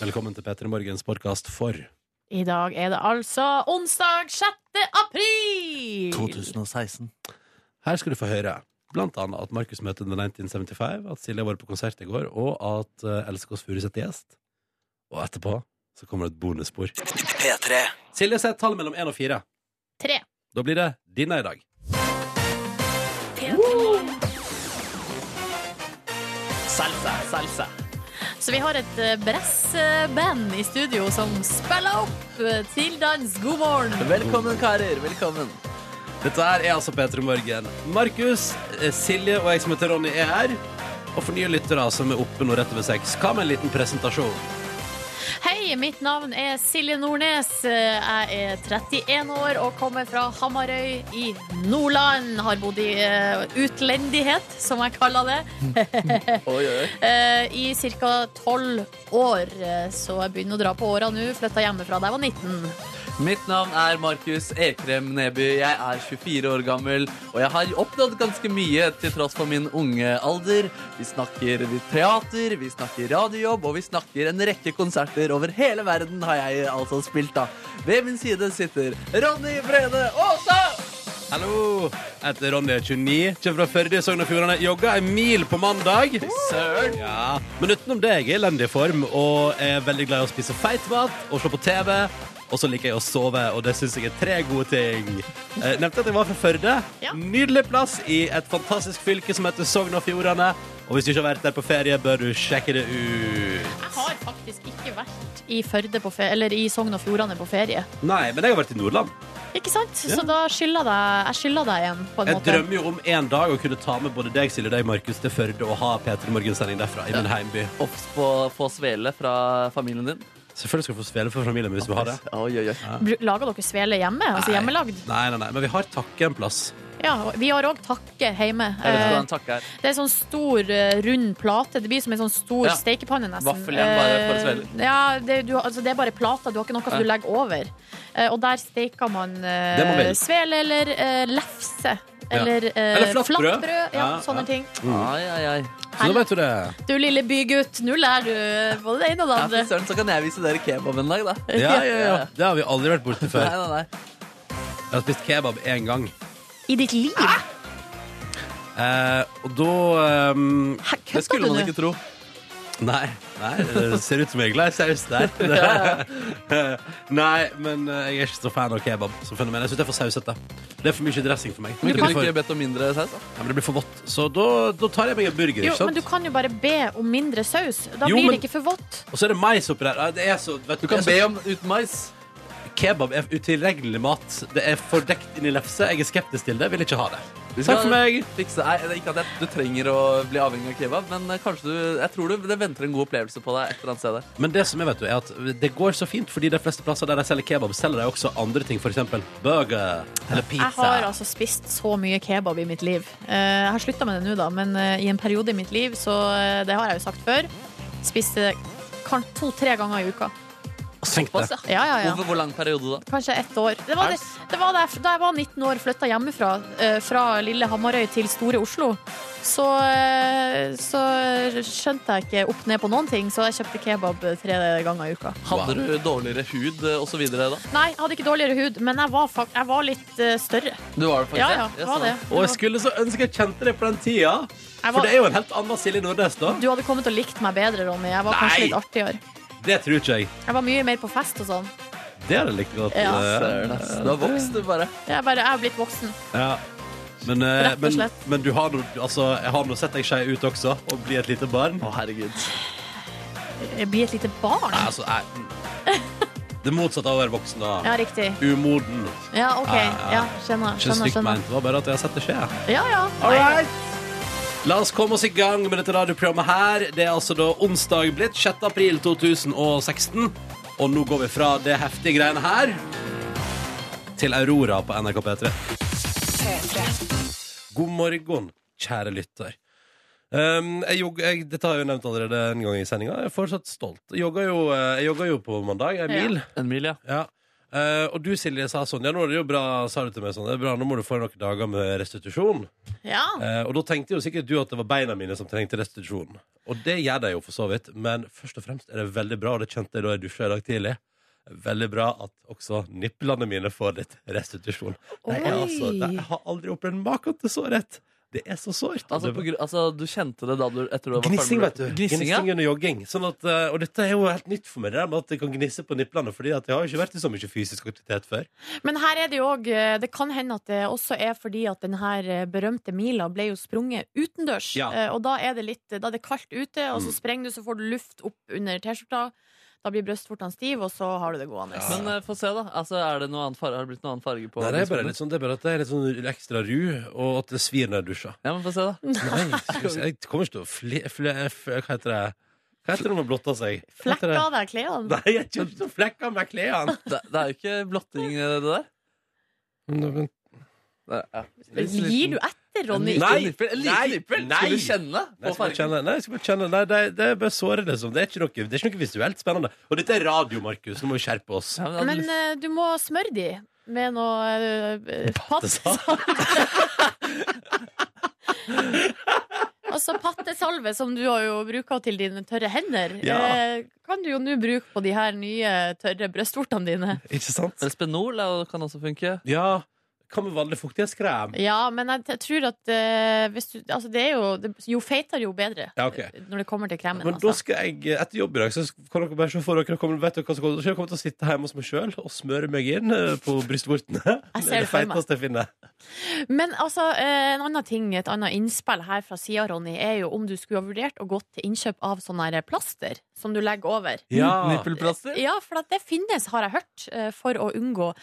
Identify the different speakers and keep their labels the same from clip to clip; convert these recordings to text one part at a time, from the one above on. Speaker 1: Velkommen til Petter Morgens podkast for
Speaker 2: I dag er det altså onsdag 6. april!
Speaker 3: 2016.
Speaker 1: Her skal du få høre blant annet at Markus møter The 1975, at Silje var på konsert i går, og at uh, Else Kåss Furuseth er gjest. Og etterpå så kommer det et bonusspor.
Speaker 3: P3.
Speaker 1: Silje setter tall mellom én og fire.
Speaker 2: Tre.
Speaker 1: Da blir det dine i dag.
Speaker 3: Salsa, salsa.
Speaker 2: Så vi har et eh, brassband i studio som spiller opp eh, til dans. God morgen!
Speaker 3: Velkommen, karer. Velkommen.
Speaker 1: Dette her er altså P3 Morgen. Markus, eh, Silje og jeg som heter Ronny er her. Og for nye lyttere som er oppe nå rett over seks, hva med en liten presentasjon?
Speaker 2: Hei, mitt navn er Silje Nordnes. Eh, Jeg er 31 år og kommer fra Hamarøy i Nordland. Har bodd i eh, utlendighet, som jeg kaller det.
Speaker 3: Oi, oi, oi.
Speaker 2: Eh, I ca. 12 år, eh, så jeg begynner å dra på åra nå. Flytta hjemmefra da jeg var 19.
Speaker 3: Mitt navn er Markus Ekrem Neby. Jeg er 24 år gammel, og jeg har oppnådd ganske mye til tross for min unge alder. Vi snakker teater, vi snakker radiojobb, og vi snakker en rekke konserter over hele verden har jeg altså spilt, da. Ved min side sitter Ronny Brede Aasa!
Speaker 1: Hallo! Jeg heter Ronny, er 29, kommer fra Førde i Sogn og Fjordane. Jogga en mil på mandag.
Speaker 3: Søren!
Speaker 1: Ja, Men utenom det er jeg i elendig form og er veldig glad i å spise feit mat og se på TV. Og så liker jeg å sove, og det syns jeg er tre gode ting. Eh, nevnte at jeg var fra Førde.
Speaker 2: Ja.
Speaker 1: Nydelig plass i et fantastisk fylke som heter Sogn og Fjordane. Og hvis du ikke har vært der på ferie, bør du sjekke det ut.
Speaker 2: Jeg har faktisk ikke vært i, Førde på fe- eller i Sogn og Fjordane på ferie.
Speaker 1: Nei, men jeg har vært i Nordland.
Speaker 2: Ikke sant?
Speaker 1: Ja.
Speaker 2: Så da skylder deg, jeg skylder deg en, på en
Speaker 1: Jeg
Speaker 2: måte.
Speaker 1: drømmer jo om en dag å kunne ta med både deg, Silje, og deg, Markus, til Førde og ha P3 Morgen-sending derfra i min heimby.
Speaker 3: Obs på å få svele fra familien din.
Speaker 1: Selvfølgelig skal du få svele for familien hvis du vil ha det.
Speaker 3: Oi, oi, oi.
Speaker 2: Bru- Lager dere svele hjemme? Altså
Speaker 1: Nei.
Speaker 2: hjemmelagd?
Speaker 1: Nei, nei, nei, men vi har takke en plass.
Speaker 2: Ja, og vi har òg takke hjemme.
Speaker 3: Jeg vet ikke hva
Speaker 2: Eh,
Speaker 3: en takk er.
Speaker 2: Det er sånn stor, eh, rund plate. Det blir som en sånn stor
Speaker 3: Ja.
Speaker 2: stekepanne, nesten.
Speaker 3: Vaffel igjen, bare for å
Speaker 2: Eh,
Speaker 3: svele.
Speaker 2: Ja, det, du, altså, det er bare plata. Du har ikke noe som du
Speaker 3: Ja.
Speaker 2: legger over. Eh, Og der steker man eh,
Speaker 1: Det man vil.
Speaker 2: svele eller eh, lefse. Eller, eh,
Speaker 1: Eller flatbrød.
Speaker 2: Ja,
Speaker 1: Ja, ja.
Speaker 2: sånne ting.
Speaker 3: Ai, ai, ai.
Speaker 1: Mm. Så da vet du det.
Speaker 2: Du lille bygutt, nå lærer du både det ene og det
Speaker 3: Ja,
Speaker 2: andre.
Speaker 3: fy søren, så kan jeg vise dere kebab en dag, da.
Speaker 1: Ja, ja, ja. Det har vi aldri vært borti
Speaker 3: Nei,
Speaker 1: før.
Speaker 3: nei, nei.
Speaker 1: Jeg har spist kebab én gang.
Speaker 2: I ditt liv?
Speaker 3: Ah!
Speaker 1: Eh, og da ehm,
Speaker 2: Hæ,
Speaker 3: Det
Speaker 2: Kødder
Speaker 3: skulle
Speaker 2: du
Speaker 3: man
Speaker 2: nå?
Speaker 3: ikke tro.
Speaker 1: Nei. nei det ser ut som jeg er glad i saus der. nei, men eh, jeg er ikke så fan av kebab som fenomen. Jeg syns det er for sausete. Det er for mye dressing for meg.
Speaker 3: Men
Speaker 1: Det
Speaker 3: kunne
Speaker 1: blir
Speaker 3: du
Speaker 1: for,
Speaker 3: ikke bedt om mindre saus? da?
Speaker 1: ja, men det blir for vått. Så da, da tar jeg meg en burger.
Speaker 2: Jo,
Speaker 1: ikke sant?
Speaker 2: men du kan jo bare be om mindre saus. Da
Speaker 1: Jo,
Speaker 2: blir
Speaker 1: men-
Speaker 2: det ikke for vått.
Speaker 1: Og så er det mais oppi der. Ja, Det er så, vet
Speaker 3: Du kan
Speaker 1: det
Speaker 3: be
Speaker 1: er så,
Speaker 3: om uten mais.
Speaker 1: Kebab er utilregnelig mat. Det er fordekt inn i lefse. Jeg er skeptisk til det. Vil ikke ha det.
Speaker 3: Du skal
Speaker 1: Takk for meg.
Speaker 3: Fikse. Nei, det er ikke at jeg, du trenger å bli avhengig av kebab, men eh, kanskje du, jeg tror du, det venter en god opplevelse på deg et eller annet sted. der.
Speaker 1: Men det som jeg vet du, er at det går så fint, fordi de fleste plasser der de selger kebab, selger de også andre ting, f.eks. burger eller pizza.
Speaker 2: Jeg har altså spist så mye kebab i mitt liv. Eh, Jeg har slutta med det nå, da, men eh, i en periode i mitt liv, så eh, det har jeg jo sagt før, spiste kan- to-tre ganger i uka.
Speaker 1: Tenk
Speaker 3: Pass,
Speaker 1: det.
Speaker 3: ja.
Speaker 2: Ja, ja, ja.
Speaker 3: Hvorfor, hvor lang periode da?
Speaker 2: Kanskje ett år. Det var, det, det var da jeg- da jeg var 19 år, flytta hjemmefra, eh, fra lille Hamarøy til store Oslo, så, eh, så skjønte jeg ikke opp ned på noen ting, så jeg kjøpte kebab eh, tre ganger i uka.
Speaker 3: Hadde
Speaker 1: Wow.
Speaker 3: du dårligere hud eh, og så videre da?
Speaker 2: Nei, jeg hadde ikke dårligere hud, men jeg var, fak jeg var litt eh, større.
Speaker 3: Du var det faktisk.
Speaker 2: Ja, ja,
Speaker 3: Ja,
Speaker 2: jeg var
Speaker 3: sånn.
Speaker 2: det.
Speaker 1: Og jeg skulle så ønske jeg kjente det på den tida.
Speaker 2: Jeg
Speaker 1: For
Speaker 2: var,
Speaker 1: det er jo en helt annen Silje Nordnes, da.
Speaker 2: du hadde kommet og likt meg bedre, Ronny. Jeg var kanskje
Speaker 1: Nei!
Speaker 2: litt artigere.
Speaker 1: Det tror ikke jeg.
Speaker 2: Jeg var mye mer på fest og sånn.
Speaker 1: Det hadde jeg likt godt.
Speaker 2: Ja.
Speaker 1: eh,
Speaker 3: Søren, ass. Du har vokst, du bare.
Speaker 2: Jeg, bare, jeg er blitt voksen.
Speaker 1: ja. Men, eh,
Speaker 2: Rett og
Speaker 1: men,
Speaker 2: slett.
Speaker 1: men du har nå altså, jeg har nå sett deg skei ut også, og bli et lite barn.
Speaker 3: Å, herregud.
Speaker 2: Jeg blir et lite barn.
Speaker 1: Nei, altså, jeg- Det motsatte av å være voksen, da.
Speaker 2: Ja, riktig.
Speaker 1: Umoden.
Speaker 2: Ja, OK.
Speaker 1: Ja, ja.
Speaker 2: Ja, skjønner.
Speaker 1: Ikke
Speaker 2: skjønner,
Speaker 1: stygt
Speaker 2: skjønner.
Speaker 1: meint, det var bare at jeg har sett det skje.
Speaker 2: Ja, ja.
Speaker 1: All right. La oss komme oss i gang med dette radioprogrammet her. Det er altså da onsdag blitt 6. april 2016. Og nå går vi fra det heftige greiene her til Aurora på NRK P3. God morgen, kjære lytter. Um, jeg jog, jeg, dette har jeg jo nevnt allerede en gang i sendinga. Jeg er fortsatt stolt. Jeg jogga jo, eh, jeg jogga jo på mandag, en
Speaker 2: Ja.
Speaker 1: mil.
Speaker 3: En mil, ja.
Speaker 1: Ja. Eh, og du, Silje, sa sånn Ja, nå er det jo bra, sa du til meg sånn. Det er bra, nå må du få noen dager med restitusjon.
Speaker 2: Ja.
Speaker 1: Eh, og da tenkte jo sikkert du at det var beina mine som trengte restitusjon. Og det gjør de jo for så vidt, men først og fremst er det veldig bra, og det kjente jeg da jeg dusja i dag tidlig. Veldig bra at også nipplene mine får litt restitusjon. Det er
Speaker 2: Oi.
Speaker 1: altså, det, jeg har aldri opplevd maken til så rett. Det er så sårt.
Speaker 3: Altså, på,
Speaker 1: Det-
Speaker 3: gru- altså, du kjente det da du etter du var ferdig
Speaker 1: Gnissing,
Speaker 3: med-
Speaker 1: vet du.
Speaker 3: Gnissing, ja.
Speaker 1: Gnissing under jogging. Sånn at, eh, og dette er jo helt nytt for meg, det der med at jeg kan gnisse på nipplene. Fordi at jeg har jo ikke vært i så mye fysisk aktivitet før.
Speaker 2: Men her er det jo òg Det kan hende at det også er fordi at den her eh, berømte mila ble jo sprunget utendørs.
Speaker 1: Ja.
Speaker 2: Eh, Og da er det litt Da er det kaldt ute, og så
Speaker 1: Mm.
Speaker 2: sprenger du, så får du luft opp under T-skjorta. Da blir brøstvortene stive, og så har du det gående.
Speaker 1: Ja.
Speaker 3: Men eh, få se, da. Altså, er det noe annet farge? Har det blitt noe annen farge på
Speaker 1: Nei, det er bare
Speaker 3: gnisskornet?
Speaker 1: litt sånn, det er bare at jeg er litt sånn ekstra ru, og at det svir når jeg dusjer.
Speaker 3: Ja, men få se, da.
Speaker 1: Nei, skal vi se. jeg kommer ikke til å fle... fle f hva heter det? Hva heter det når man blotter seg? Hva heter
Speaker 2: Flekk
Speaker 1: det?
Speaker 2: av deg klærne.
Speaker 1: Nei, jeg kommer ikke til å flekke av meg klærne!
Speaker 3: Det, det er jo ikke blotting, eh, det der.
Speaker 1: Men-
Speaker 3: Det er, ja.
Speaker 2: Gir du etter, Ronny?
Speaker 3: En
Speaker 1: Nei,
Speaker 3: liten nippel? En
Speaker 1: nei,
Speaker 3: liten nippel?
Speaker 1: nei.
Speaker 3: Skulle du kjenne
Speaker 1: Nei,
Speaker 3: på
Speaker 1: jeg skal bare
Speaker 3: fargen?
Speaker 1: kjenne, nei, jeg skal bare kjenne nei, det, det er bare såre, liksom. Det er, ikke noe, det er ikke noe visuelt spennende. Og dette er radio, Markus. Nå må vi skjerpe oss.
Speaker 3: Ja, men det hadde
Speaker 2: Men
Speaker 3: lyst-
Speaker 2: eh, du må smøre de med noe eh, patte. Altså pattesalve, som du har jo bruker til dine tørre hender,
Speaker 1: Ja.
Speaker 2: eh, kan du jo nå bruke på de her nye tørre brystvortene dine.
Speaker 1: Ikke sant?
Speaker 3: Eller Spenol er jo- kan også funke.
Speaker 1: Ja. Hva med vanlig fuktighetskrem?
Speaker 2: Ja, men jeg, jeg tror at eh, hvis du, altså det er jo, det, jo feitere, jo bedre.
Speaker 1: Ja, ok.
Speaker 2: Når det kommer til kremen,
Speaker 1: Men da
Speaker 2: altså.
Speaker 1: skal jeg, eh, etter jobb i dag, så kan dere bare se for dere kommer, vet dere hva som kommer, til å skje? jeg kommer til å sitte hjemme hos meg sjøl og smøre meg inn eh, på brystvortene.
Speaker 2: Jeg ser
Speaker 1: Det
Speaker 2: det for meg.
Speaker 1: feiteste jeg finner.
Speaker 2: Men altså, eh, en annen ting, et annet innspill her fra sida, Ronny, er jo om du skulle ha vurdert å gå til innkjøp av sånne her plaster som du legger over.
Speaker 1: Mm.
Speaker 3: Nippelplaster?
Speaker 2: Ja, for at det finnes, har jeg hørt, eh, for å unngå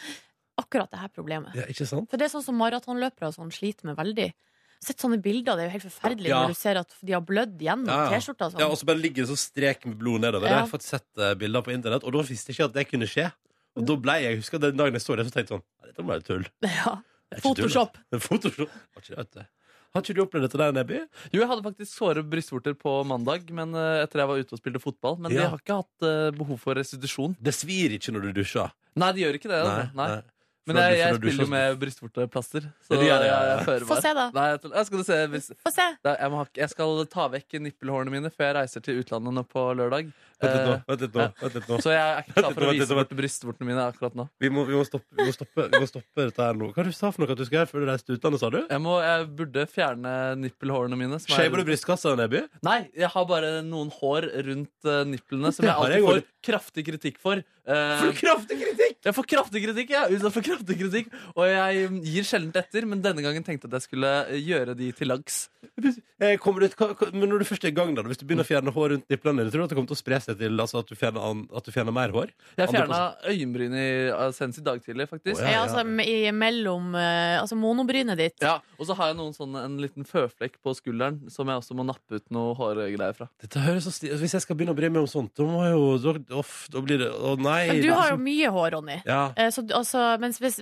Speaker 2: akkurat det her problemet.
Speaker 1: ja, ikke sant?
Speaker 2: For det er sånn som maratonløpere og sånn sliter med veldig. Jeg har Sett sånne bilder, det er jo helt forferdelig
Speaker 1: Ja.
Speaker 2: når du ser at de har blødd gjennom
Speaker 1: Ja, ja.
Speaker 2: T-skjorta. og Sånn.
Speaker 1: Ja, og så bare ligger det sånn strek med blod nedover.
Speaker 2: Ja.
Speaker 1: Jeg har fått sett eh, bilder på internett, og da visste jeg ikke at det kunne skje. Og da ble jeg, jeg husker den dagen jeg så det, så tenkte jeg sånn Nei, dette må være tull.
Speaker 2: Ja.
Speaker 1: Det er ikke tull,
Speaker 2: Photoshop.
Speaker 1: da. Det er Photoshop. Har ikke, det, vet du. har ikke du opplevd dette der, Nebby?
Speaker 3: Jo, jeg hadde faktisk såre brystvorter på mandag men eh, etter jeg var ute og spilte fotball. Men
Speaker 1: Ja.
Speaker 3: de har ikke hatt eh, behov for restitusjon.
Speaker 1: Det svir ikke når du dusjer.
Speaker 3: Nei, de gjør ikke det. Nei, nei. Men jeg, jeg spiller jo med brystvorteplaster. Så
Speaker 1: Ja, det gjør jeg,
Speaker 3: jeg,
Speaker 1: ja, ja.
Speaker 3: jeg fører
Speaker 2: Få
Speaker 3: meg.
Speaker 2: se, da.
Speaker 3: Nei, jeg tuller. Ja, skal du se hvis,
Speaker 2: Få se.
Speaker 3: Nei, jeg, må ha, jeg skal ta vekk nippelhårene mine før jeg reiser til utlandet nå på lørdag.
Speaker 1: Vent litt nå.
Speaker 3: Eh,
Speaker 1: Vent litt nå. Vent litt nå.
Speaker 3: så jeg er ikke klar for å
Speaker 1: Vent litt,
Speaker 3: vise
Speaker 1: vent
Speaker 3: bort brystvortene mine akkurat nå.
Speaker 1: Vi må, vi, må stoppe, vi, må stoppe, vi må stoppe dette her nå. Hva du sa for noe at du skulle gjøre før du reiste til utlandet, sa du?
Speaker 3: Jeg, må, jeg burde fjerne nippelhårene mine. som er-
Speaker 1: Shaver du brystkassa, Nebby?
Speaker 3: Nei, jeg har bare noen hår rundt eh, nipplene som
Speaker 1: Det
Speaker 3: jeg
Speaker 1: har
Speaker 3: alltid
Speaker 1: jeg
Speaker 3: får
Speaker 1: også.
Speaker 3: kraftig kritikk for. Eh,
Speaker 1: For kraftig kritikk!
Speaker 3: jeg får kraftig kritikk, jeg. Utsatt for kraftig kritikk. Og jeg mm, gir sjelden etter, men denne gangen tenkte jeg at jeg skulle eh, gjøre de til lags.
Speaker 1: Eh, Kommer du, hva- hva- men når du først er i gang, da, hvis du begynner å fjerne hår rundt nipplene dine, tror du at det kommer til å spre seg til altså, at, du fjerner, an- at du fjerner mer hår?
Speaker 3: Jeg
Speaker 1: Andre
Speaker 3: fjerna øyenbrynet i- eh, senest i dag tidlig, faktisk.
Speaker 1: Å, Ja,
Speaker 2: Ja,
Speaker 1: ja.
Speaker 2: altså i mellom eh, Altså monobrynet ditt.
Speaker 3: Ja, Og så har jeg noen sånne, en liten føflekk på skulderen som jeg også må nappe ut noe hårgreier fra.
Speaker 1: Dette høres så sti- altså, Hvis jeg skal begynne å bry meg om sånt, da må jeg jo Da, off, da blir det sånn- Å nei!
Speaker 2: Men du har jo mye hår, Ronny.
Speaker 1: Ja.
Speaker 2: Eh, Så, du- altså, mens hvis,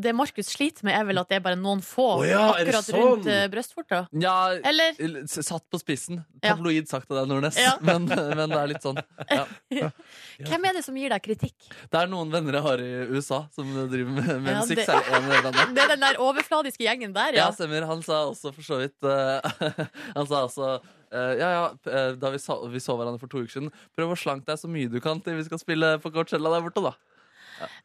Speaker 2: det Markus sliter med, er vel at det er bare noen få
Speaker 1: Å ja, er det
Speaker 2: akkurat
Speaker 1: sånn?
Speaker 2: rundt eh, brystvorta?
Speaker 3: Ja,
Speaker 2: Eller?
Speaker 3: l- s- satt på spissen.
Speaker 2: Ja.
Speaker 3: Tabloid sagt av deg, Nordnes.
Speaker 2: Ja.
Speaker 3: Men, men det er litt sånn. Ja.
Speaker 2: Hvem er det som gir deg kritikk?
Speaker 3: Det er noen venner jeg har i USA som driver med, med
Speaker 2: Ja,
Speaker 3: musikk.
Speaker 2: det-
Speaker 3: så er det en eller annen.
Speaker 2: Det er den der overfladiske gjengen der,
Speaker 3: Ja,
Speaker 2: ja.
Speaker 3: altså. stemmer. Han sa også for så vidt eh, Han sa altså eh, ja, ja, p- eh, Da vi så, vi så hverandre for to uker siden, prøv å slanke deg så mye du kan til vi skal spille på Coachella der borte, da.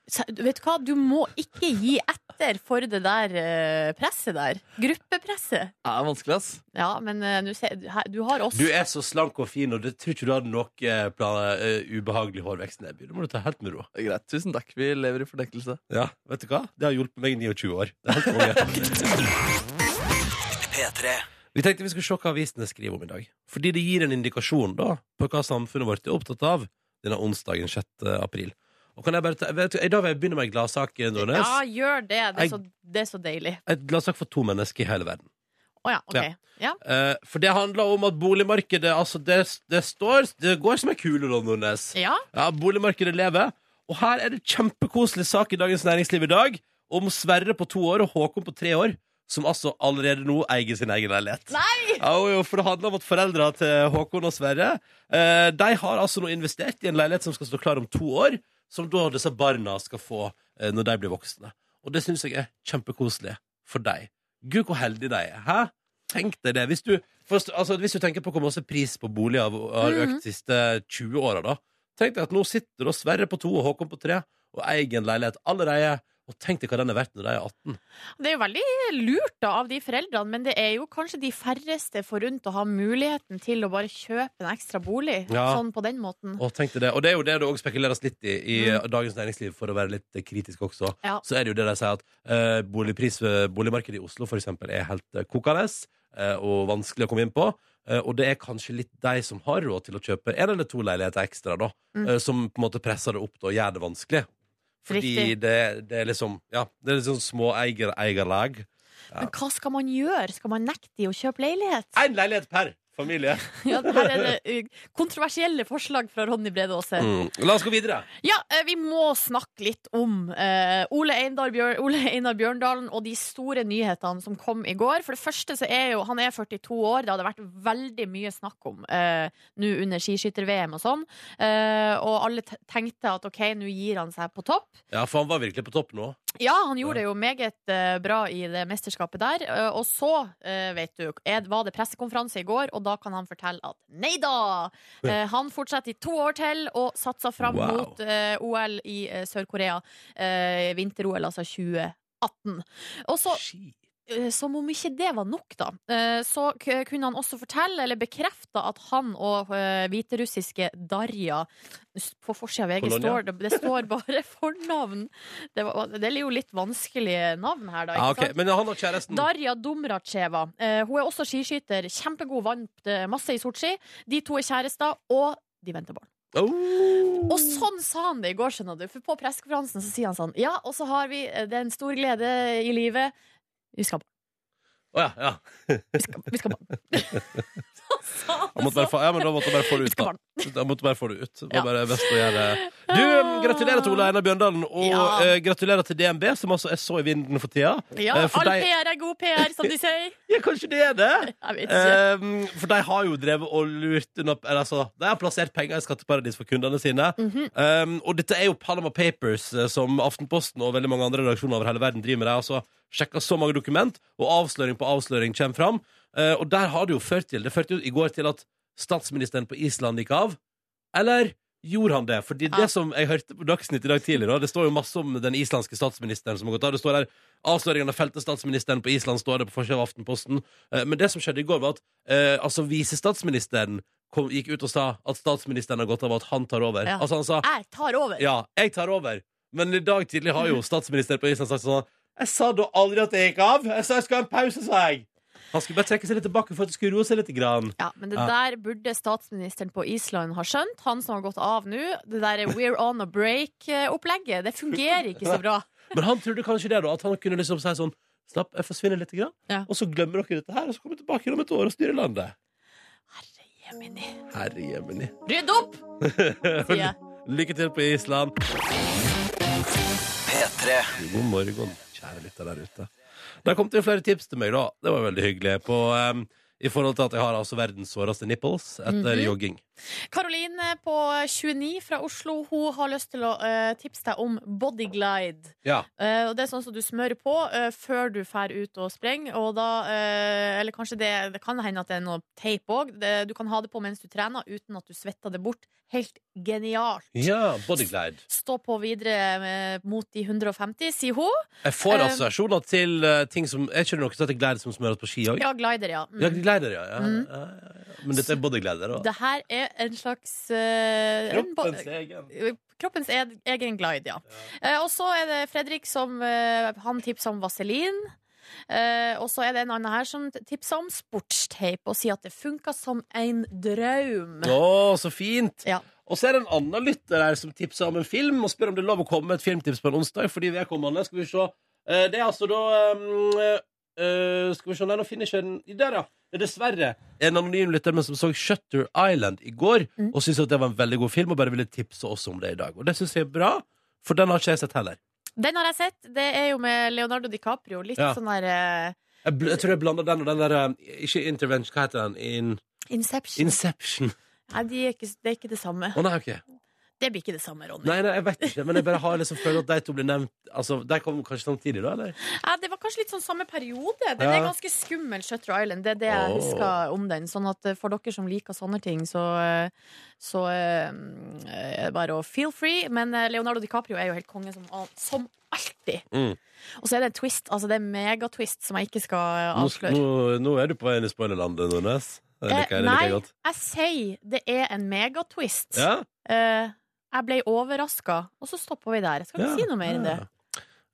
Speaker 2: Så, vet du hva, du må ikke gi etter for det der eh, presset der. Gruppepresset.
Speaker 3: Det er vanskelig, ass.
Speaker 2: Ja, men eh, du, ser, du- her- du har oss.
Speaker 1: Du er så slank og fin, og det tror ikke du hadde noe eh, plan, eh, ubehagelig hårvekst, Nebby. Det må du ta helt med ro.
Speaker 3: Greit. Tusen takk. Vi lever i fornektelse.
Speaker 1: Ja, vet du hva? Det har hjulpet meg i 29 år. Det er helt konge. Vi tenkte vi skulle se hva avisene skriver om i dag. Fordi det gir en indikasjon da, på hva samfunnet vårt er opptatt av denne onsdagen 6. april. Og kan jeg bare ta, vet du, I dag vil jeg begynne med en gladsak, eh, Nordnes.
Speaker 2: Ja, gjør det. Det er så, det er så deilig.
Speaker 1: En gladsak for to mennesker i hele verden.
Speaker 2: Å ja, OK. Ja.
Speaker 1: Eh, for det handler om at boligmarkedet altså det, det, står, det går som en kule, da, Nordnes.
Speaker 2: Ja.
Speaker 1: Ja, boligmarkedet lever. Og her er det kjempekoselig sak i Dagens Næringsliv i dag om Sverre på to år og Håkon på tre år, som altså allerede nå eier sin egen leilighet.
Speaker 2: Nei!
Speaker 1: Ja, jo, jo, for det handler om at foreldra til Håkon og Sverre eh, De har altså nå investert i en leilighet som skal stå klar om to år, som da disse barna skal få eh, når de blir voksne. Og det syns jeg er kjempekoselig for deg. Gud, hvor heldige de er. Hæ? Tenk deg det. Hvis du, først, altså, hvis du tenker på hvor masse pris på boliger har økt de siste 20 åra, da. Tenk deg at nå sitter da Sverre på to og Håkon på tre og eier en leilighet allerede. Og tenk deg hva den er verdt når de er 18.
Speaker 2: Det er jo veldig lurt da, av de foreldrene, men det er jo kanskje de færreste forunt å ha muligheten til å bare kjøpe en ekstra bolig
Speaker 1: Ja.
Speaker 2: sånn på den måten.
Speaker 1: Og, tenk deg det. og det er jo det det også spekuleres litt i i eh, Dagens Næringsliv, for å være litt eh, kritisk også.
Speaker 2: Mm. Ja.
Speaker 1: Så er det jo det de sier at eh, boligpris, eh, boligmarkedet i Oslo for eksempel er helt eh, kokende eh, og vanskelig å komme inn på. Eh, og det er kanskje litt de som har råd til å kjøpe en eller to leiligheter ekstra, da,
Speaker 2: Mm.
Speaker 1: eh, som på en måte presser det opp da, og gjør det vanskelig. Fordi
Speaker 2: Riktig.
Speaker 1: det, det er liksom Ja, det er liksom små eier, eierlag.
Speaker 2: Men hva skal man gjøre? Skal man nekte de å kjøpe leilighet?
Speaker 1: Én leilighet per familie!
Speaker 2: Ja, det her er det uh, kontroversielle forslag fra Ronny Brede Aase.
Speaker 1: Mm. La oss gå videre.
Speaker 2: Ja, eh, vi må snakke litt om eh, Ole, Einar Bjør Ole Einar Bjørndalen og de store nyhetene som kom i går. For det første så er jo han er 42 år. Det hadde vært veldig mye snakk om eh, nå under skiskytter-VM og sånn. Eh, og alle te- tenkte at OK, nå gir han seg på topp.
Speaker 1: Ja, for han var virkelig på topp nå.
Speaker 2: Ja, han gjorde det jo meget eh, bra i det mesterskapet der. Eh, og så, eh, vet du, er, var det pressekonferanse i går, og da kan han fortelle at nei da! Eh, han fortsetter i to år til og satser fram
Speaker 1: Wow.
Speaker 2: mot eh, OL i eh, Sør-Korea. eh, Vinter-OL, altså 2018. Og så
Speaker 1: Shit.
Speaker 2: Eh, Som om ikke det var nok, da, eh, så k- kunne han også fortelle, eller bekrefte, at han og eh, hviterussiske Darja s- På forsida av VG
Speaker 1: Kolonia.
Speaker 2: står det, det står bare fornavn. Det, var, det er jo litt vanskelige navn her, da.
Speaker 1: Ja,
Speaker 2: Ikke
Speaker 1: ok,
Speaker 2: sant?
Speaker 1: Men han og kjæresten
Speaker 2: Darja Dumracheva. Eh, hun er også skiskyter. Kjempegod, vant eh, masse i Sotsji. De to er kjærester, og de venter barn.
Speaker 1: Oh.
Speaker 2: Og sånn sa han det i går, skjønner du. For på pressekonferansen så sier han sånn Ja, og så har vi eh, Det er en stor glede i livet. Vi skal ha barn.
Speaker 1: Å ja, ja.
Speaker 2: Vi skal, vi skal ha barn. Så sa han
Speaker 1: Jeg
Speaker 2: det
Speaker 1: måtte bare
Speaker 2: sånn.
Speaker 1: få, ja, men da måtte jeg bare få det
Speaker 2: Vi
Speaker 1: ut.
Speaker 2: skal ha
Speaker 1: Da.
Speaker 2: barn.
Speaker 1: Jeg måtte bare få det ut. Det var
Speaker 2: Ja.
Speaker 1: bare best å gjøre det. Du, eh, gratulerer til Ole Einar Bjøndalen, og
Speaker 2: Ja.
Speaker 1: eh, gratulerer til DNB, som altså er så i vinden for tida.
Speaker 2: Ja,
Speaker 1: Eh, for
Speaker 2: all
Speaker 1: deg-
Speaker 2: PR er god PR, som de sier.
Speaker 1: Ja, kanskje det er det?
Speaker 2: Jeg vet ikke.
Speaker 1: Eh, for de har jo drevet og lurt unna eller altså, De har plassert penger i skatteparadis for kundene sine.
Speaker 2: Mhm.
Speaker 1: Eh, og dette er jo Panama Papers, eh, som Aftenposten og veldig mange andre redaksjoner over hele verden driver med. De har altså sjekka så mange dokument, og avsløring på avsløring kommer fram. Eh, og der har det jo ført til Det førte jo i går til at statsministeren på Island gikk av. Eller gjorde han det? Fordi
Speaker 2: Ja.
Speaker 1: det som jeg hørte på Dagsnytt i dag tidlig, da, det står jo masse om den islandske statsministeren som har gått av. Det står der avsløringen av feltestatsministeren på Island står det på forsiden av Aftenposten. Eh, Men det som skjedde i går, var at eh, altså visestatsministeren kom, gikk ut og sa at statsministeren har gått av, og at han tar over.
Speaker 2: Ja.
Speaker 1: Altså han sa
Speaker 2: Jeg tar over. Mhm.
Speaker 1: ja, jeg tar over. Men i dag tidlig har jo statsministeren på Island sagt sånn Jeg sa da aldri at jeg gikk av. Jeg sa jeg skal ha en pause, sa jeg. Han skulle bare trekke seg litt tilbake for at det skulle roe seg litt. Grann.
Speaker 2: Ja, men det
Speaker 1: Ja.
Speaker 2: der burde statsministeren på Island ha skjønt, han som har gått av nå. Det der We're on a break-opplegget, det fungerer ikke så bra.
Speaker 1: Men han trodde kanskje det, da. At han kunne liksom si sånn Slapp, jeg forsvinner litt, grann,
Speaker 2: Ja.
Speaker 1: og så glemmer dere dette her, og så kommer jeg tilbake igjen om et år og styrer landet.
Speaker 2: Herre jemini.
Speaker 1: Herre jemini.
Speaker 2: Rydd opp! sier jeg.
Speaker 1: Lykke til på Island. God morgen, kjære lytter der ute. Der kom det jo flere tips til meg, da. Det var veldig hyggelig. På, em, I forhold til at jeg har altså verdens såreste nipples etter
Speaker 2: Mhm.
Speaker 1: jogging.
Speaker 2: Karoline på 29 fra Oslo Hun har lyst til å eh, tipse deg om bodyglide.
Speaker 1: Ja.
Speaker 2: Eh, og det er sånn som du smører på eh, før du drar ut og sprenger. Og da, eh, eller kanskje det, det kan hende at det er noe teip òg. Du kan ha det på mens du trener uten at du svetter det bort. Helt genialt.
Speaker 1: ja bodyglide.
Speaker 2: Stå på videre eh, mot de 150, sier hun.
Speaker 1: Jeg får altså
Speaker 2: Eh.
Speaker 1: assosiasjoner til eh, ting som Er ikke det noe som heter glide som smøres på ski òg?
Speaker 2: Ja, glider, ja.
Speaker 1: Ja,
Speaker 2: Mm.
Speaker 1: glider, ja. ja,
Speaker 2: Mm.
Speaker 1: ja, ja, ja. Men dette er bodyglider, da.
Speaker 2: Det her er en slags eh, en bo-
Speaker 1: Kroppens egen.
Speaker 2: Kroppens ed- egen glide, ja. Eh, og så er det Fredrik som eh, Han tipser om vaselin. Eh, og så er det en annen her som t- tipser om sportsteip og sier at det funka som en drøm.
Speaker 1: Å, så fint!
Speaker 2: Ja.
Speaker 1: Og så er det en annen lytter her som tipser om en film, og spør om det er lov å komme med et filmtips på en onsdag. Fordi vedkommende Skal vi se Eh, Det er altså da um, eh, Skal vi se, nei, nå finner jeg ikke den Der, ja. Det er dessverre en anonym lytter men som så Shutter Island i går,
Speaker 2: Mm.
Speaker 1: og syntes at det var en veldig god film, og bare ville tipse oss om det i dag. Og det syns jeg er bra, for den har ikke jeg sett heller.
Speaker 2: Den har jeg sett. Det er jo med Leonardo DiCaprio. Litt
Speaker 1: Ja.
Speaker 2: sånn der eh,
Speaker 1: Jeg, bl jeg tror jeg blander den og den der eh, Ikke Intervention, hva heter den? In
Speaker 2: Inception.
Speaker 1: Inception.
Speaker 2: Nei, de er ikke, det er ikke det samme.
Speaker 1: Å nei, ok.
Speaker 2: Det blir ikke det samme, Ronny.
Speaker 1: Nei, nei, jeg vet ikke, men jeg bare har liksom følt at de to blir nevnt Altså, De kom kanskje samtidig, da? eller?
Speaker 2: Ja, det var kanskje litt sånn samme periode. Den
Speaker 1: Ja.
Speaker 2: er ganske skummel, Shutter Island. Det er det jeg
Speaker 1: Åh.
Speaker 2: husker om den. Sånn at eh, for dere som liker sånne ting, så, eh, så eh, mm, er det bare å feel free. Men eh, Leonardo DiCaprio er jo helt konge som, al- som alltid.
Speaker 1: Mm.
Speaker 2: Og så er det en twist, altså det er en megatwist som jeg ikke skal eh,
Speaker 1: Nå,
Speaker 2: avsløre.
Speaker 1: nå, nå er du på vei inn i spoilerlandet, Nordnes. Det
Speaker 2: Eh,
Speaker 1: liker jeg, det
Speaker 2: nei,
Speaker 1: liker jeg godt.
Speaker 2: jeg sier det er en megatwist.
Speaker 1: Ja?
Speaker 2: Eh, jeg ble overraska, og så stopper vi der. Jeg skal ikke
Speaker 1: Ja,
Speaker 2: si noe mer enn det.
Speaker 1: ja.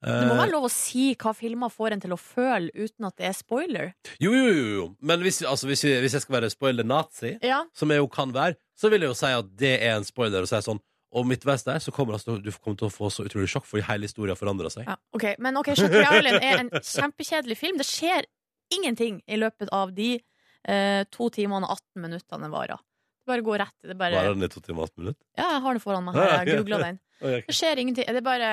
Speaker 2: Det må
Speaker 1: Eh,
Speaker 2: være lov å si hva filmer får en til å føle uten at det er spoiler.
Speaker 1: Jo, jo, jo, jo. Men hvis, altså, hvis, vi- hvis jeg skal være spoiler-nazi,
Speaker 2: Ja,
Speaker 1: som jeg jo kan være, så vil jeg jo si at det er en spoiler. Og si sånn og midtveis der så kommer altså, du kommer til å få så utrolig sjokk, fordi hele historien forandrer seg.
Speaker 2: ja, ok Men ok, Shutter Island er en kjempekjedelig film. Det skjer ingenting i løpet av de eh, to timene og 18 minuttene den varer. Det bare går rett. Det bare,
Speaker 1: Varer den i to timer og 18 minutter?
Speaker 2: ja, jeg har den foran meg.
Speaker 1: Ja,
Speaker 2: her,
Speaker 1: ja,
Speaker 2: Jeg
Speaker 1: ok.
Speaker 2: googla den.
Speaker 1: Ok.
Speaker 2: Det skjer ingenting. Det er bare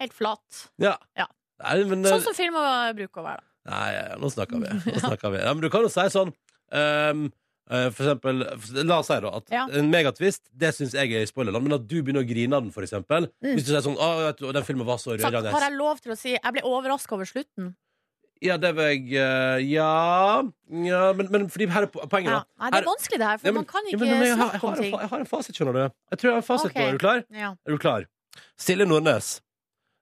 Speaker 2: helt flat.
Speaker 1: Ja.
Speaker 2: Ja.
Speaker 1: Nei, men, eh,
Speaker 2: Sånn som filmer bruker å være. da.
Speaker 1: Nei, ja, nå snakker vi. Nå snakker vi. Ja, men du kan jo si sånn ehm, eh, For eksempel La oss si da at
Speaker 2: Ja.
Speaker 1: en megatvist, det syns jeg er i spoilerland, men at du begynner å grine av den, for eksempel.
Speaker 2: Mm.
Speaker 1: Hvis du sier sånn Å, vet du, den filmen var så
Speaker 2: Så
Speaker 1: rørende.
Speaker 2: har jeg lov til å si Jeg ble overraska over slutten.
Speaker 1: Ja, det var jeg eh, Ja, ja men, men fordi her er po- poenget,
Speaker 2: Ja.
Speaker 1: da.
Speaker 2: Nei, det
Speaker 1: Her-
Speaker 2: er vanskelig, det her, for
Speaker 1: Ja, men-
Speaker 2: man kan
Speaker 1: ja,
Speaker 2: ikke
Speaker 1: men- men jeg har- jeg
Speaker 2: snakke
Speaker 1: har
Speaker 2: om
Speaker 1: en
Speaker 2: ting.
Speaker 1: fa- Jeg har en fasit, skjønner du. Jeg tror jeg har en fasit
Speaker 2: Ok.
Speaker 1: nå. Er du klar?
Speaker 2: Ja.
Speaker 1: Er du klar? Silje Nordnes.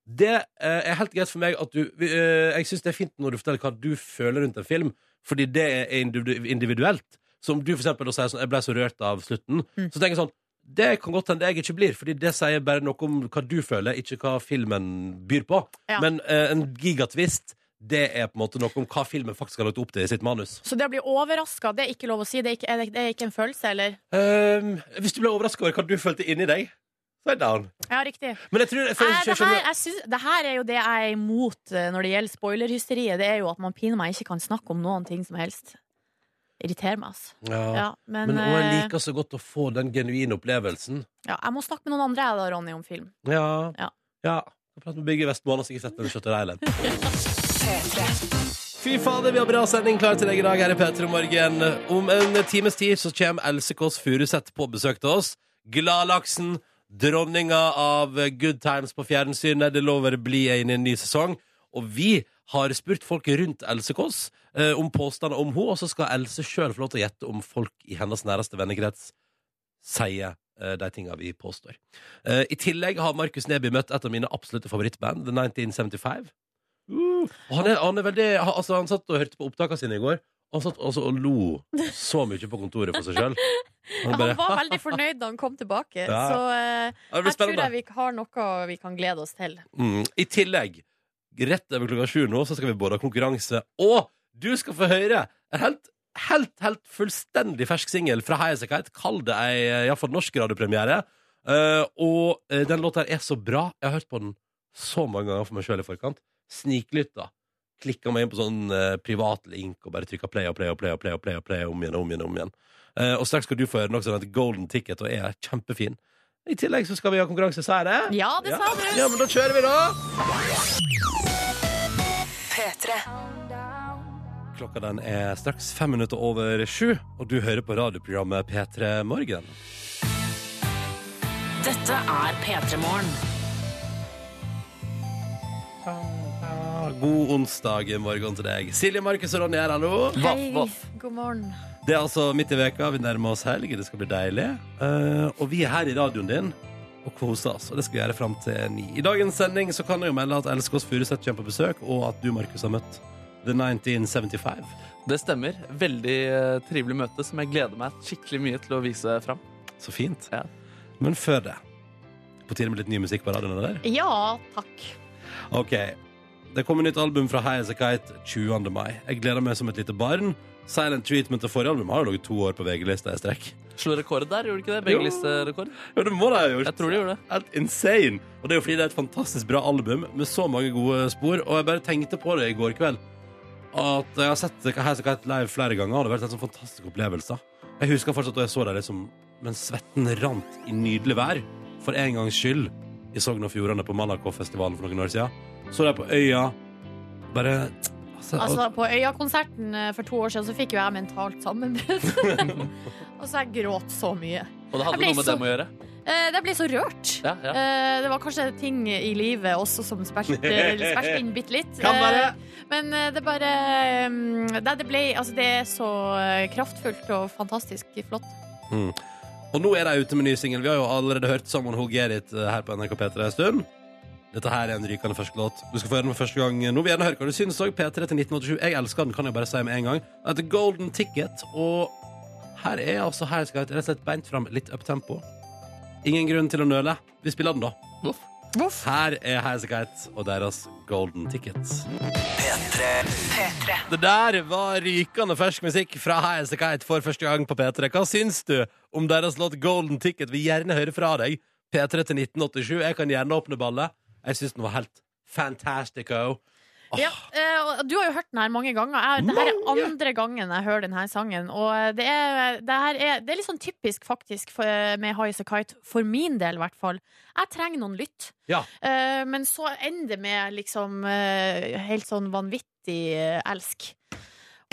Speaker 1: Det eh, er helt greit for meg at du vi, eh, Jeg syns det er fint når du forteller hva du føler rundt en film, fordi det er individu- individuelt. Så om du for eksempel da sier sånn 'Jeg ble så rørt av slutten',
Speaker 2: Mm.
Speaker 1: så tenker jeg sånn det kan godt hende jeg ikke blir, Fordi det sier bare noe om hva du føler, ikke hva filmen byr på.
Speaker 2: Ja.
Speaker 1: Men eh, en gigatvist, det er på en måte noe om hva filmen faktisk har lagt opp til i sitt manus.
Speaker 2: Så det å bli overraska, det er ikke lov å si? Det er ikke, er det, det er ikke en følelse, eller?
Speaker 1: Ehm, hvis du ble overraska over hva du følte inni deg, så er det down.
Speaker 2: Ja, riktig.
Speaker 1: Men jeg tror jeg,
Speaker 2: Nei,
Speaker 1: jeg
Speaker 2: det,
Speaker 1: skjønner-
Speaker 2: her, jeg syns- det her er jo det jeg er imot eh, når det gjelder spoilerhysteriet. Det er jo at man piner meg ikke kan snakke om noen ting som helst. Irriterer meg, altså. Ja, men,
Speaker 1: Men og jeg
Speaker 2: eh,
Speaker 1: liker så godt å få den genuine opplevelsen.
Speaker 2: ja, jeg må snakke med noen andre, jeg da, Ronny, om film.
Speaker 1: Ja.
Speaker 2: Ja.
Speaker 1: ja. Jeg prater med Bygge Vestmoen, så jeg ikke setter den Shutter Island. Fy fader, vi har bra sending klar til deg i dag her i P3 Morgen. Om en times tid så kommer Else Kåss Furuseth på besøk til oss. Gladlaksen, dronninga av Good Times på fjernsynet. Det lover å bli inn i en ny sesong. Og vi har spurt folk rundt Else Kåss eh, om påstander om henne, og så skal Else sjøl få lov til å gjette om folk i hennes næreste vennekrets sier eh, de tinga vi påstår. Eh, I tillegg har Markus Neby møtt et av mine absolutte favorittband, The 1975. Og han, er, han, er veldig, han- altså, han satt og hørte på opptakene sine i går, og han satt altså, og lo så mye på kontoret for seg sjøl.
Speaker 2: Han var veldig fornøyd da han kom tilbake,
Speaker 1: Ja.
Speaker 2: så eh,
Speaker 1: Det blir
Speaker 2: jeg tror
Speaker 1: spennende.
Speaker 2: jeg vi har noe vi kan glede oss til.
Speaker 1: Mm. I tillegg, rett over klokka sju nå, så skal vi både ha konkurranse og du skal få høre en helt, helt, helt fullstendig fersk singel fra Highasakite. Kall det ei eh, iallfall norsk radiopremiere. Eh, og eh, den låta her er så bra. Jeg har hørt på den så mange ganger for meg sjøl i forkant. Sniklytta. Klikka meg inn på sånn eh, privat link og bare trykka play og play og play og play og play, og play om igjen og om igjen. og om igjen. Eh, og straks skal du få høre noe som heter Golden Ticket og er kjempefin. I tillegg så skal vi ha konkurranse, sa jeg det?
Speaker 2: Ja, det sa du!
Speaker 1: Ja, men da kjører vi, da! Klokka den er straks fem minutter over sju, og du hører på radioprogrammet P3 Morgen.
Speaker 4: Dette er P3 Morgen.
Speaker 1: God onsdag morgen til deg. Silje, Markus og Ronny er her nå.
Speaker 2: Hei,
Speaker 3: Vaff, vaff.
Speaker 2: god morgen.
Speaker 1: Det er altså midt i veka, vi nærmer oss helg, det skal bli deilig. Eh, og vi er her i radioen din og koser oss, og det skal vi gjøre fram til ni. I dagens sending så kan jeg jo melde at Else Kåss Furuseth kommer på besøk, og at du, Markus, har møtt The 1975.
Speaker 3: Det stemmer. Veldig eh, trivelig møte som jeg gleder meg skikkelig mye til å vise fram.
Speaker 1: Så fint.
Speaker 3: Ja.
Speaker 1: Men før det På tide med litt ny musikk på radioen? eller?
Speaker 2: Ja, takk.
Speaker 1: Ok. Det kommer nytt album fra Highasakite 20. mai. Jeg gleder meg som et lite barn. Silent Treatment og forrige album har jo ligget to år på VG-lista i strekk.
Speaker 3: Slo rekord der, gjorde du ikke det?
Speaker 1: Jo.
Speaker 3: VG-listerekord.
Speaker 1: Jo, det må de ha gjort.
Speaker 3: Jeg tror de gjorde det.
Speaker 1: Helt insane. Og det er jo fordi det er et fantastisk bra album med så mange gode spor. Og jeg bare tenkte på det i går kveld. At jeg har sett Highasakite live flere ganger, og det har vært en sånn fantastisk opplevelse. Jeg husker fortsatt da jeg så dem liksom mens svetten rant i nydelig vær, for en gangs skyld, i Sogn og Fjordane på Malakoffestivalen for noen år siden. Så dem på øya. Bare altså,
Speaker 2: Altså, på Øya-konserten eh, for to år siden så fikk jo jeg mentalt sammenbrudd. og så jeg gråt så mye.
Speaker 3: Og det hadde
Speaker 2: Jeg ble
Speaker 3: noe med
Speaker 2: så-
Speaker 3: dem å gjøre.
Speaker 2: Eh, det ble så rørt.
Speaker 3: Ja, ja.
Speaker 2: Eh, det var kanskje ting i livet også som spilte spilte inn bitte litt.
Speaker 1: Kan være.
Speaker 2: Eh, men eh, det bare mm, Nei, det ble Altså, det er så eh, kraftfullt og fantastisk flott.
Speaker 1: Mm. Og nå er de ute med ny singel. Vi har jo allerede hørt Someone Who Get It eh, her på NRK P3 en stund. Dette her er en rykende fersk låt. Du skal få høre den for første gang eh, nå. vil jeg gjerne høre hva du syns òg. P3 til 1987. Jeg elsker den, kan jeg bare si med en gang. Den heter Golden Ticket, og her er altså her skal jeg rett og slett beint fram litt uptempo. Ingen grunn til å nøle. Vi spiller den, da. Her er Highasakite og deres Golden Ticket. Det der var rykende fersk musikk fra Highasakite for første gang på P3. Hva syns du om deres låt Golden Ticket? Vil gjerne høre fra deg. P3 til 1987. Jeg kan gjerne åpne ballet. Jeg syns den var helt oh. fantastico.
Speaker 2: Ja, eh, og du har jo hørt den her mange ganger. Jeg, det her er andre gangen jeg hører denne sangen. Og eh, det er, det her er, det er litt sånn typisk faktisk for, eh, med High As A Kite, for min del i hvert fall. Jeg trenger noen lytt.
Speaker 1: Ja.
Speaker 2: Eh, men så ender det med liksom eh, helt sånn vanvittig eh, elsk.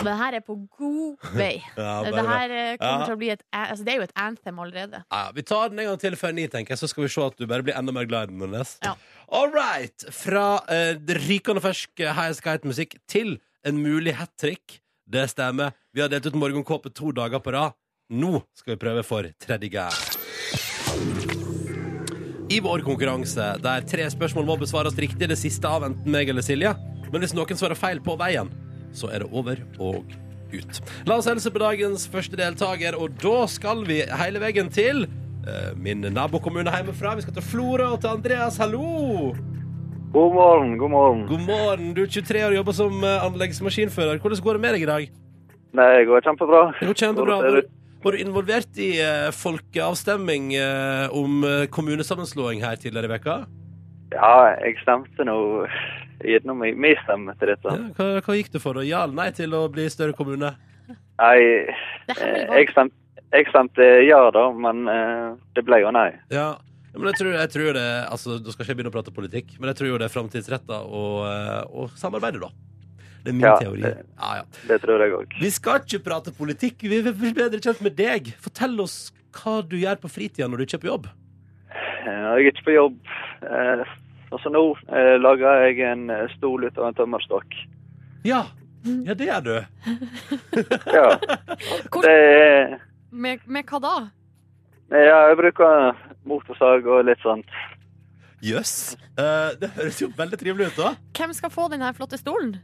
Speaker 2: Og det her er på god vei.
Speaker 1: Ja,
Speaker 2: det
Speaker 1: bare
Speaker 2: her eh, kommer
Speaker 1: Ja.
Speaker 2: til å bli et a- altså, Det er jo et anthem allerede.
Speaker 1: Ja, vi tar den en gang til før ni, tenker jeg, så skal vi se at du bare blir enda mer glad i den. Nordnes.
Speaker 2: Ja.
Speaker 1: All right! Fra eh, rykende fersk eh, highasakite-musikk til en mulig hat trick. Det stemmer. Vi har delt ut morgenkåpe to dager på rad. Nå skal vi prøve for tredje gang. I vår konkurranse, der tre spørsmål må besvares riktig, det siste av enten meg eller Silje. Men hvis noen svarer feil på veien, så er det over og ut. La oss helse på dagens første deltaker, og da skal vi hele veien til eh, min nabokommune hjemmefra. Vi skal til Florø og til Andreas. Hallo!
Speaker 5: God morgen, god morgen.
Speaker 1: God morgen. Du er 23 år og jobber som eh, anleggsmaskinfører. Hvordan går det med deg i dag?
Speaker 5: Nei, det går kjempebra.
Speaker 1: Det går kjempebra.
Speaker 5: Hvordan ser det
Speaker 1: Var, var du involvert i eh, folkeavstemning eh, om eh, kommunesammenslåing her tidligere i veka?
Speaker 5: Ja, jeg stemte nå gjennom meg- min stemme til dette.
Speaker 1: Ja, hva, hva gikk du for? da? Ja eller nei til å bli større kommune?
Speaker 5: Nei,
Speaker 2: Det er
Speaker 5: eh,
Speaker 2: hemmelig
Speaker 5: jeg
Speaker 2: valg.
Speaker 5: stemte, jeg stemte ja da, men eh, det ble jo nei.
Speaker 1: Ja, ja, men jeg tror, jeg tror det Altså, da skal ikke jeg begynne å prate politikk, men jeg tror jo det er framtidsretta å, eh, å samarbeide, da. Det er min
Speaker 5: Ja,
Speaker 1: teori.
Speaker 5: det-
Speaker 1: Ja, ja.
Speaker 5: Det tror jeg òg.
Speaker 1: Vi skal ikke prate politikk. Vi vil bli bedre kjent med deg. Fortell oss hva du gjør på fritida når du ikke er på jobb.
Speaker 5: Jeg er ikke på jobb. Eh, og så nå eh, lager jeg en eh, stol ut av en tømmerstokk.
Speaker 1: Ja, ja det gjør du.
Speaker 5: Ja,
Speaker 2: Hvor,
Speaker 5: det er
Speaker 2: med, med hva da?
Speaker 5: Ja, jeg bruker motorsag og litt sånt.
Speaker 1: Jøss. Eh, det høres jo veldig trivelig ut, da.
Speaker 2: Hvem skal få denne flotte stolen?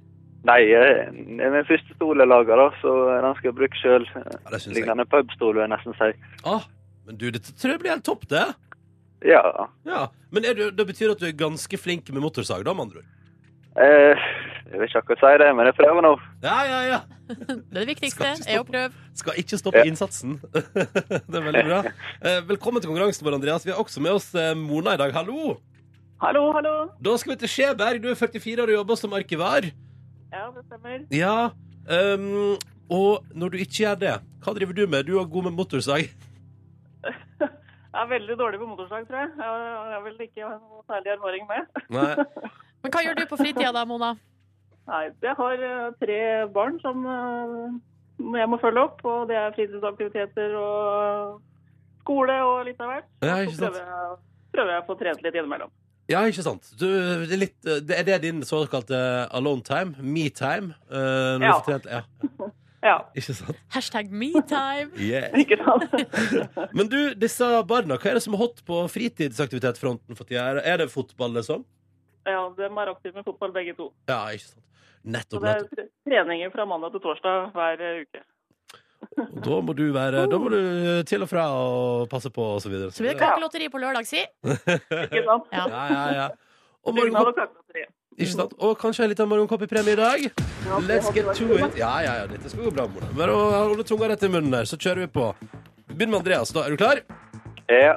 Speaker 5: Nei, eh, det er min første stol jeg lager, da, så den skal jeg bruke sjøl.
Speaker 1: Ja, det syns jeg.
Speaker 5: Lignende pubstol, vil jeg nesten si.
Speaker 1: Ah, men du, dette tror jeg blir helt topp, det.
Speaker 5: Ja.
Speaker 1: Ja, Men er du, det betyr at du er ganske flink med motorsag, da, med andre ord?
Speaker 5: Eh, jeg vil ikke akkurat si det, men jeg prøver nå.
Speaker 1: Ja, ja, ja.
Speaker 2: Det er det viktigste.
Speaker 1: Skal ikke
Speaker 2: Er å prøve.
Speaker 1: Skal ikke stoppe innsatsen. det er veldig bra. Eh, Velkommen til konkurransen vår, Andreas. Vi har også med oss eh, Mona i dag. Hallo!
Speaker 6: Hallo, hallo.
Speaker 1: Da skal vi til Skjeberg. Du er 44 år og jobber som arkivar.
Speaker 6: Ja, det stemmer.
Speaker 1: Ja, ehm, Og når du ikke gjør det, hva driver du med? Du er god med motorsag.
Speaker 6: Jeg er veldig dårlig på motorsag, tror jeg. Jeg har vel ikke noe særlig erfaring med.
Speaker 1: Nei.
Speaker 2: Men hva gjør du på fritida da, Mona?
Speaker 6: Nei, jeg har eh, tre barn som eh, jeg må følge opp, og det er fritidsaktiviteter og skole og litt av hvert.
Speaker 1: Ja, ikke
Speaker 6: Så
Speaker 1: sant.
Speaker 6: prøver jeg, prøver jeg å få trent litt innimellom.
Speaker 1: Ja, ikke sant. Du, det er, litt, eh, det er det din såkalte alone time? Me time? eh, når
Speaker 6: Ja.
Speaker 1: du får trent? ja.
Speaker 6: Ja,
Speaker 1: Ikke sant?
Speaker 2: Hashtag metime.
Speaker 1: Yeah.
Speaker 6: ikke sant?
Speaker 1: Men du, disse barna, hva er det som er hot på fritidsaktivitetfronten for tida? Er- Er det fotball, liksom?
Speaker 6: Ja, de er aktive med fotball begge to.
Speaker 1: Ja, ikke sant.
Speaker 6: Så
Speaker 1: Nettopp.
Speaker 6: det er
Speaker 1: nettopp.
Speaker 6: tre- treninger fra mandag til torsdag hver eh, uke.
Speaker 1: Og da må du være Da må du eh, til og fra og passe på, og så videre.
Speaker 2: Så blir det kakelotteri på lørdag, si.
Speaker 6: Ikke sant?
Speaker 2: Ja.
Speaker 1: Ja, ja, ja. Og,
Speaker 6: Dugnad
Speaker 1: morgenkopp,
Speaker 6: og kakelotteri.
Speaker 1: ikke sant? og kanskje en liten morgenkopp i premie i dag. Let's get to it. Ja, ja, ja, dette skal gå bra, Mona. Bare å holde tunga rett i munnen der, så kjører vi på. Begynn med Andreas, da. Er du klar?
Speaker 5: Ja.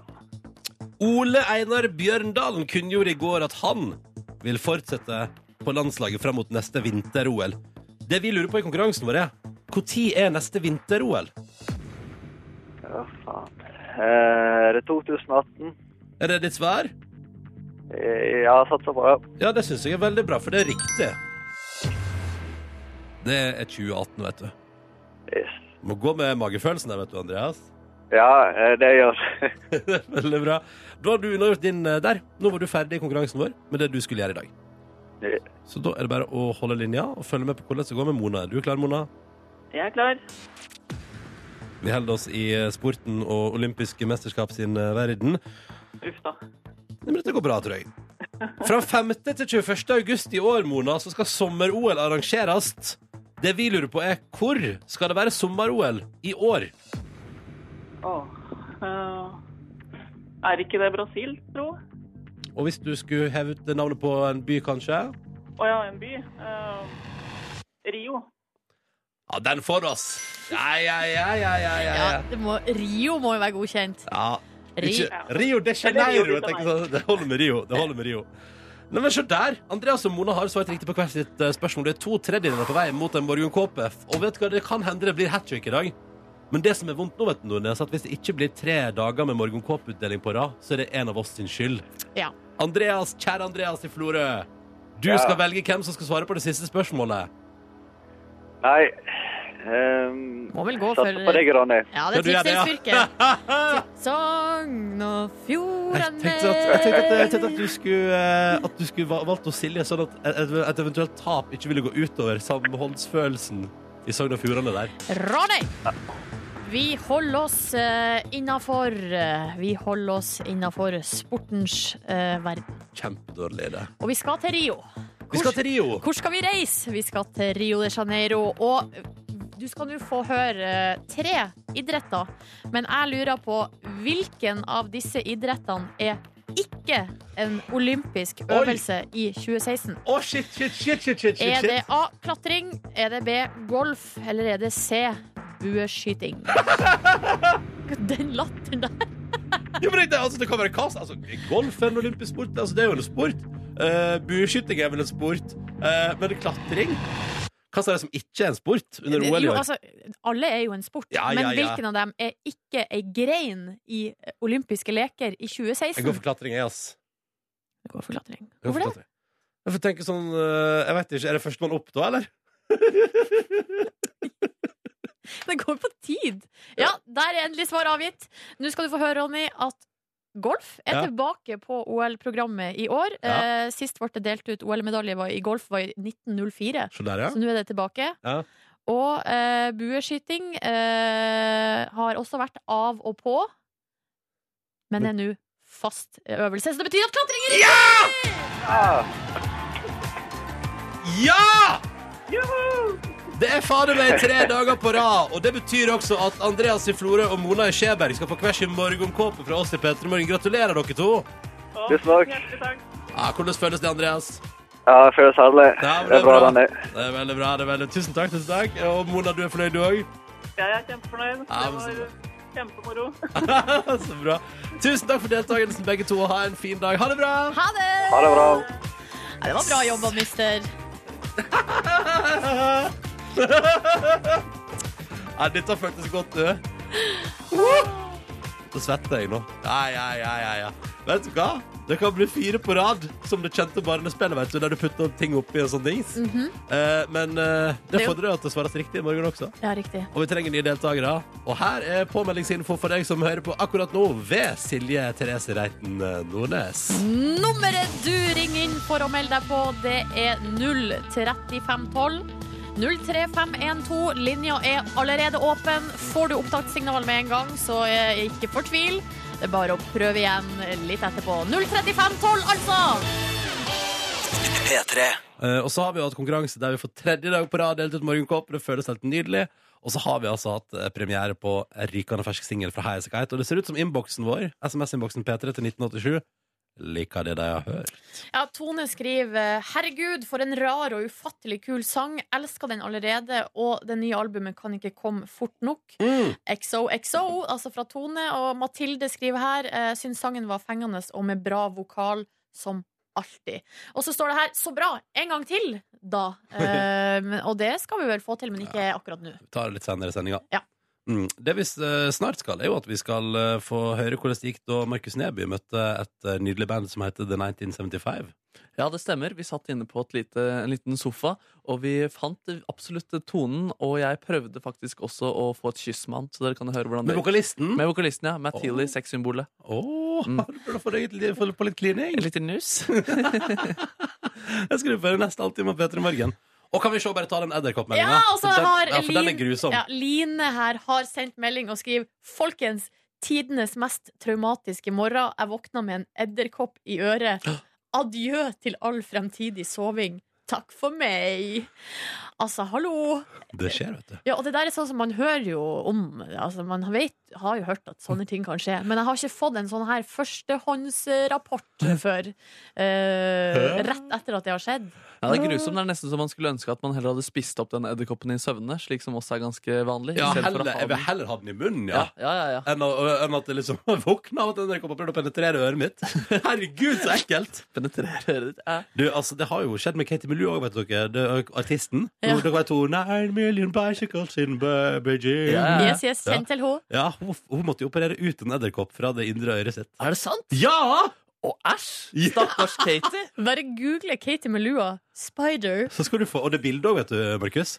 Speaker 1: Ole Einar Bjørndalen kunngjorde i går at han vil fortsette på landslaget fram mot neste vinter-OL. Det vi lurer på i konkurransen vår, er når er neste vinter-OL?
Speaker 5: Ja, faen. Eh, er det 2018?
Speaker 1: Er det ditt svar?
Speaker 5: Eh, Ja, satser på det.
Speaker 1: Ja, det syns jeg er veldig bra, for det er riktig. Det er 2018, vet du.
Speaker 5: Yes.
Speaker 1: Må gå med magefølelsen der, vet du, Andreas.
Speaker 5: Ja, eh, det gjør det.
Speaker 1: Veldig bra. Da har du unnagjort din eh, der. Nå var du ferdig i konkurransen vår med det du skulle gjøre i dag.
Speaker 5: Ja.
Speaker 1: Så da er det bare å holde linja og følge med på hvordan det går med Mona. Er du klar, Mona?
Speaker 6: Jeg er klar.
Speaker 1: Vi holder oss i eh, sporten og olympiske mesterskap sin eh, verden.
Speaker 6: Uff da.
Speaker 1: Nei, Men dette går bra, tror jeg. Fra 5. til 21. august i år, Mona, så skal sommer-OL arrangeres. Det vi lurer på, er hvor skal det være sommer-OL i år?
Speaker 6: Åh. Eh, er ikke det Brasil, tro? Å
Speaker 1: Og hvis du skulle heve ut navnet på en by, kanskje?
Speaker 6: ja, en by. Eh, Rio.
Speaker 1: Ja, den får du, ass! Ja, ja, ja, ja, ja, ja.
Speaker 2: Ja,
Speaker 1: ja.
Speaker 2: det må, Rio må jo være godkjent.
Speaker 1: ja.
Speaker 2: Rio.
Speaker 1: Ikke, Rio de
Speaker 6: Eller Rio
Speaker 1: Janeiro.
Speaker 6: de
Speaker 1: Jeg tenker sånn. Det holder med Rio. Det holder med Rio. Nei, men se der! Andreas og Mona har svart riktig på hvert sitt eh, spørsmål. Det er to tredjedeler på vei mot en Borgund Kåpe. Og vet du hva, det kan hende det blir hat trick i dag. Men det som er vondt nå, vet du, Nordnes, er at hvis det ikke blir tre dager med Morgan Kåpe-utdeling på rad, så er det en av oss sin skyld.
Speaker 2: Ja.
Speaker 1: Andreas, kjære Andreas i Florø, du
Speaker 5: Ja.
Speaker 1: skal velge hvem som skal svare på det siste spørsmålet.
Speaker 5: Nei um,
Speaker 2: Må vel gå
Speaker 5: Satser
Speaker 2: for-
Speaker 5: på deg, Ronny.
Speaker 2: Ja, det er
Speaker 1: Skal du gjøre det, ja?
Speaker 2: Tryggsteinsfylket. Sogn og
Speaker 1: Jeg
Speaker 2: Fjordane.
Speaker 1: tenkte at, jeg tenkte at, jeg tenkte at du skulle, eh, at du skulle va- valgt å Silje, sånn at et, et eventuelt tap ikke ville gå utover samholdsfølelsen i Sogn og Fjordane der.
Speaker 2: Ronny! Vi holder oss uh, innafor eh, Vi holder oss innafor sportens eh, verden.
Speaker 1: Kjempedårlig idé.
Speaker 2: Og vi skal til Rio.
Speaker 1: Vi skal til Rio.
Speaker 2: Hvor skal vi reise? Vi skal til Rio de Janeiro. Og du skal nå få høre eh, tre idretter. Men jeg lurer på hvilken av disse idrettene er ikke en olympisk
Speaker 1: Oi.
Speaker 2: øvelse i 2016?
Speaker 1: Å, shit, shit, shit, shit, shit, shit,
Speaker 2: Er det
Speaker 1: shit.
Speaker 2: A klatring, er det B golf, eller er det C bueskyting? Den latteren der.
Speaker 1: Jo, men det, altså, det kan være kast. Altså, golf er en olympisk sport. Altså, det er jo en sport. Uh, Bueskyting er vel en sport. Eh, men klatring Hva er det som ikke er en sport under OL i
Speaker 2: Jo,
Speaker 1: år?
Speaker 2: altså, alle er jo en sport,
Speaker 1: Ja, ja,
Speaker 2: men
Speaker 1: ja.
Speaker 2: hvilken av dem er ikke ei grein i eh, olympiske leker i 2016?
Speaker 1: Jeg går for klatring, jeg, ass.
Speaker 2: Jeg går for klatring.
Speaker 1: Jeg går for
Speaker 2: Hvorfor det?
Speaker 1: klatring. Jeg får tenke sånn eh, Jeg vet ikke, Er det førstemann opp da, eller?
Speaker 2: Det går på tid! Ja, der er endelig svar avgitt. Nå skal du få høre, Ronny, at golf er
Speaker 1: Ja.
Speaker 2: tilbake på OL-programmet i år.
Speaker 1: Ja.
Speaker 2: Eh, sist ble det delt ut OL-medalje var- i golf var i 1904.
Speaker 1: Se der, ja.
Speaker 2: Så nå er det tilbake.
Speaker 1: Ja.
Speaker 2: Og eh, bueskyting eh, har også vært av og på, men er nå fast øvelse. Så det betyr at klatring er riktig!
Speaker 5: Ah,
Speaker 1: Ja! Det er fader meg tre dager på rad, og det betyr også at Andreas i Florø og Mona i Skjeberg skal få hver sin morgenkåpe fra oss i P3 Morgen. Gratulerer, dere to!
Speaker 6: Å,
Speaker 5: Tusen takk.
Speaker 6: Hjertelig takk.
Speaker 1: Ja, hvordan føles det, Andreas?
Speaker 5: ja, det føles herlig.
Speaker 1: Ja, men
Speaker 5: Det er bra, Ronny.
Speaker 1: Det er veldig bra. det er veldig... Tusen takk. tusen takk. Og Mona, du er fornøyd, du òg?
Speaker 6: Jeg er kjempefornøyd.
Speaker 1: Ja, men
Speaker 6: Det
Speaker 1: så
Speaker 6: var kjempemoro.
Speaker 1: Så bra. Tusen takk for deltakelsen, begge to. og Ha en fin dag. Ha det bra!
Speaker 2: Ha det!
Speaker 5: Ha det bra.
Speaker 2: Ja, det var bra jobba, mister.
Speaker 1: Ja, dette føltes godt, du. Så svetter jeg nå. Ja, ja, ja, ja, ja. Vet du hva? Det kan bli fire på rad, som det kjente barnespillet, vet du, der du putter ting oppi og sånne ting.
Speaker 2: Mhm.
Speaker 1: Eh, men eh, det
Speaker 2: Mm. Det er jo-
Speaker 1: fordrer at det svares riktig i morgen også.
Speaker 2: Ja, riktig.
Speaker 1: Og vi trenger nye deltakere. Og her er påmeldingsinfo for deg som hører på akkurat nå, ved Silje Therese Reiten Nordnes.
Speaker 2: Mm. Nummeret du ringer inn for å melde deg på, det er 03512. 03512. Linja er allerede åpen. Får du opptakssignal med en gang, så eh, ikke fortvil. Det er bare å prøve igjen litt etterpå. 03512, altså!
Speaker 1: Eh, og så har vi jo hatt konkurranse der vi for tredje dag på rad delt ut morgenkåp. Det føles helt nydelig. Og så har vi altså hatt eh, premiere på en rykende fersk singel fra High As A Kite. Og det ser ut som innboksen vår, SMS-innboksen P3 til 1987, liker det de har hørt.
Speaker 2: Ja, Tone skriver Herregud, for en rar og ufattelig kul sang. Elsker den allerede, og det nye albumet kan ikke komme fort nok.
Speaker 1: Mm.
Speaker 2: XOXO, altså fra Tone. Og Mathilde skriver her eh, Syns sangen var fengende og med bra vokal som alltid. Og så står det her 'så bra', en gang til, da. Eh, men, og det skal vi vel få til, men ikke akkurat nå.
Speaker 1: Vi tar det litt senere i sendinga.
Speaker 2: Ja.
Speaker 1: Mm. Det vi eh, snart skal, er jo at vi skal eh, få høre hvordan det gikk da Markus Neby møtte et eh, nydelig band som heter The 1975.
Speaker 3: Ja, det stemmer. Vi satt inne på et lite, en liten sofa, og vi fant absolutt tonen. Og jeg prøvde faktisk også å få et kyss med han, så dere kan høre hvordan
Speaker 1: Med
Speaker 3: det
Speaker 1: vokalisten.
Speaker 3: Med vokalisten, ja. Matt Healy,
Speaker 1: Åh.
Speaker 3: sexsymbolet. Mm.
Speaker 1: Å, du burde få deg et li- få på litt klining.
Speaker 3: En liten nuss.
Speaker 1: Jeg skal få neste halvtime av Peter i morgen. Og kan vi se, bare ta den edderkoppmeldinga?
Speaker 2: Ja, og så
Speaker 1: For den-
Speaker 2: har
Speaker 1: ja, for den er
Speaker 2: Lin-
Speaker 1: grusom.
Speaker 2: Ja, Line her har sendt melding og skriver Folkens, tidenes mest traumatiske morgen. Jeg våkna med en edderkopp i øret. Adjø til all fremtidig soving. Takk for meg. Altså, hallo.
Speaker 1: Det skjer, vet du.
Speaker 2: Ja, og det der er sånn som man hører jo om altså Man vet, har jo hørt at sånne ting kan skje Men jeg har ikke fått en sånn her førstehåndsrapport før eh, Rett etter at det har skjedd
Speaker 3: Ja, det er grusomt. Det er nesten så man skulle ønske at man heller hadde spist opp den edderkoppen i søvne, slik som også er ganske vanlig.
Speaker 1: Ja,
Speaker 3: i stedet for å
Speaker 1: heller,
Speaker 3: ha
Speaker 1: jeg vil
Speaker 3: den-
Speaker 1: heller ha den i munnen, ja.
Speaker 3: ja, ja, ja, ja.
Speaker 1: Enn, å, enn at det liksom våkner av at den der kommer og prøver å penetrere øret mitt. Herregud, så ekkelt!
Speaker 3: Penetrere øret ditt. Ja.
Speaker 1: Du, altså, Det har jo skjedd med Katie Miljø òg, vet dere. Det, er artisten.
Speaker 2: Ja.
Speaker 1: Dere vet hun Nine million bicycles in Beijing.
Speaker 3: Ja.
Speaker 2: Yes, yes, kjent til henne
Speaker 1: Ja, hun, hun måtte jo operere ut en edderkopp fra det indre øret sitt.
Speaker 3: Er det sant?
Speaker 1: Ja!
Speaker 3: Å, æsj!
Speaker 1: Ja.
Speaker 3: Stakkars Katie.
Speaker 2: Bare google Katie med lua Spider
Speaker 1: Så skal du få, Og det bildet òg, vet du, Markus.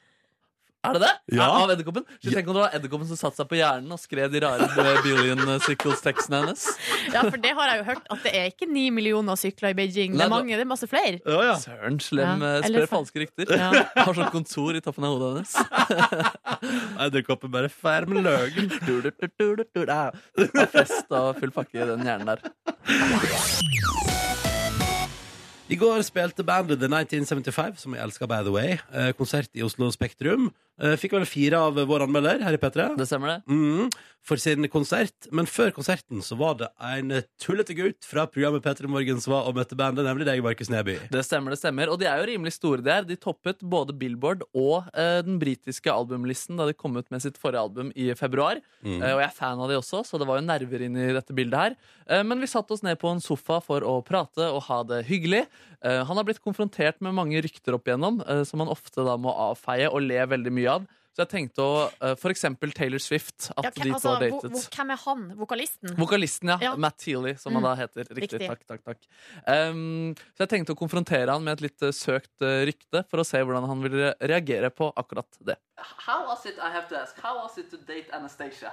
Speaker 3: Er det det?
Speaker 1: Ja.
Speaker 3: Av edderkoppen? Så Tenk om det var edderkoppen som satte seg på hjernen og skrev de rare eh, billion circles-tekstene hennes.
Speaker 2: Ja, for det har jeg jo hørt At det er ikke 9 millioner sykler i Beijing Det
Speaker 3: Nei,
Speaker 2: er
Speaker 3: det-
Speaker 2: mange, det er masse flere
Speaker 1: Ja, ja.
Speaker 3: Søren slem
Speaker 2: Ja,
Speaker 3: eh,
Speaker 2: eller
Speaker 3: sprer
Speaker 2: fa-
Speaker 3: falske rykter.
Speaker 2: Ja.
Speaker 3: Har sånn kontor i toppen av hodet hennes.
Speaker 1: Edderkoppen bare fær med løgn.
Speaker 3: Du, du, du, du, du, du, da. Har Fest og full pakke i den hjernen der.
Speaker 1: I går spilte bandet The 1975, som jeg elsker, by the way, eh, konsert i Oslo Spektrum. Eh, Fikk vel fire av vår anmelder her i P3.
Speaker 3: Det stemmer, det.
Speaker 1: Mm, for sin konsert. Men før konserten så var det en tullete gutt fra programmet P3 Morgen som var og møtte bandet, nemlig deg, Markus Neby.
Speaker 3: Det stemmer, det stemmer. Og de er jo rimelig store, de her. De toppet både Billboard og eh, den britiske albumlisten da de kom ut med sitt forrige album i februar.
Speaker 1: Mm.
Speaker 3: Eh, og jeg er fan av de også, så det var jo nerver inn i dette bildet her. Eh, men vi satte oss ned på en sofa for å prate og ha det hyggelig. Eh, han har blitt konfrontert med mange rykter opp igjennom, eh, som han ofte da må avfeie og le veldig mye av. Så jeg tenkte å eh, For eksempel Taylor Swift, at
Speaker 2: ja,
Speaker 3: de to
Speaker 2: altså,
Speaker 3: har
Speaker 2: hvor-
Speaker 3: datet.
Speaker 2: hvor- Hvem er han? Vokalisten?
Speaker 3: Vokalisten, ja.
Speaker 2: Ja.
Speaker 3: Matt Healy, som han da heter. Riktig.
Speaker 2: Riktig.
Speaker 3: Takk, takk, takk. Ehm, så jeg tenkte å konfrontere han med et litt eh, søkt eh, rykte, for å se hvordan han ville re- reagere på akkurat det. How was it, I have to ask, how was it to date Anastasia?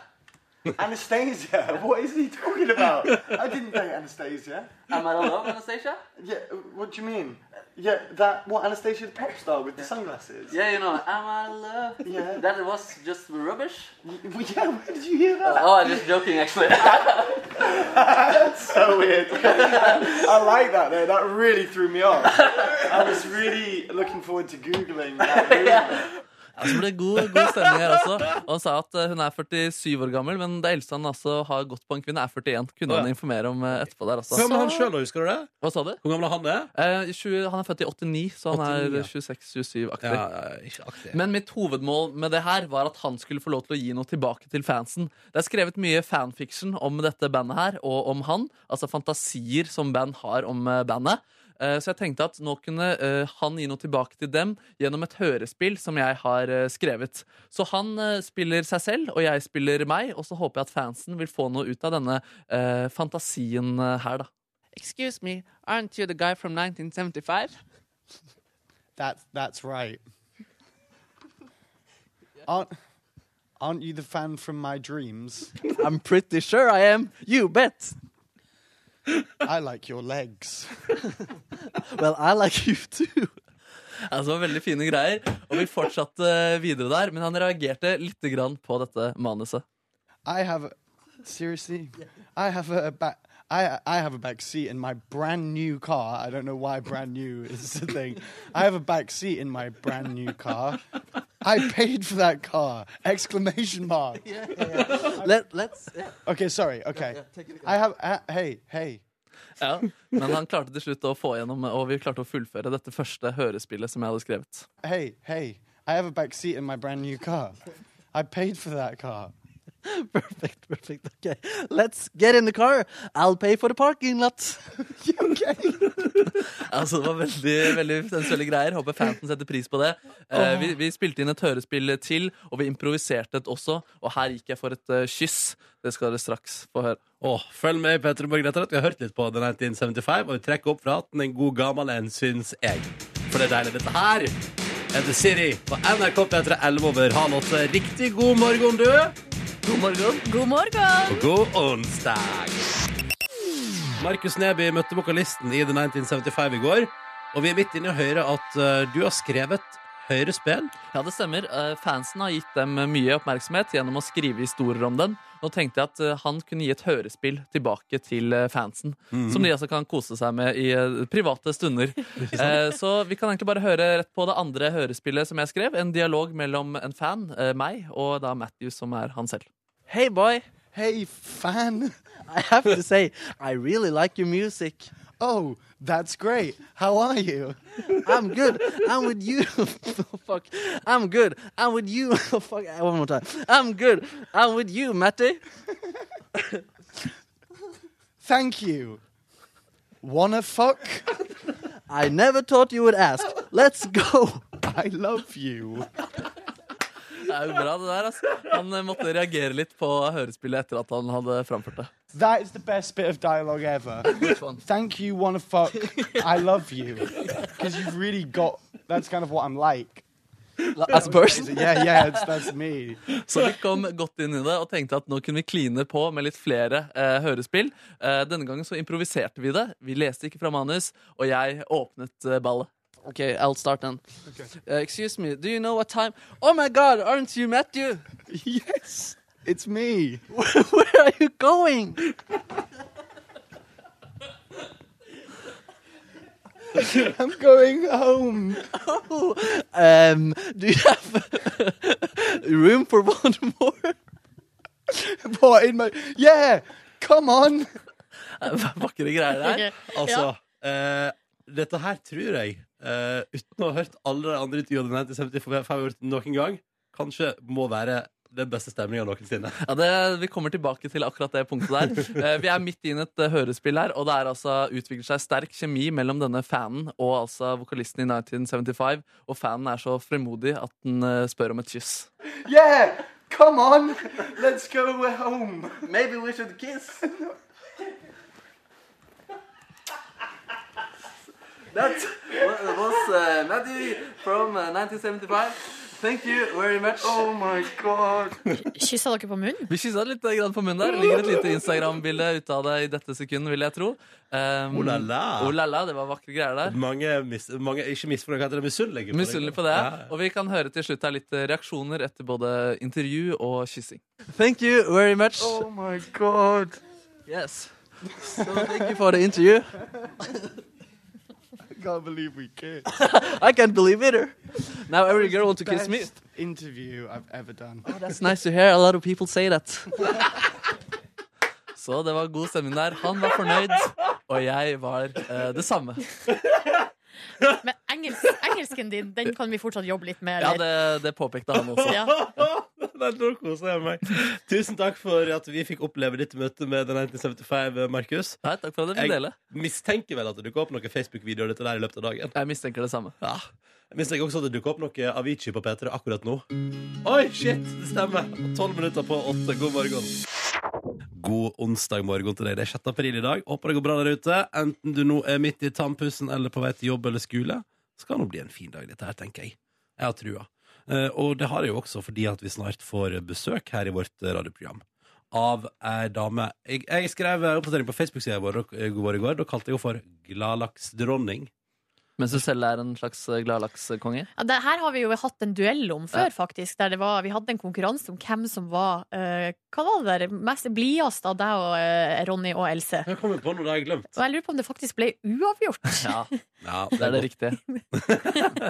Speaker 7: Anastasia? What is he talking about? I didn't date Anastasia.
Speaker 3: Am I alone, Anastasia?
Speaker 7: Yeah, what do you mean? Yeah, that what Anastasia the pop star with the sunglasses.
Speaker 3: Yeah, you know, am I alone?
Speaker 7: Yeah.
Speaker 3: That was just rubbish.
Speaker 7: Well, yeah, where did you hear that?
Speaker 3: Oh, I'm just joking, actually. Oh.
Speaker 7: That's so weird. I like that though. That really threw me off. I was really looking forward to googling that. movement.
Speaker 3: Ja, så ble det god, god stemning her også. Og han sa at eh, hun er 47 år gammel, men det eldste han altså har gått på en kvinne, er 41. Kunne
Speaker 1: Å,
Speaker 3: han
Speaker 1: ja.
Speaker 3: informere om eh, etterpå der
Speaker 1: Hvor
Speaker 3: også.
Speaker 1: gammel er han sjøl, husker du det?
Speaker 3: Hva sa du?
Speaker 1: Hvor gammel er han er?
Speaker 3: Eh, 20, han er født i 89, så han
Speaker 1: 89, ja.
Speaker 3: er 26-27-aktig.
Speaker 1: Ja, ja, ikke aktig.
Speaker 3: Men mitt hovedmål med det her var at han skulle få lov til å gi noe tilbake til fansen. Det er skrevet mye fanfiction om dette bandet her, og om han. Altså fantasier som band har om eh, bandet. Eh, Så jeg tenkte at nå kunne eh, han gi noe tilbake til dem gjennom et hørespill som jeg har eh, skrevet. Så han eh, spiller seg selv, og jeg spiller meg, og så håper jeg at fansen vil få noe ut av denne eh, fantasien eh, her, da. Excuse me, aren't you the guy from 1975?
Speaker 8: That's that's right. Aren't aren't you the fan from my dreams?
Speaker 3: I'm pretty sure I am. You bet.
Speaker 8: I like your legs.
Speaker 3: Well, I like you too. Altså, veldig fine greier. Og vi fortsatte videre der, men han reagerte litt grann på dette manuset.
Speaker 8: I have a, seriously, I have a back. I, I have a back seat in my brand new car. I don't know why brand new is the thing. I have a back seat in my brand new car. I paid for that car! Exclamation mark.
Speaker 3: Let, let's
Speaker 8: Okay, sorry. Okay. I have uh, hey, hey.
Speaker 3: ja. Men han klarte til slutt å få gjennom, og vi klarte å fullføre dette første hørespillet som jeg hadde skrevet.
Speaker 8: hey, hey, I have a back seat in my brand new car. I paid for that car.
Speaker 9: Perfect, perfect. Okay, let's get in the car. I'll pay for the parking lot.
Speaker 3: Altså, det var veldig, veldig sensuelle greier. Håper fansen setter pris på det. Eh, vi, vi spilte inn et hørespill til, og vi improviserte et også. Og her gikk jeg for et eh, kyss. Det skal dere straks få høre.
Speaker 1: Åh, følg med i Petter Morgen etter at vi har hørt litt på The 1975, og vi trekker opp fra hatten en god gammel en, syns jeg. For det er deilig. Dette her er The City på NRK P3 11 over halv åtte. Riktig god morgen, du, og
Speaker 3: God morgen.
Speaker 2: God morgen!
Speaker 1: god onsdag. Markus Neby møtte vokalisten i The 1975 i går, og vi er midt inne i å høre at eh, du har skrevet høyrespill.
Speaker 3: Ja, det stemmer. Eh, Fansen har gitt dem mye oppmerksomhet gjennom å skrive historier om den. Nå tenkte jeg at eh, han kunne gi et hørespill tilbake til eh, fansen.
Speaker 8: Mhm.
Speaker 3: Som de altså kan kose seg med i eh, private stunder. Eh, Så vi kan egentlig bare høre rett på det andre hørespillet som jeg skrev. En dialog mellom en fan, eh, meg, og da Matthew, som er han selv.
Speaker 9: Hey, boy.
Speaker 8: Hey, fan.
Speaker 9: I have to say, I really like your music.
Speaker 8: Oh, that's great. How are you?
Speaker 9: I'm good. I'm with you. Fuck. I'm good. I'm with you. Fuck. One more time. I'm good. I'm with you, Matty.
Speaker 8: Thank you. Wanna fuck?
Speaker 9: I never thought you would ask. Let's go.
Speaker 8: I love you.
Speaker 3: Det er jo bra, det der. Altså. Han eh, måtte reagere litt på hørespillet etter at han hadde framført det.
Speaker 8: That is the best bit of dialogue ever. Thank you, wanna fuck. I love you. Because you've really got. That's kind of what I'm like.
Speaker 9: As a person.
Speaker 8: Yeah, yeah, it's, that's me.
Speaker 3: Så vi kom godt inn i det og tenkte at nå kunne vi kline på med litt flere eh, hørespill. Eh, denne gangen så improviserte vi det. Vi leste ikke fra manus, og jeg åpnet eh, ballet.
Speaker 9: Okay, I'll start then. Uh, excuse me. Do you know what time? Oh my God! Aren't you Matthew?
Speaker 8: Yes, it's me.
Speaker 9: Where are you going?
Speaker 8: I'm going home.
Speaker 9: Um, do you have room for one more?
Speaker 8: What in my. Yeah, come on.
Speaker 3: Eh, Vakre greier der.
Speaker 2: Ok.
Speaker 1: Altså, eh, dette her tror jeg, eh, uten å ha hørt alle de andre intervjuene til 75 år noen gang, kanskje må være den beste stemninga noensinne.
Speaker 3: Ja, det, vi kommer tilbake til akkurat det punktet der. Eh, vi er midt inne i et eh, hørespill her, og det er altså, utvikler seg sterk kjemi mellom denne fanen og altså vokalisten i 1975. Og fanen er så fremodig at den eh, spør om et kyss.
Speaker 8: Yeah, come on. Let's go we're home.
Speaker 9: Maybe we should kiss. that was uh, Matthew from uh, 1975. Thank you very much.
Speaker 8: Oh my god.
Speaker 2: Kyssa dere på munnen?
Speaker 3: Vi kyssa litt eh, grann på munnen der. Det ligger et lite Instagram-bilde ute av det i dette sekundet, vil jeg tro. Um,
Speaker 1: Oh la la.
Speaker 3: oh la la, det var vakre greier der.
Speaker 1: Mange, mis, mange ikke misfornøyd, hva heter det? Misunnelige. på deg.
Speaker 3: Misunnelig på det.
Speaker 1: Ja, ja.
Speaker 3: Og vi kan høre til slutt her litt eh, reaksjoner etter både intervju og kyssing.
Speaker 9: Thank you very much.
Speaker 8: Oh my god.
Speaker 9: Yes. So thank you for the interview.
Speaker 8: I can't believe we kissed.
Speaker 9: I can't believe either. Now every girl wants to kiss me. Oh,
Speaker 8: Best interview I've ever done.
Speaker 9: That's nice to hear. A lot of people say that.
Speaker 3: Så det var god stemning der. Han var fornøyd, og jeg var eh, det samme.
Speaker 2: Men engelsk, engelsken din, den kan vi fortsatt jobbe litt med,
Speaker 3: Ja,
Speaker 2: eller?
Speaker 3: det, Eh, det påpekte han også.
Speaker 2: Ja.
Speaker 1: Nei, nå koser jeg meg. Tusen takk for at vi fikk oppleve ditt møte med den 1975, eh, Markus.
Speaker 3: Nei, takk for at dere fikk dele.
Speaker 1: mistenker vel at det dukker opp noen Facebook-videoer av dette der i løpet av dagen.
Speaker 3: Jeg mistenker det samme.
Speaker 1: Ja. Jeg mistenker også at det dukker opp noe Avicii på P3 akkurat nå. Oi, shit, det stemmer. Tolv minutter på åtte. God morgen. God onsdag morgen til deg. Det er 6. april i dag. Håper det går bra der ute. Enten du nå er midt i tannpussen eller på vei til jobb eller skole, skal nå bli en fin dag, dette her, tenker jeg. Jeg har trua. Eh, Og det har jeg jo også fordi at vi snart får besøk her i vårt eh, radioprogram av ei dame. Jeg, jeg skrev eh, oppdatering på Facebook-sida vår eh, vår i går. Da kalte jeg henne for Gladlaksdronning.
Speaker 3: Mens du selv er en slags eh, gladlakskonge.
Speaker 2: Ja, det her har vi jo hatt en duell om før, faktisk. Der det var, vi hadde en konkurranse om hvem som var eh, Hva var det der? Mest blidest av deg og eh, Ronny og Else.
Speaker 1: Jeg kommer på noe det har jeg glemt.
Speaker 2: Og jeg lurer på om det faktisk ble uavgjort.
Speaker 3: Ja,
Speaker 1: Ja,
Speaker 3: det er det riktige.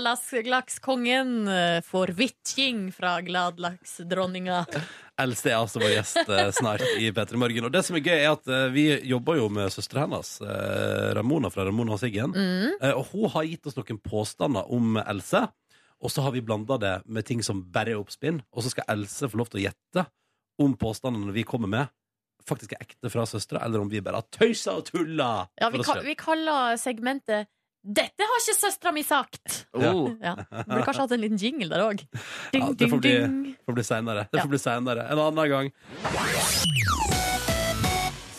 Speaker 2: Gladlakskongen eh, får vitjing fra gladlaksdronninga.
Speaker 1: Else er altså vår gjest eh, snart i P3 Morgen. Og det som er gøy, er at eh, vi jobber jo med søstera hennes,
Speaker 2: Mm.
Speaker 1: eh, Ramona fra Ramona og Siggen. Eh, Og hun har gitt oss noen påstander om Else. Og så har vi blanda det med ting som bare er oppspinn. Og så skal Else få lov til å gjette om påstandene vi kommer med, faktisk er ekte fra søstera, eller om vi bare har tøysa og tulla.
Speaker 2: Ja, vi,
Speaker 1: for oss
Speaker 2: ka
Speaker 1: selv.
Speaker 2: vi kaller segmentet 'Dette har ikke søstera mi sagt'.
Speaker 3: Oh.
Speaker 2: Ja. Burde kanskje hatt en liten jingle der òg. Ding,
Speaker 1: Ja, det
Speaker 2: ding,
Speaker 1: får bli,
Speaker 2: ding.
Speaker 1: får bli senere. Det
Speaker 2: Ja.
Speaker 1: får bli senere. En annen gang.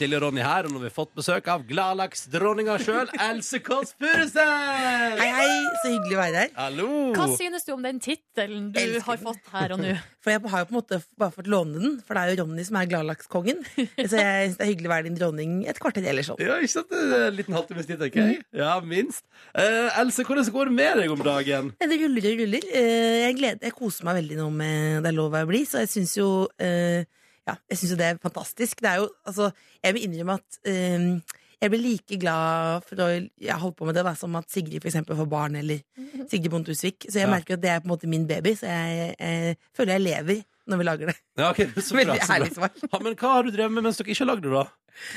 Speaker 1: Silje og Ronny her, og nå har vi fått besøk av gladlaksdronninga sjøl, Else Kåss Furuseth!
Speaker 10: Hei, hei, så hyggelig å være her.
Speaker 1: Hallo!
Speaker 2: Hva synes du om den tittelen du
Speaker 10: Elsker
Speaker 2: har
Speaker 10: den.
Speaker 2: fått her og nå?
Speaker 10: For jeg har jo på en måte bare fått låne den, for det er jo Ronny som er gladlakskongen. Så jeg synes det er hyggelig å være din dronning et kvarter eller sånn.
Speaker 1: Ja, ikke sant? Det er En liten halvtimes tid, tenker jeg.
Speaker 10: Mm.
Speaker 1: Ja, minst. Eh, Else, hvordan går det med deg om dagen?
Speaker 10: Det ruller og ruller. Eh, Jeg, gleder, jeg koser meg veldig nå med det er lov å bli, så jeg syns jo eh, Ja, jeg syns jo det er fantastisk. Det er jo Altså, jeg vil innrømme at eh, jeg blir like glad for å jeg holdt på med det da, som at Sigrid for eksempel får barn, eller Sigrid Bonde Tusvik. Så jeg
Speaker 1: Ja.
Speaker 10: merker at det er på en måte min baby, så jeg, jeg føler jeg lever når vi lager det.
Speaker 1: Ja, ok, så bra,
Speaker 10: Veldig
Speaker 1: så
Speaker 10: ærlig
Speaker 1: bra.
Speaker 10: svar.
Speaker 1: Ja, men hva har du drevet med mens dere ikke lagde det,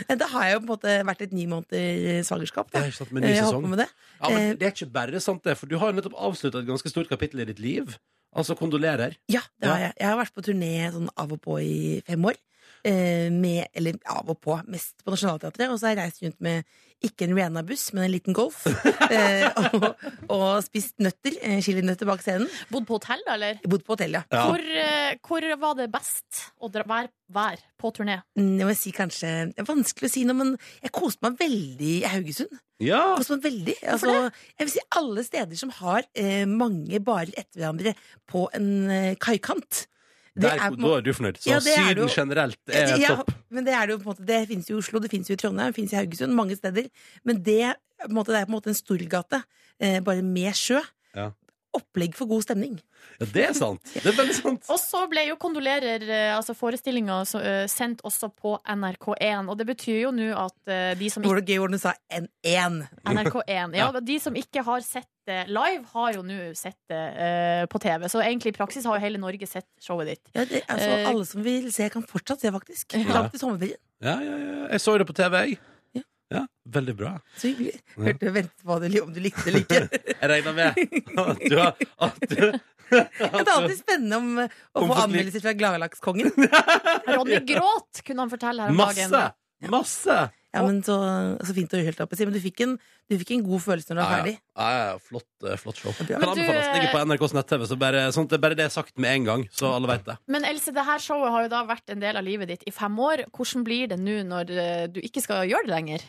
Speaker 1: da?
Speaker 10: Da har jeg jo på en måte vært et ni måneder eh, svangerskap. Da.
Speaker 1: Ja, ikke sant, med ny
Speaker 10: Jeg
Speaker 1: sesong.
Speaker 10: holdt på med det. Eh,
Speaker 1: Ja, men Det er ikke bare sant, det, for du har jo nettopp avslutta et ganske stort kapittel i ditt liv. Altså kondolerer.
Speaker 10: Ja, det har
Speaker 1: Ja.
Speaker 10: jeg. Jeg har vært på turné sånn av og på i fem år. eh, Med, eller av og på, mest på Nationaltheatret. Og så har jeg reist rundt med ikke en Rihanna-buss, men en liten Golf. eh, og, og spist nøtter, eh, chilinøtter bak scenen.
Speaker 2: Bodd på hotell, da, eller?
Speaker 10: Jeg bodde på hotell, ja.
Speaker 1: Ja.
Speaker 2: Hvor, eh, hvor var det best å dra, være, være på turné?
Speaker 10: Mm, Jeg må si kanskje, det er vanskelig å si noe, men jeg koste meg veldig i Haugesund.
Speaker 1: Ja!
Speaker 10: Koste meg veldig. Altså, jeg vil si alle steder som har eh, mange barer etter hverandre på en eh, kaikant. Det
Speaker 1: Der,
Speaker 10: er på en
Speaker 1: da er du fornøyd. Så
Speaker 10: Ja, det er det
Speaker 1: Syden
Speaker 10: jo.
Speaker 1: generelt
Speaker 10: Ja,
Speaker 1: er
Speaker 10: det- ja,
Speaker 1: topp.
Speaker 10: Men det er det jo på en måte Det finnes jo i Oslo, det finnes jo i Trondheim, det finnes i Haugesund, mange steder. Men det, er på en måte, det er på en måte en storgate, eh, bare med sjø.
Speaker 1: Ja.
Speaker 10: Opplegg for god stemning.
Speaker 1: Ja, det er sant. Det er veldig sant.
Speaker 2: Og så ble jo Kondolerer, eh, altså forestillinga, så, eh, sendt også på NRK1. Og det betyr jo nå at eh, de som
Speaker 10: Det var
Speaker 2: ikke,
Speaker 10: det gøy hvordan du sa N1.
Speaker 2: NRK1 ja, de som ikke har sett det live, har jo nå sett det eh, på TV. Så egentlig i praksis har jo hele Norge sett showet ditt.
Speaker 10: Ja, det, altså,
Speaker 2: Eh,
Speaker 10: alle som vil se, kan fortsatt se, faktisk. Fram til sommerferien.
Speaker 1: Ja, ja, ja. Jeg så det på TV, jeg.
Speaker 10: Ja.
Speaker 1: Ja, veldig bra.
Speaker 10: Så hyggelig. Hørte ventet på det, om du likte det eller ikke.
Speaker 1: Jeg regner med at du har at du,
Speaker 10: Det er alltid spennende om, eh, å
Speaker 1: Om
Speaker 10: få
Speaker 1: folk lik-
Speaker 10: anmeldelser fra Gladlakskongen.
Speaker 2: Ronny gråt, kunne han fortelle her om
Speaker 1: Masse!
Speaker 2: dagen.
Speaker 1: Masse!
Speaker 10: Ja, men så, så fint å høre helt opp og si. Men du fikk, en, du fikk en god følelse når du var
Speaker 1: Ja,
Speaker 10: ferdig.
Speaker 1: ja. Ja, ja, flott, eh, flott show. Kan
Speaker 2: Men du, eh,
Speaker 1: anbefales. Ligger på NRKs nett-TV. Så bare, sånn, det er bare det jeg har sagt med en gang, så alle vet det.
Speaker 2: Men Else, det her showet har jo da vært en del av livet ditt i fem år. Hvordan blir det nå når eh, du ikke skal gjøre det lenger?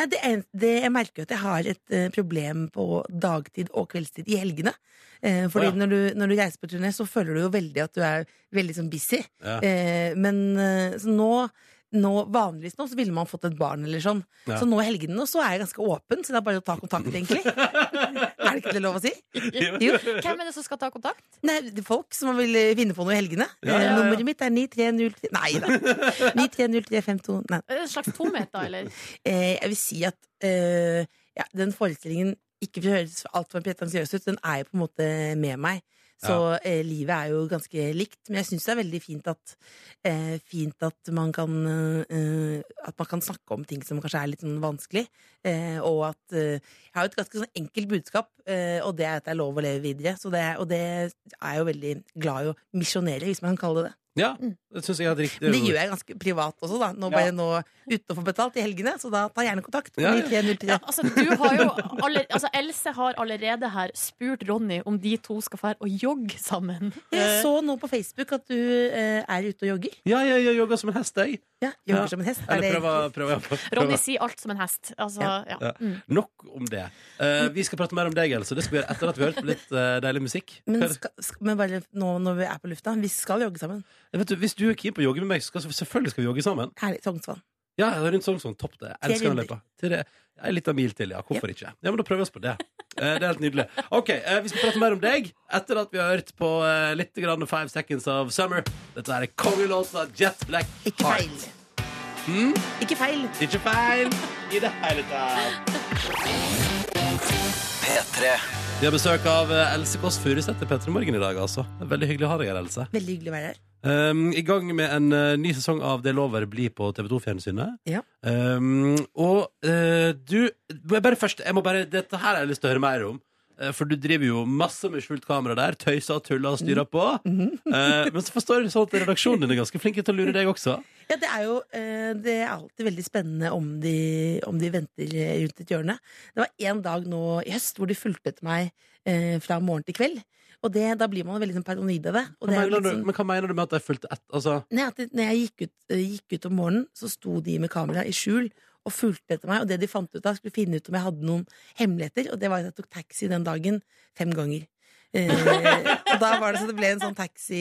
Speaker 10: Nei, det er, det, jeg merker jo at jeg har et eh, problem på dagtid og kveldstid i helgene. Eh, fordi
Speaker 1: Å, ja.
Speaker 10: når, du, når du reiser på turné, så føler du jo veldig at du er veldig sånn busy.
Speaker 1: Ja.
Speaker 10: Eh, men eh, så nå, nå Vanligvis nå så ville man fått et barn eller sånn.
Speaker 1: Ja.
Speaker 10: Så nå i helgene nå så er jeg ganske åpen, så det er bare å ta kontakt, egentlig. er det ikke det lov å si? Jo.
Speaker 2: Hvem er det som skal ta kontakt?
Speaker 10: Nei, det er folk som vil eh, finne på noe i helgene.
Speaker 1: Ja,
Speaker 10: Eh,
Speaker 1: ja, ja.
Speaker 10: Nummeret mitt er 9303 Nei da. 930352 Nei.
Speaker 2: Er det En slags tomhet, da, eller?
Speaker 10: Eh, jeg vil si at eh, ja, den forestillingen ikke for å høres altfor pretensiøs ut, den er jo på en måte med meg. Så eh, livet er jo ganske likt, men jeg syns det er veldig fint at, eh, fint at, man kan, eh, at man kan snakke om ting som kanskje er litt sånn vanskelig. Eh, og at eh, Jeg har jo et ganske sånn enkelt budskap, eh, og det er at det er lov å leve videre. Så det, og det er jeg jo veldig glad i å misjonere, hvis man kan kalle det det.
Speaker 1: Ja, det syns jeg er et riktig
Speaker 10: Mm. Men det gjør jeg ganske privat også, da. Nå bare nå uten å få betalt i helgene, så da ta gjerne kontakt. på
Speaker 1: Ja, ja.
Speaker 10: 9303.
Speaker 2: Ja, altså, du har jo alle, altså, Else har allerede her spurt Ronny om de to skal fære og jogge sammen.
Speaker 10: Jeg så nå på Facebook at du eh, er ute og jogger.
Speaker 1: Ja, ja, jeg jogger som en hest, jeg.
Speaker 10: Ja, jogger
Speaker 1: Ja.
Speaker 10: som en hest. Er
Speaker 1: Eller
Speaker 10: det-
Speaker 1: prøver, prøver, prøver.
Speaker 2: Ronny sier alt som en hest. Altså, ja.
Speaker 1: Ja. Nok om det. Eh, vi skal prate mer om deg, Else. Det skal vi gjøre etter at vi har hørt på litt eh, deilig musikk.
Speaker 10: Men, skal, sk- men bare nå når vi er på lufta, vi skal jogge sammen.
Speaker 1: Vet du, Hvis du er keen på å jogge med meg, så skal, selvfølgelig skal vi jogge sammen.
Speaker 10: Herlig. Sognsvann.
Speaker 1: Ja, rundt Sognsvann. Topp det. Jeg Elsker å
Speaker 10: runder.
Speaker 1: løpe. Til det. En liten mil til, ja. Hvorfor ikke? Ja, men Da prøver vi oss på det. Eh, Det er helt nydelig. Ok, eh, Vi skal prate mer om deg etter at vi har hørt på eh, litt grann Five Seconds of Summer. Dette er kongelåta Jet Black
Speaker 10: Ikke
Speaker 1: Heart. Hmm?
Speaker 10: feil. Ikke feil.
Speaker 1: Ikke feil i det hele tatt. Vi har besøk av eh, Else Kåss Furuseth til P3 Morgen i dag, altså. Det er Veldig hyggelig å ha deg her, Else.
Speaker 10: Veldig hyggelig å være her.
Speaker 1: Um, I gang med en eh, ny sesong av Det lover bli på TV2-fjernsynet.
Speaker 10: Ja.
Speaker 1: Ehm, Um, og eh, du må jeg bare først, jeg må bare, Dette her har jeg lyst til å høre mer om. Eh, eh, for du driver jo masse med skjult kamera der. Tøyser og tuller og
Speaker 10: Mm.
Speaker 1: styrer på.
Speaker 10: Mm-hmm.
Speaker 1: Eh, Men så forstår jeg det sånn at redaksjonen din er ganske flink til å lure deg også.
Speaker 10: Ja, det er jo eh, det er alltid veldig spennende om de, om de venter eh, rundt et hjørne. Det var én dag nå i høst hvor de fulgte etter meg eh, fra morgen til kveld. Og det, da blir man veldig sånn paranoid av det. Og
Speaker 1: Hva
Speaker 10: det er jo
Speaker 1: mener
Speaker 10: litt
Speaker 1: du,
Speaker 10: sånn-
Speaker 1: men hva mener du med at de fulgte ett? Altså,
Speaker 10: Nei, at det- når jeg gikk ut, eh, gikk ut om morgenen, så sto de med kamera i skjul og fulgte etter meg. Og det de fant ut av, skulle finne ut om jeg hadde noen hemmeligheter. Og det var at jeg tok taxi den dagen fem ganger. Eh, og da var det så det ble en sånn taxi,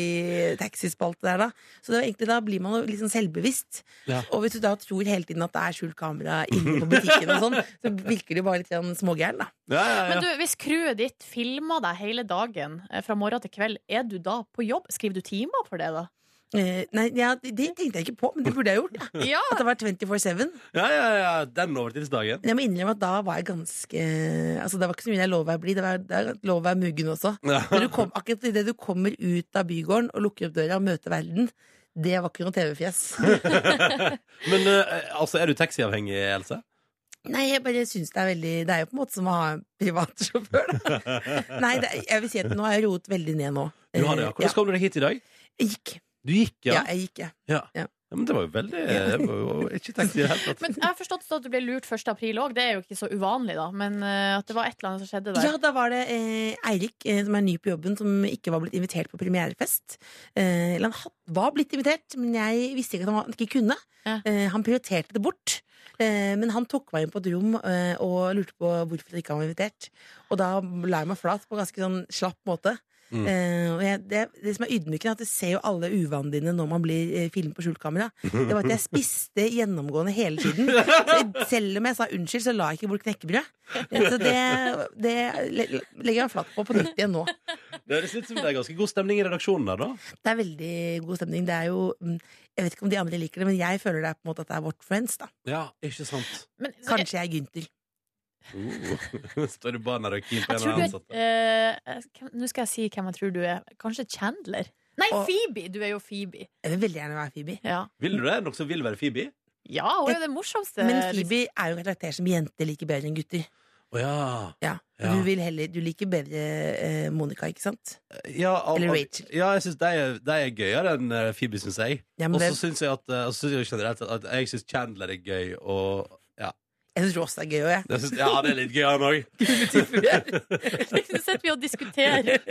Speaker 10: taxispalte der, da. Så det var egentlig, da blir man jo litt sånn selvbevisst.
Speaker 1: Ja.
Speaker 10: Og hvis du da tror hele tiden at det er skjult kamera inne på butikken og sånn, så virker du bare litt sånn smågæren, da.
Speaker 2: Men du, hvis crewet ditt filmer deg hele dagen eh, fra morgen til kveld, er du da på jobb? Skriver du timer for det, da?
Speaker 10: Eh, nei, ja, det det tenkte jeg ikke på, men det burde jeg gjort. da.
Speaker 2: Ja.
Speaker 10: At det var 24-7.
Speaker 1: ja, ja, ja, den overtidsdagen.
Speaker 10: Jeg må innrømme at da var jeg ganske Altså Det var ikke så mye jeg lov å være blid, det var, det var lov å være muggen også.
Speaker 1: Ja.
Speaker 10: Men du kom, akkurat idet du kommer ut av bygården og lukker opp døra og møter verden, det var ikke noe TV-fjes.
Speaker 1: Men eh, altså, er du taxiavhengig, Else?
Speaker 10: Nei, jeg bare syns det er veldig Det er jo på en måte som å ha en privat sjåfør, da. Nei, det, jeg vil si at nå har jeg roet veldig ned nå.
Speaker 1: Du har det, ja.
Speaker 10: Eh,
Speaker 1: Hvordan kom du deg hit i dag?
Speaker 10: Jeg gikk.
Speaker 1: Du gikk,
Speaker 10: Ja,
Speaker 1: ja?
Speaker 10: jeg gikk, ja.
Speaker 1: Ja.
Speaker 10: Ja.
Speaker 1: Ja, men det var jo veldig det var jo Ikke taxi i det hele tatt.
Speaker 2: Men jeg har forstått at du ble lurt 1. april òg. Det er jo ikke så uvanlig, da. Men eh, at det var et eller annet som skjedde der.
Speaker 10: Ja, da var det eh, Eirik, eh, som er ny på jobben, som ikke var blitt invitert på premierefest. Eh, eller han had, var blitt invitert, men jeg visste ikke at han, var, han ikke kunne. Eh, han prioriterte det bort. Eh, men han tok meg inn på et rom eh, og lurte på hvorfor ikke han var invitert. Og da la jeg meg flat på en ganske sånn slapp måte.
Speaker 11: Mm.
Speaker 10: Eh, og jeg, det, det som er ydmykende, er at du ser jo alle uvanene dine når man blir eh, filmet på skjult kamera. Det var at jeg spiste gjennomgående hele tiden. Så selv om jeg sa unnskyld, så la jeg ikke bort knekkebrød. Eh, Så det, det le- legger jeg meg flat på på nytt igjen nå.
Speaker 1: Det høres ut som det er ganske god stemning i redaksjonen der, da.
Speaker 10: Det er veldig god stemning. Det er jo mm, Jeg vet ikke om de andre liker det, men jeg føler det er på en måte at det er vårt friends, da.
Speaker 1: Ja, ikke sant?
Speaker 10: Kanskje jeg er Gynter.
Speaker 1: Oh. Står du bare der og keen
Speaker 2: Jeg
Speaker 1: på en av
Speaker 2: tror
Speaker 1: de
Speaker 2: du
Speaker 1: ansatte?
Speaker 2: er eh, hvem- Nå skal jeg si hvem jeg tror du er. Kanskje Chandler? Nei, Phoebe! Du er jo Phoebe.
Speaker 10: Jeg vil veldig gjerne være Phoebe.
Speaker 2: Ja,
Speaker 1: Vil du det? Noen som vil være Phoebe?
Speaker 2: ja hun er jo det morsomste.
Speaker 10: Men Phoebe er jo en karakter som jenter liker bedre enn gutter.
Speaker 1: Å ja.
Speaker 10: Ja.
Speaker 1: Ja.
Speaker 10: Du, vil heller, du liker bedre eh, Monica, ikke sant?
Speaker 1: Ja, al-
Speaker 10: Eller
Speaker 1: al-
Speaker 10: Rachel.
Speaker 1: Ja, jeg synes de, er, de er gøyere enn eh, Phoebe, syns jeg.
Speaker 10: Ja, men
Speaker 1: og
Speaker 10: det-
Speaker 1: så syns jeg at, eh, og så synes jeg generelt at at jeg syns Chandler er gøy, og ja.
Speaker 10: Jeg syns Ross er gøy òg, jeg.
Speaker 1: Jeg synes, ja, det er litt gøy, han òg.
Speaker 2: Nå sitter vi og diskuterer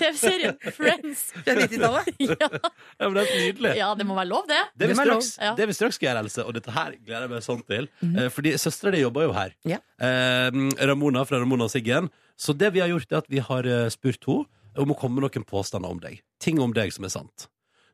Speaker 2: TV-serien Friends.
Speaker 10: Fra 90-tallet?
Speaker 1: Ja, men det er helt nydelig.
Speaker 2: Ja, det må være lov, det.
Speaker 1: Det vi,
Speaker 2: må være
Speaker 1: straks,
Speaker 2: lov.
Speaker 1: det vi straks skal gjøre, Else, og dette her gleder jeg meg sånn til eh, Fordi søstre di jobber jo her.
Speaker 10: Ja.
Speaker 1: Eh, Ramona fra Ramona og Siggen. Så det vi har gjort, er at vi har eh, spurt henne om å komme med noen påstander om deg. Ting om deg som er sant.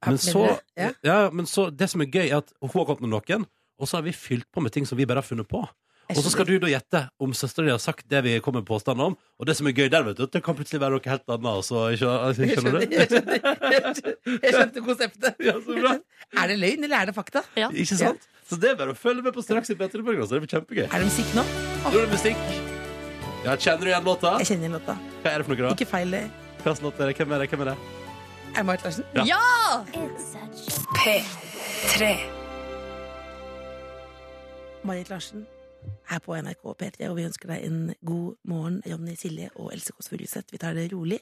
Speaker 1: Men så, ja.
Speaker 12: Ja.
Speaker 1: men så Det som er gøy, er at hun har kommet med noen, og så har vi fylt på med ting som vi bare har funnet på. Og så skal du da gjette om søstera di har sagt det vi kommer med påstander om. Og det som er gøy der, vet du, at det kan plutselig være noe helt annet. Altså, ikke, skjønner du?
Speaker 10: Jeg skjønner- jeg skjønner- jeg skjønte konseptet. er det løgn, eller er det fakta?
Speaker 1: Ikke sant? Så det er bare å følge med på straks i P3 Morgen. så Det blir kjempegøy.
Speaker 10: Er det musikk nå?
Speaker 1: Nå er det musikk. Ja, kjenner du igjen låta? Jeg
Speaker 10: kjenner igjen låta.
Speaker 1: Hva er det for noe, da?
Speaker 10: Ikke feil.
Speaker 1: Hva slags låt er det? Hvem er det? Hvem er det?
Speaker 10: Er det Marit Larsen?
Speaker 1: Ja.
Speaker 10: P3. Marit Larsen er på NRK P3, og vi ønsker deg en god morgen, Ronny Silje og Else Kåss Furuseth. Vi tar det rolig.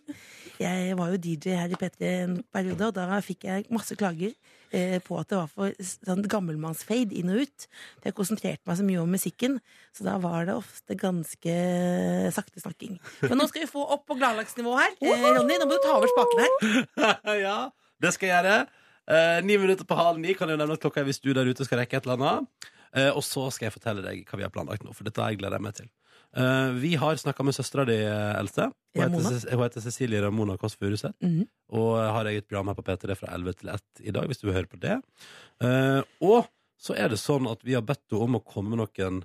Speaker 10: Jeg var jo DJ her i P3 en periode, og da fikk jeg masse klager eh, på at det var for sånn gammelmannsfade inn og ut. For jeg konsentrerte meg så mye om musikken, så da var det ofte ganske sakte snakking. Men nå skal vi få opp på gladlagsnivå her. Eh, Ronny, nå må du ta over spaken her.
Speaker 1: ja, det skal jeg gjøre. Eh, ni minutter på halv ni kan jeg nevne at klokka er hvis du der ute skal rekke et eller annet. Eh, og så skal jeg fortelle deg hva vi har planlagt nå, for dette har jeg gleder jeg meg til. Eh, vi har snakka med søstera di, Else. Hun heter,
Speaker 12: Ramona.
Speaker 1: Cec- hun heter Cecilie Ramona Kåss Furuseth.
Speaker 12: Mhm.
Speaker 1: Og eh, har eget program her på P3 fra 11 til 1 i dag, hvis du vil høre på det. Eh, og så er det sånn at vi har bedt henne om å komme med noen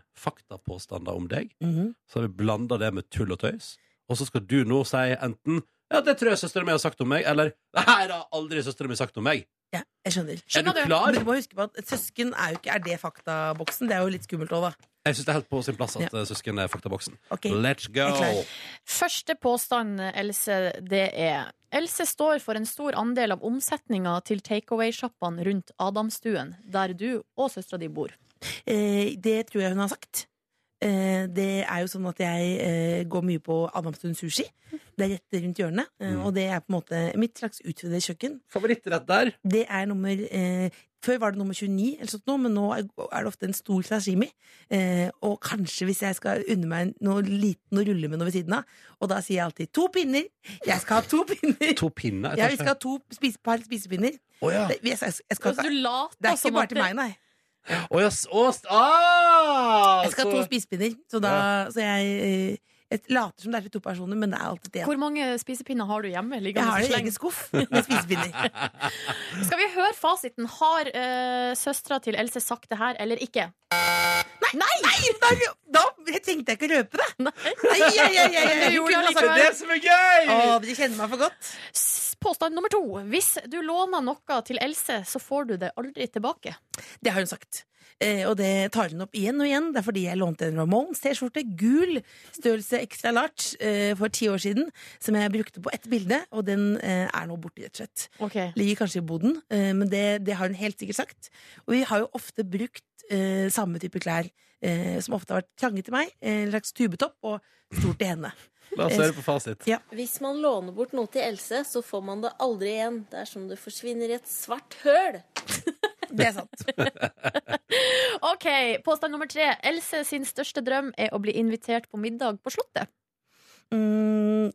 Speaker 1: faktapåstander om deg.
Speaker 10: Mhm.
Speaker 1: Så har vi blanda det med tull og tøys. Og så skal du nå si enten Ja, det tror jeg søstera mi har sagt om meg, eller Nei, det har aldri søstera mi sagt om meg.
Speaker 10: Ja, jeg skjønner.
Speaker 1: Skjønner du du? klar?
Speaker 10: Men du må huske på at et søsken er jo ikke Er det faktaboksen? Det er jo litt skummelt òg, da.
Speaker 1: Jeg syns det er helt på sin plass at eh, søsken er faktaboksen.
Speaker 10: Ok.
Speaker 1: Let's go!
Speaker 2: Første påstand, Else, det er Else står for en stor andel av omsetninga til takeaway-sjappene rundt Adamstuen, der du og søstera di bor.
Speaker 10: Eh, det tror jeg hun har sagt. Eh, det er jo sånn at jeg eh, går mye på Adamstuen Sushi. Det er rett rundt hjørnet. eh,
Speaker 11: Mm.
Speaker 10: Og det er på en måte mitt slags utvidede kjøkken.
Speaker 1: Favorittrett der?
Speaker 10: Det er nummer eh, Før var det nummer 29, eller sånt nå, men nå er er det ofte en stor sashimi. Eh, og kanskje hvis jeg skal unne meg noe liten å rulle med noe ved siden av. Og da sier jeg alltid 'to pinner'! Jeg skal ha to pinner!
Speaker 1: To pinner?
Speaker 10: Ja, vi skal ha to spis, par spisepinner.
Speaker 1: Å ja.
Speaker 10: Det- jeg, jeg, jeg skal,
Speaker 2: Altså, du later
Speaker 10: det er
Speaker 2: som
Speaker 10: ikke bare
Speaker 2: at
Speaker 10: til
Speaker 2: det-
Speaker 10: meg, nei.
Speaker 1: Å ja, s- å, s- ah,
Speaker 10: Jeg skal ha
Speaker 1: så-
Speaker 10: to spisepinner, så, da, så jeg, eh, jeg later som det er til to personer, men det er alltid det.
Speaker 2: Hvor mange spisepinner har du hjemme? liggende
Speaker 10: Jeg
Speaker 2: i
Speaker 10: har en
Speaker 2: sleng?
Speaker 10: egen skuff med spisepinner.
Speaker 2: Skal vi høre fasiten? Har uh, søstera til Else sagt det her eller ikke?
Speaker 10: Nei! Da, da tenkte jeg ikke å røpe det!
Speaker 2: Nei,
Speaker 10: ja, ja, ja, ja.
Speaker 2: Men du gjorde det likevel.
Speaker 10: Beklager.
Speaker 2: Det er det
Speaker 1: som er gøy!
Speaker 10: Å, de kjenner meg for godt.
Speaker 2: S- Påstand nummer to. Hvis du låner noe til Else, så får du det aldri tilbake.
Speaker 10: Det har hun sagt. Eh, og det tar hun opp igjen og igjen. Det er fordi jeg lånte en Ramones T-skjorte, gul, størrelse extra large, eh, for ti år siden, som jeg brukte på ett bilde, og den eh, er nå borte, rett og slett. Ligger kanskje i boden, eh, men det, det har hun helt sikkert sagt. Og vi har jo ofte brukt eh, samme type klær, eh, som ofte har vært trange til meg, eh, en slags tubetopp og stort til henne. Eh,
Speaker 1: La oss høre på fasit.
Speaker 10: Ja.
Speaker 12: Hvis man låner bort noe til Else, så får man det aldri igjen. Det er som du forsvinner i et svart høl.
Speaker 10: Det er sant.
Speaker 2: OK, påstand nummer tre. Else sin største drøm er å bli invitert på middag på Slottet.
Speaker 10: Mm,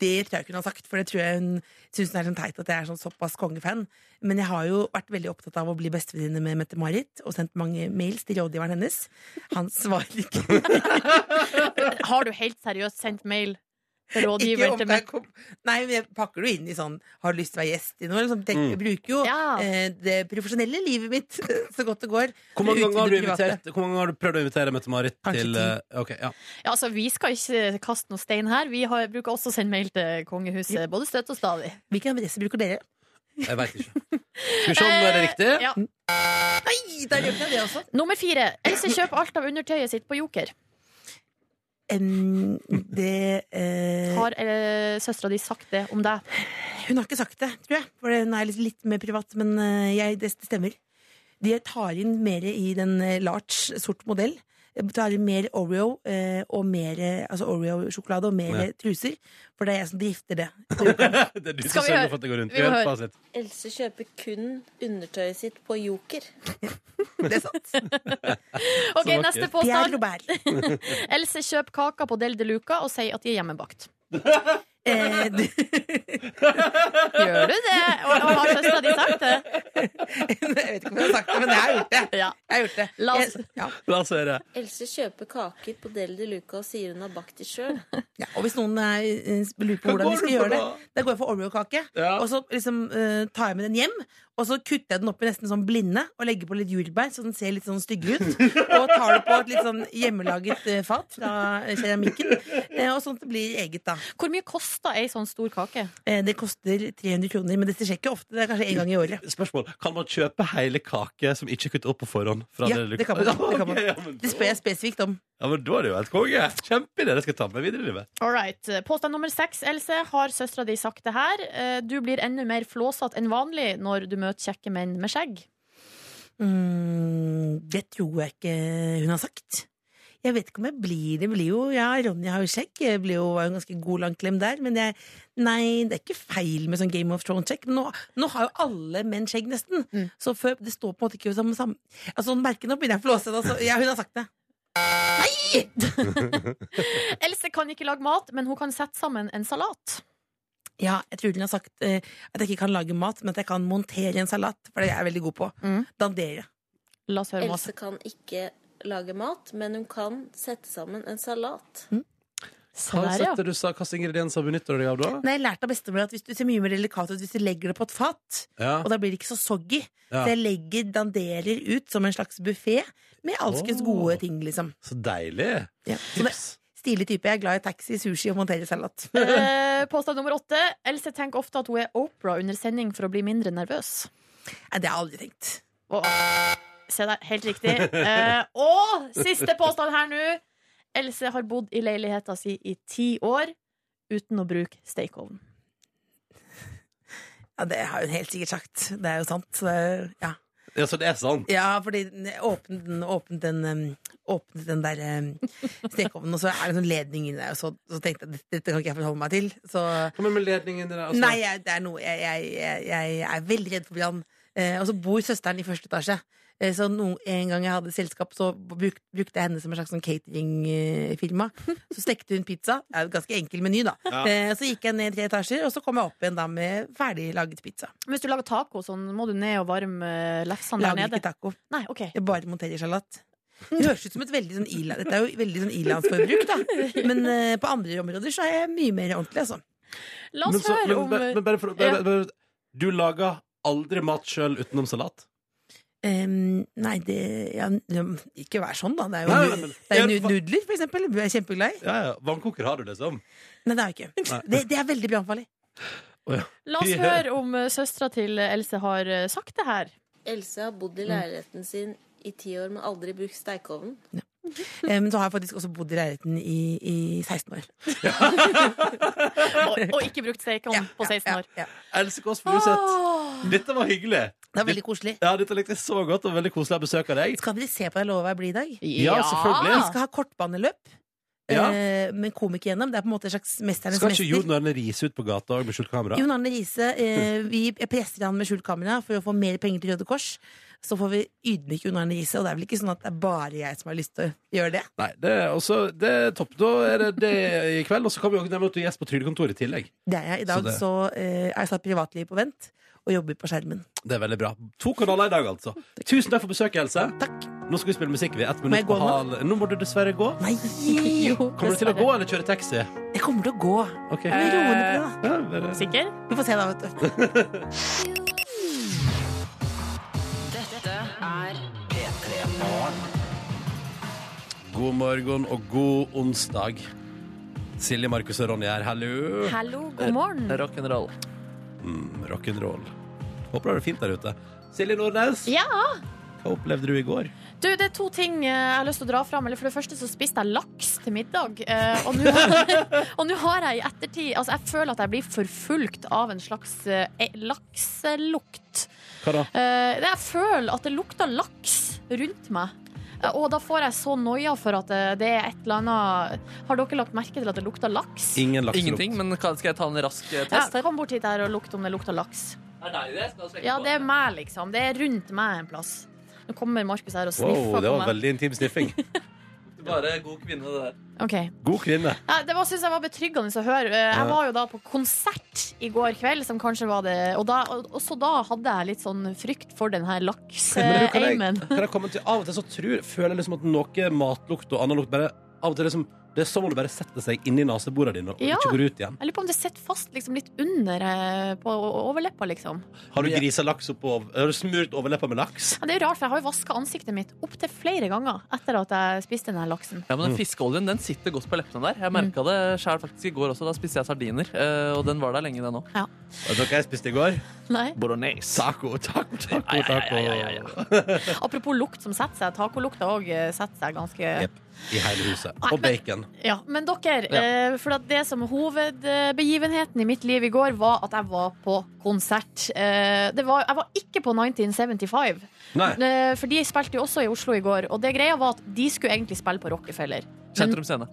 Speaker 10: det tror jeg ikke hun har sagt, for det tror jeg hun syns hun er sånn teit at jeg er sånn såpass kongefan. Men jeg har jo vært veldig opptatt av å bli bestevenninne med Mette-Marit, og sendt mange mails til rådgiveren hennes. Han svarer ikke.
Speaker 2: Har du helt seriøst sendt mail til
Speaker 10: Ikke
Speaker 2: rådgiveren
Speaker 10: om
Speaker 2: til
Speaker 10: det er kom- Nei, men jeg pakker det jo inn i sånn 'har du lyst til å være gjest' i noe? Liksom. Jeg
Speaker 1: Mm.
Speaker 10: bruker jo eh, det profesjonelle livet mitt så godt det går.
Speaker 1: Hvor
Speaker 10: ut i
Speaker 1: mange ganger har du
Speaker 10: det private.
Speaker 1: invitert Hvor mange ganger har du prøvd å invitere Mette-Marit til eh, Ok, ja
Speaker 2: Ja, altså, vi skal ikke kaste noe stein her. Vi har, bruker også å sende mail til kongehuset, både støtt og stadig.
Speaker 10: Hvilken adresse bruker dere?
Speaker 1: Jeg veit ikke. Skal vi se om det er riktig?
Speaker 2: Ja.
Speaker 10: Nei, da gjør jeg det også.
Speaker 2: Nummer fire. Else kjøper alt av undertøyet sitt på Joker.
Speaker 10: Em, det eh,
Speaker 2: Har eh, søstera di sagt det om deg?
Speaker 10: Hun har ikke sagt det, tror jeg. For hun er litt, litt mer privat, men eh, jeg, det det stemmer. De tar inn mer i den eh, large, sort modell. De tar inn mer Oreo eh, og mer eh, altså Oreo-sjokolade og mer
Speaker 1: Ja.
Speaker 10: eh, truser. For det er jeg som drifter det.
Speaker 1: Det er
Speaker 10: Skal
Speaker 1: du som
Speaker 10: vi
Speaker 1: sørger
Speaker 10: høre?
Speaker 1: for at det går rundt.
Speaker 10: Vi må
Speaker 1: Gjør
Speaker 10: høre.
Speaker 1: fasit.
Speaker 12: Else kjøper kun undertøyet sitt på Joker.
Speaker 2: Ok, neste påstand.
Speaker 10: Robert.
Speaker 2: Else kjøper kaka på Del de Luca og sier at de er hjemmebakt.
Speaker 10: Eh, du-
Speaker 2: Gjør du det? Og, og har søstera di sagt det?
Speaker 10: jeg vet ikke om jeg har sagt det, men jeg har gjort det. Jeg har gjort det.
Speaker 12: La oss-
Speaker 10: Jeg- ja.
Speaker 1: La oss høre.
Speaker 12: Else kjøper kaker på Del de Luca og sier hun har bakt de sjøl.
Speaker 10: Ja, og hvis noen eh, lurer på
Speaker 12: Hva
Speaker 10: hvordan
Speaker 12: går
Speaker 10: de
Speaker 12: du
Speaker 10: skal
Speaker 12: for
Speaker 10: gjøre det,
Speaker 12: da?
Speaker 10: da går jeg for Oreo-kake. Og så liksom, eh, tar jeg med den hjem, og så kutter jeg den opp i nesten sånn blinde og legger på litt jordbær, så den ser litt sånn stygg ut. Og tar det på et litt sånn hjemmelaget eh, fat fra eh, keramikken. eh, og sånn at det blir eget, da.
Speaker 2: Hvor mye koster ei sånn stor kake?
Speaker 10: Eh, det koster 300 kroner, men dette skjer ikke ofte. Det er kanskje en gang i året.
Speaker 1: Spørsmål. Kan man kjøpe hele kake som ikke er kuttet opp på forhånd? Fra
Speaker 10: Ja,
Speaker 1: Deli
Speaker 10: det
Speaker 1: Luca?
Speaker 10: kan man. Det, kan
Speaker 1: Ok, ja,
Speaker 10: man.
Speaker 1: men
Speaker 10: det spør jeg spesifikt om.
Speaker 1: Ja, men Da er det jo helt konge. Kjempeidé. Det skal jeg ta med videre i livet.
Speaker 2: All right. Påstand nummer seks, Else. Har søstera di sagt det her? Eh, Du blir enda mer flåsete enn vanlig når du møter kjekke menn med skjegg.
Speaker 10: Mm, det tror jeg ikke hun har sagt. Jeg vet ikke om jeg blir det. blir jo, ja, Ronny har jo skjegg. Jeg blir jo var jo en ganske god lang klem der. Men jeg, nei, det er ikke feil med sånn Game of Thrones-sjekk. Men nå, nå har jo alle menn skjegg, nesten. Så før, det står på en måte ikke som sam... Altså, merke nå begynner jeg å flåse. Altså, ja, hun har sagt det.
Speaker 2: Else kan ikke lage mat, men hun kan sette sammen en salat.
Speaker 10: Ja, jeg tror hun har sagt eh, at jeg ikke kan lage mat, men at jeg kan montere en salat. For det er jeg veldig god på. Dandere.
Speaker 2: La oss
Speaker 12: Else kan ikke lage mat, men hun kan sette sammen en salat.
Speaker 1: Hva
Speaker 10: der,
Speaker 1: er
Speaker 10: Sånn ja.
Speaker 1: det du sa? Hva slags ingredienser benytter du deg av da?
Speaker 10: Nei, jeg lærte av bestemor at hvis du ser mye mer delikat ut hvis du legger det på et fat,
Speaker 1: Ja.
Speaker 10: og da blir det ikke så soggy. Så
Speaker 1: Ja.
Speaker 10: jeg legger danderer ut som en slags buffé med alskens
Speaker 1: Åh.
Speaker 10: gode ting, liksom.
Speaker 1: Så deilig.
Speaker 10: Ja. Så det, stilig type. Jeg er glad i taxi, sushi og montere salat.
Speaker 2: Eh, Påstand nummer åtte. Else tenker ofte at hun er Opera under sending for å bli mindre nervøs.
Speaker 10: Nei, det har jeg aldri tenkt.
Speaker 2: Og, se der, helt riktig. Eh, og siste påstand her nå. Else har bodd i leiligheta si i ti år uten å bruke stekeovn.
Speaker 10: Ja, det har hun helt sikkert sagt. Det er jo sant. Så, det er- ja.
Speaker 1: Ja, så det er sant.
Speaker 10: ja, fordi den åpnet den, åpnet den um, åpnet den der eh, stekeovnen, og så er det en sånn ledning inni der, og så, så tenkte jeg dette, dette kan ikke jeg forholde meg til. Så,
Speaker 1: Kommer med ledningen der, altså.
Speaker 10: Nei, jeg, det er noe jeg, jeg, jeg, jeg er veldig redd for brann. Eh, og så bor søsteren i første etasje. Eh, så no, en gang jeg hadde selskap, så bruk, brukte jeg henne som en slags sånn cateringfirma. Så stekte hun pizza. Det er jo et ganske enkel meny, da.
Speaker 2: Ja.
Speaker 10: Eh, så gikk jeg ned tre etasjer, og så kom jeg opp igjen da med ferdiglaget pizza.
Speaker 2: Hvis du lager taco, så må du ned og varme eh, lefsene der
Speaker 10: Lager
Speaker 2: nede.
Speaker 10: ikke taco.
Speaker 2: Nei, ok
Speaker 10: Jeg bare monterer salat. Det høres ut som et veldig sånn ila- Dette er jo veldig sånn ilandsforbruk, da. Men eh, på andre områder så er jeg mye mer ordentlig, altså.
Speaker 2: La
Speaker 1: Men så- men,
Speaker 10: eh,
Speaker 1: men, men bare for, bare, bare, bare, Du lager aldri mat sjøl utenom salat?
Speaker 10: Em, nei, det ja, n- Ikke vær sånn, da. Det er jo,
Speaker 1: Nei, nei, men-
Speaker 10: det er jo
Speaker 1: Ja,
Speaker 10: nu-
Speaker 1: hva-
Speaker 10: nudler, for eksempel. Jeg er kjempeglad i.
Speaker 1: Ja, ja. Vannkoker har du, liksom?
Speaker 10: Nei, det er jo
Speaker 1: Nei.
Speaker 10: ikke. Det, det er veldig brannfarlig.
Speaker 1: Å, ja.
Speaker 2: La oss høre om søstera til Else har eh, sagt det her.
Speaker 12: Else har bodd i leiligheten sin i ti år, men aldri brukt steikeovnen.
Speaker 10: Eh, Men så har jeg faktisk også bodd i leiligheten i, i 16 år.
Speaker 2: Og, og ikke brukt stekeovn på 16 år.
Speaker 1: Else Kåss Furuseth. Dette var hyggelig.
Speaker 10: Det er veldig koselig.
Speaker 1: Ja, dette likte jeg så godt, og veldig koselig å besøke deg.
Speaker 10: Skal dere se på Jeg lover jeg blir i dag?
Speaker 1: Ja, selvfølgelig.
Speaker 10: Vi skal ha kortbaneløp.
Speaker 1: Ja.
Speaker 10: eh, Men komik igjennom. Det er på en måte en slags Mesternes
Speaker 1: Skal ikke
Speaker 10: mester.
Speaker 1: Jon Arne Riise ut på gata og med skjult kamera?
Speaker 10: Jon Arne Riise, eh, vi presser han med skjult kamera for å få mer penger til Røde Kors. Så får vi ydmyke Jon Arne Riise, og det er vel ikke sånn at det er bare jeg som har lyst til å gjøre det?
Speaker 1: Nei, det er, også, det er topp. Da er det det i kveld. Og så kan vi jo nevne at du er gjest på Trygdekontoret i tillegg.
Speaker 10: Det er jeg. I dag
Speaker 1: Så
Speaker 10: så,
Speaker 1: det-
Speaker 10: eh, er jeg satt privatlivet på vent og jobber på skjermen.
Speaker 1: Det er veldig bra. To kanaler i dag, altså. Tusen takk for besøket, Else. Nå skal vi spille musikk ved ett
Speaker 10: jeg
Speaker 1: minutt
Speaker 10: gå
Speaker 1: på hal. Nå må du dessverre gå.
Speaker 10: Nei!
Speaker 1: Kommer du til å gå eller kjøre taxi?
Speaker 10: Jeg kommer til å gå.
Speaker 1: Ok.
Speaker 10: Jeg vil roe ned på det,
Speaker 1: Ja, bare-
Speaker 10: da.
Speaker 2: Sikker?
Speaker 10: Vi får se da, vet du.
Speaker 4: Dette er P3 Morgen.
Speaker 1: God morgen og god onsdag. Silje, Markus og Ronny her. Hallo.
Speaker 2: Hallo, god morgen.
Speaker 1: Rock'n'roll. Mm, rock'n'roll. Håper du har det fint der ute. Silje Nordnes,
Speaker 2: Ja!
Speaker 1: hva opplevde du i går?
Speaker 2: Du, det er to ting eh, jeg har lyst til å dra fram. Eller for det første så spiste jeg laks til middag. eh, Og nå har- og nå har jeg i ettertid Altså, jeg føler at jeg blir forfulgt av en slags eh, eh, lakselukt.
Speaker 1: Hva da?
Speaker 2: Eh, Jeg føler at det lukter laks rundt meg. Eh, Og da får jeg så noia for at eh, det er et eller annet Har dere lagt merke til at det lukter laks?
Speaker 1: Ingen
Speaker 3: lakselukt. Ingenting, men kan- skal jeg ta en rask eh,
Speaker 2: Ja,
Speaker 3: test?
Speaker 2: kom bort hit her og lukt om det lukter laks.
Speaker 3: Det er deg det skal sjekke
Speaker 2: Ja,
Speaker 3: på.
Speaker 2: det er meg, liksom. Det er rundt meg en plass. Nå kommer Markus her og sniffer
Speaker 1: Wow, det
Speaker 2: på
Speaker 1: var
Speaker 2: meg.
Speaker 1: veldig intim sniffing.
Speaker 3: Bare god kvinne, det der.
Speaker 2: Ok.
Speaker 1: God kvinne.
Speaker 2: Ja, det var, synes jeg var betryggende å høre. Eh,
Speaker 1: Ja.
Speaker 2: Jeg var jo da på konsert i går kveld, som kanskje var det Og da, også da hadde jeg litt sånn frykt for den her
Speaker 1: Men du, kan jeg,
Speaker 2: laks-aimen.
Speaker 1: kan jeg komme til Av og til så tror, føler jeg liksom at noe matlukt og annen lukt bare Av og til liksom Det er som om det bare setter seg inni neseborene dine og
Speaker 2: Ja.
Speaker 1: ikke går ut igjen.
Speaker 2: Jeg lurer på om det sitter fast liksom, litt under eh, på o- overleppa, liksom.
Speaker 1: Har du grisa laks oppå Har du smurt overleppa med laks?
Speaker 2: Ja, det er jo rart, for jeg har jo vaska ansiktet mitt opptil flere ganger etter at jeg spiste den her laksen.
Speaker 3: Ja, men
Speaker 1: Mm.
Speaker 3: den Fiskeoljen den sitter godt på leppene der. Jeg
Speaker 2: Mm.
Speaker 3: merka det sjøl faktisk i går også. Da spiste jeg sardiner, eh, og den var der lenge, den òg.
Speaker 2: Ja.
Speaker 1: Vet dere hva jeg spiste i går?
Speaker 2: Nei.
Speaker 1: Bolognese. Taco, taco, taco. taco.
Speaker 2: Apropos lukt som setter seg. Tacolukta òg eh, setter seg ganske
Speaker 1: Jep. I hele huset.
Speaker 2: Nei, men-
Speaker 1: Og bacon.
Speaker 2: Ja, men dere,
Speaker 1: Ja.
Speaker 2: eh, for at det som hovedbegivenheten i mitt liv i går var at jeg var på konsert. Eh, Det var, jeg var ikke på 1975,
Speaker 3: Nei.
Speaker 2: Eh, for de spilte jo også i Oslo i går. Og det greia var at de skulle egentlig spille på Rockefeller.
Speaker 3: Sentrum Scene.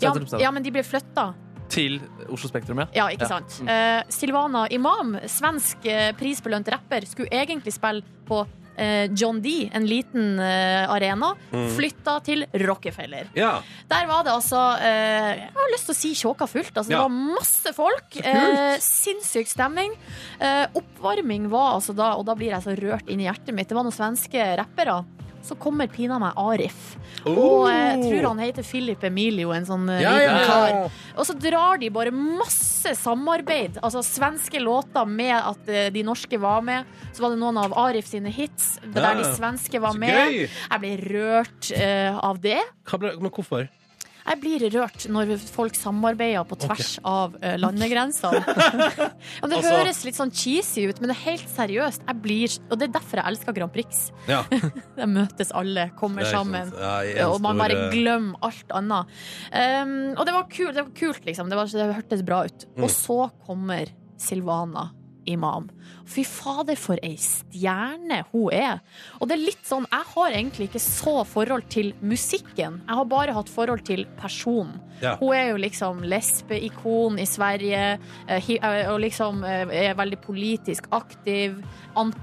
Speaker 2: Ja,
Speaker 3: Sentrum Scene.
Speaker 2: ja, men de ble flytta.
Speaker 3: Til Oslo Spektrum, ja.
Speaker 2: Ja, ikke sant.
Speaker 3: Mm.
Speaker 2: Eh, Silvana Imam, svensk eh, prisbelønt rapper, skulle egentlig spille på eh, John D, en liten eh, arena,
Speaker 12: Mm.
Speaker 2: flytta til Rockefeller.
Speaker 1: Ja.
Speaker 2: Der var det altså eh, Jeg har lyst til å si tjåka fullt. Altså,
Speaker 12: Ja.
Speaker 2: Det var masse folk.
Speaker 12: Så kult.
Speaker 2: Eh, sinnssyk stemning. Eh, oppvarming var altså da, og da blir jeg så rørt inn i hjertet mitt. Det var noen svenske rappere. Så kommer pina meg Arif. Og eh, jeg tror han heter Philip Emilio, en sånn eh,
Speaker 12: Oh. Ja, ja,
Speaker 2: liten
Speaker 12: ja, ja.
Speaker 2: kar. Og så drar de bare masse samarbeid. Altså svenske låter med at eh, de norske var med. Så var det noen av Arif sine hits der
Speaker 1: Ja.
Speaker 2: de svenske var
Speaker 1: Så
Speaker 2: med.
Speaker 1: gøy.
Speaker 2: Jeg ble rørt eh, av det.
Speaker 1: Hva ble, men hvorfor?
Speaker 2: Jeg blir rørt når folk samarbeider på tvers av eh, landegrensene. Og det
Speaker 1: Altså-
Speaker 2: høres litt sånn cheesy ut, men det er helt seriøst. Jeg blir, og det er derfor jeg elsker Grand Prix.
Speaker 1: Ja.
Speaker 2: Der møtes alle, kommer
Speaker 1: Det er
Speaker 2: sammen.
Speaker 1: sant. Ja, i en
Speaker 2: og man
Speaker 1: stor,
Speaker 2: bare
Speaker 1: eh,
Speaker 2: glemmer alt annet. Um, og det var kult, det var kult liksom. Det, var, det hørtes bra ut.
Speaker 1: Mm.
Speaker 2: Og så kommer Silvana imam. Fy fader, for ei stjerne hun er. Og det er litt sånn, jeg har egentlig ikke så forhold til musikken. Jeg har bare hatt forhold til personen.
Speaker 11: Ja.
Speaker 2: Hun er jo liksom lesbeikon i Sverige, eh, hi- eh, og liksom eh, er veldig politisk aktiv,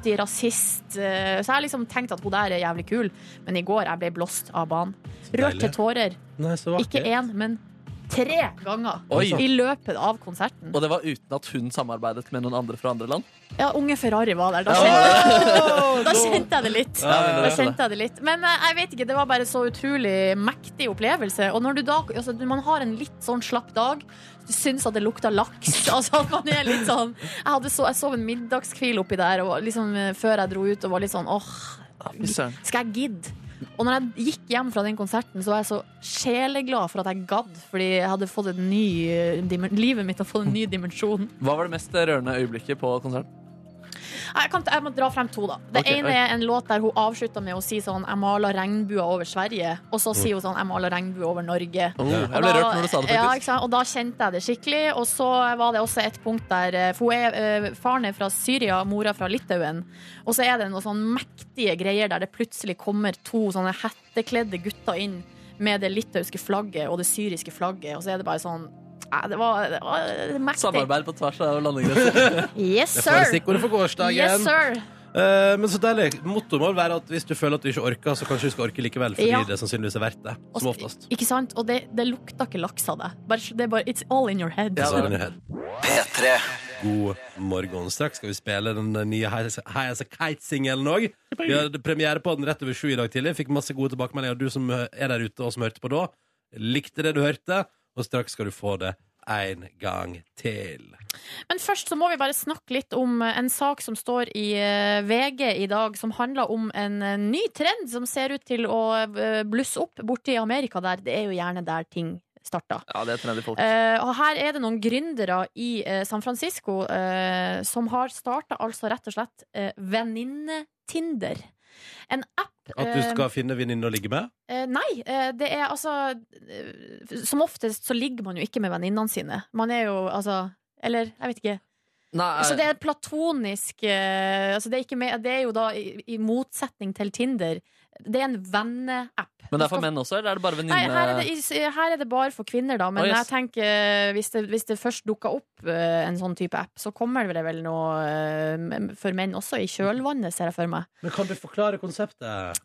Speaker 2: antirasist. eh, Så jeg har liksom tenkt at hun der er jævlig kul, men i går jeg ble blåst av banen. Rørt til
Speaker 1: deilig.
Speaker 2: tårer.
Speaker 1: Nei, så
Speaker 2: Ikke
Speaker 1: vakkert.
Speaker 2: én, men tre ganger
Speaker 3: Oi.
Speaker 2: i løpet av konserten.
Speaker 3: Og det var uten at hun samarbeidet med noen andre fra andre land?
Speaker 2: Ja, unge Ferrari var der. Da kjente, da kjente jeg det litt.
Speaker 3: Ja, men det
Speaker 2: Da
Speaker 3: er det.
Speaker 2: kjente jeg det litt. Men eh, jeg vet ikke, det var bare så utrolig mektig opplevelse. Og når du da, altså, når man har en litt sånn slapp dag, du syns at det lukter laks. Altså, at man er litt sånn Jeg, hadde så, jeg sov en middagskvil oppi der og liksom, eh, før jeg dro ut og var litt sånn åh,
Speaker 3: Fy søren.
Speaker 2: skal jeg gidde? Og når jeg gikk hjem fra den konserten, så var jeg så sjeleglad for at jeg gadd. Fordi jeg hadde fått en ny, eh, dimen- livet mitt hadde fått en ny dimensjon.
Speaker 3: Hva var det mest rørende øyeblikket på konserten?
Speaker 2: Jeg, kan, jeg må dra frem to, da. Det
Speaker 3: Ok,
Speaker 2: ene
Speaker 3: oi.
Speaker 2: er en låt der hun avslutta med å si sånn 'Jeg maler regnbuer over Sverige', og så sier hun sånn 'Jeg maler regnbuer over Norge'.
Speaker 3: Mm. Oh, jeg
Speaker 2: Og
Speaker 3: ble
Speaker 2: da-
Speaker 3: rørt når du sa det, faktisk.
Speaker 2: Ja, ikke sant? Og da kjente jeg det skikkelig. Og så var det også et punkt der eh, For hun er, eh, faren er fra Syria, mora fra Litauen. Og så er det noen sånn mektige greier der det plutselig kommer to sånne hettekledde gutter inn med det litauiske flagget og det syriske flagget, og så er det bare sånn Nei, det var, det var det er mektig.
Speaker 3: Samarbeid på tvers av landegrenser.
Speaker 2: Yes,
Speaker 1: Det får
Speaker 2: sir.
Speaker 1: stikkordet for gårsdagen.
Speaker 2: Yes, sir.
Speaker 1: Eh, men så deilig. Mottoet må vel være at hvis du føler at du ikke orker, så kanskje du skal orke likevel, fordi
Speaker 2: Ja.
Speaker 1: det sannsynligvis er verdt det. Som
Speaker 2: Og-
Speaker 1: oftest.
Speaker 2: Ikke sant? Og det, det lukta ikke laks av det. Bare, det er bare, it's all in your head.
Speaker 1: Så Altså, er det nyhet. God morgen. Straks skal vi spille den eh, nye High As A Kite-singelen òg. Vi hadde premiere på den rett over sju i dag tidlig. Fikk masse gode tilbakemeldinger. Du som eh, er der ute og som hørte på da, likte det du hørte, og straks skal du få det en gang til.
Speaker 2: Men først så må vi bare snakke litt om eh, en sak som står i eh, VG i dag, som handler om en eh, ny trend som ser ut til å eh, blusse opp borte i Amerika der. Det er jo gjerne der ting starta.
Speaker 3: Ja, det er trendy folk.
Speaker 2: Eh, og her er det noen gründere i eh, San Francisco eh, som har starta altså rett og slett uh, venninnetinder. En app
Speaker 1: At du
Speaker 2: eh,
Speaker 1: skal finne venninne å ligge med?
Speaker 2: Eh, nei, eh, det er altså eh, Som oftest så ligger man jo ikke med venninnene sine. Man er jo altså Eller, jeg vet ikke.
Speaker 3: eh.
Speaker 2: Så det er platonisk eh, altså det, er ikke med, det er jo da i, i motsetning til Tinder. Det er en venneapp.
Speaker 3: Men det er for menn også, eller er det bare
Speaker 2: Nei, her er, det,
Speaker 3: venninne...?
Speaker 2: i- her er det bare for kvinner, da. Men
Speaker 3: Å,
Speaker 2: jeg
Speaker 3: yes.
Speaker 2: tenker eh, hvis det, hvis det først dukker opp eh, en sånn type app, så kommer det vel noe eh, for menn også i kjølvannet, ser jeg for meg.
Speaker 1: Men kan du forklare konseptet?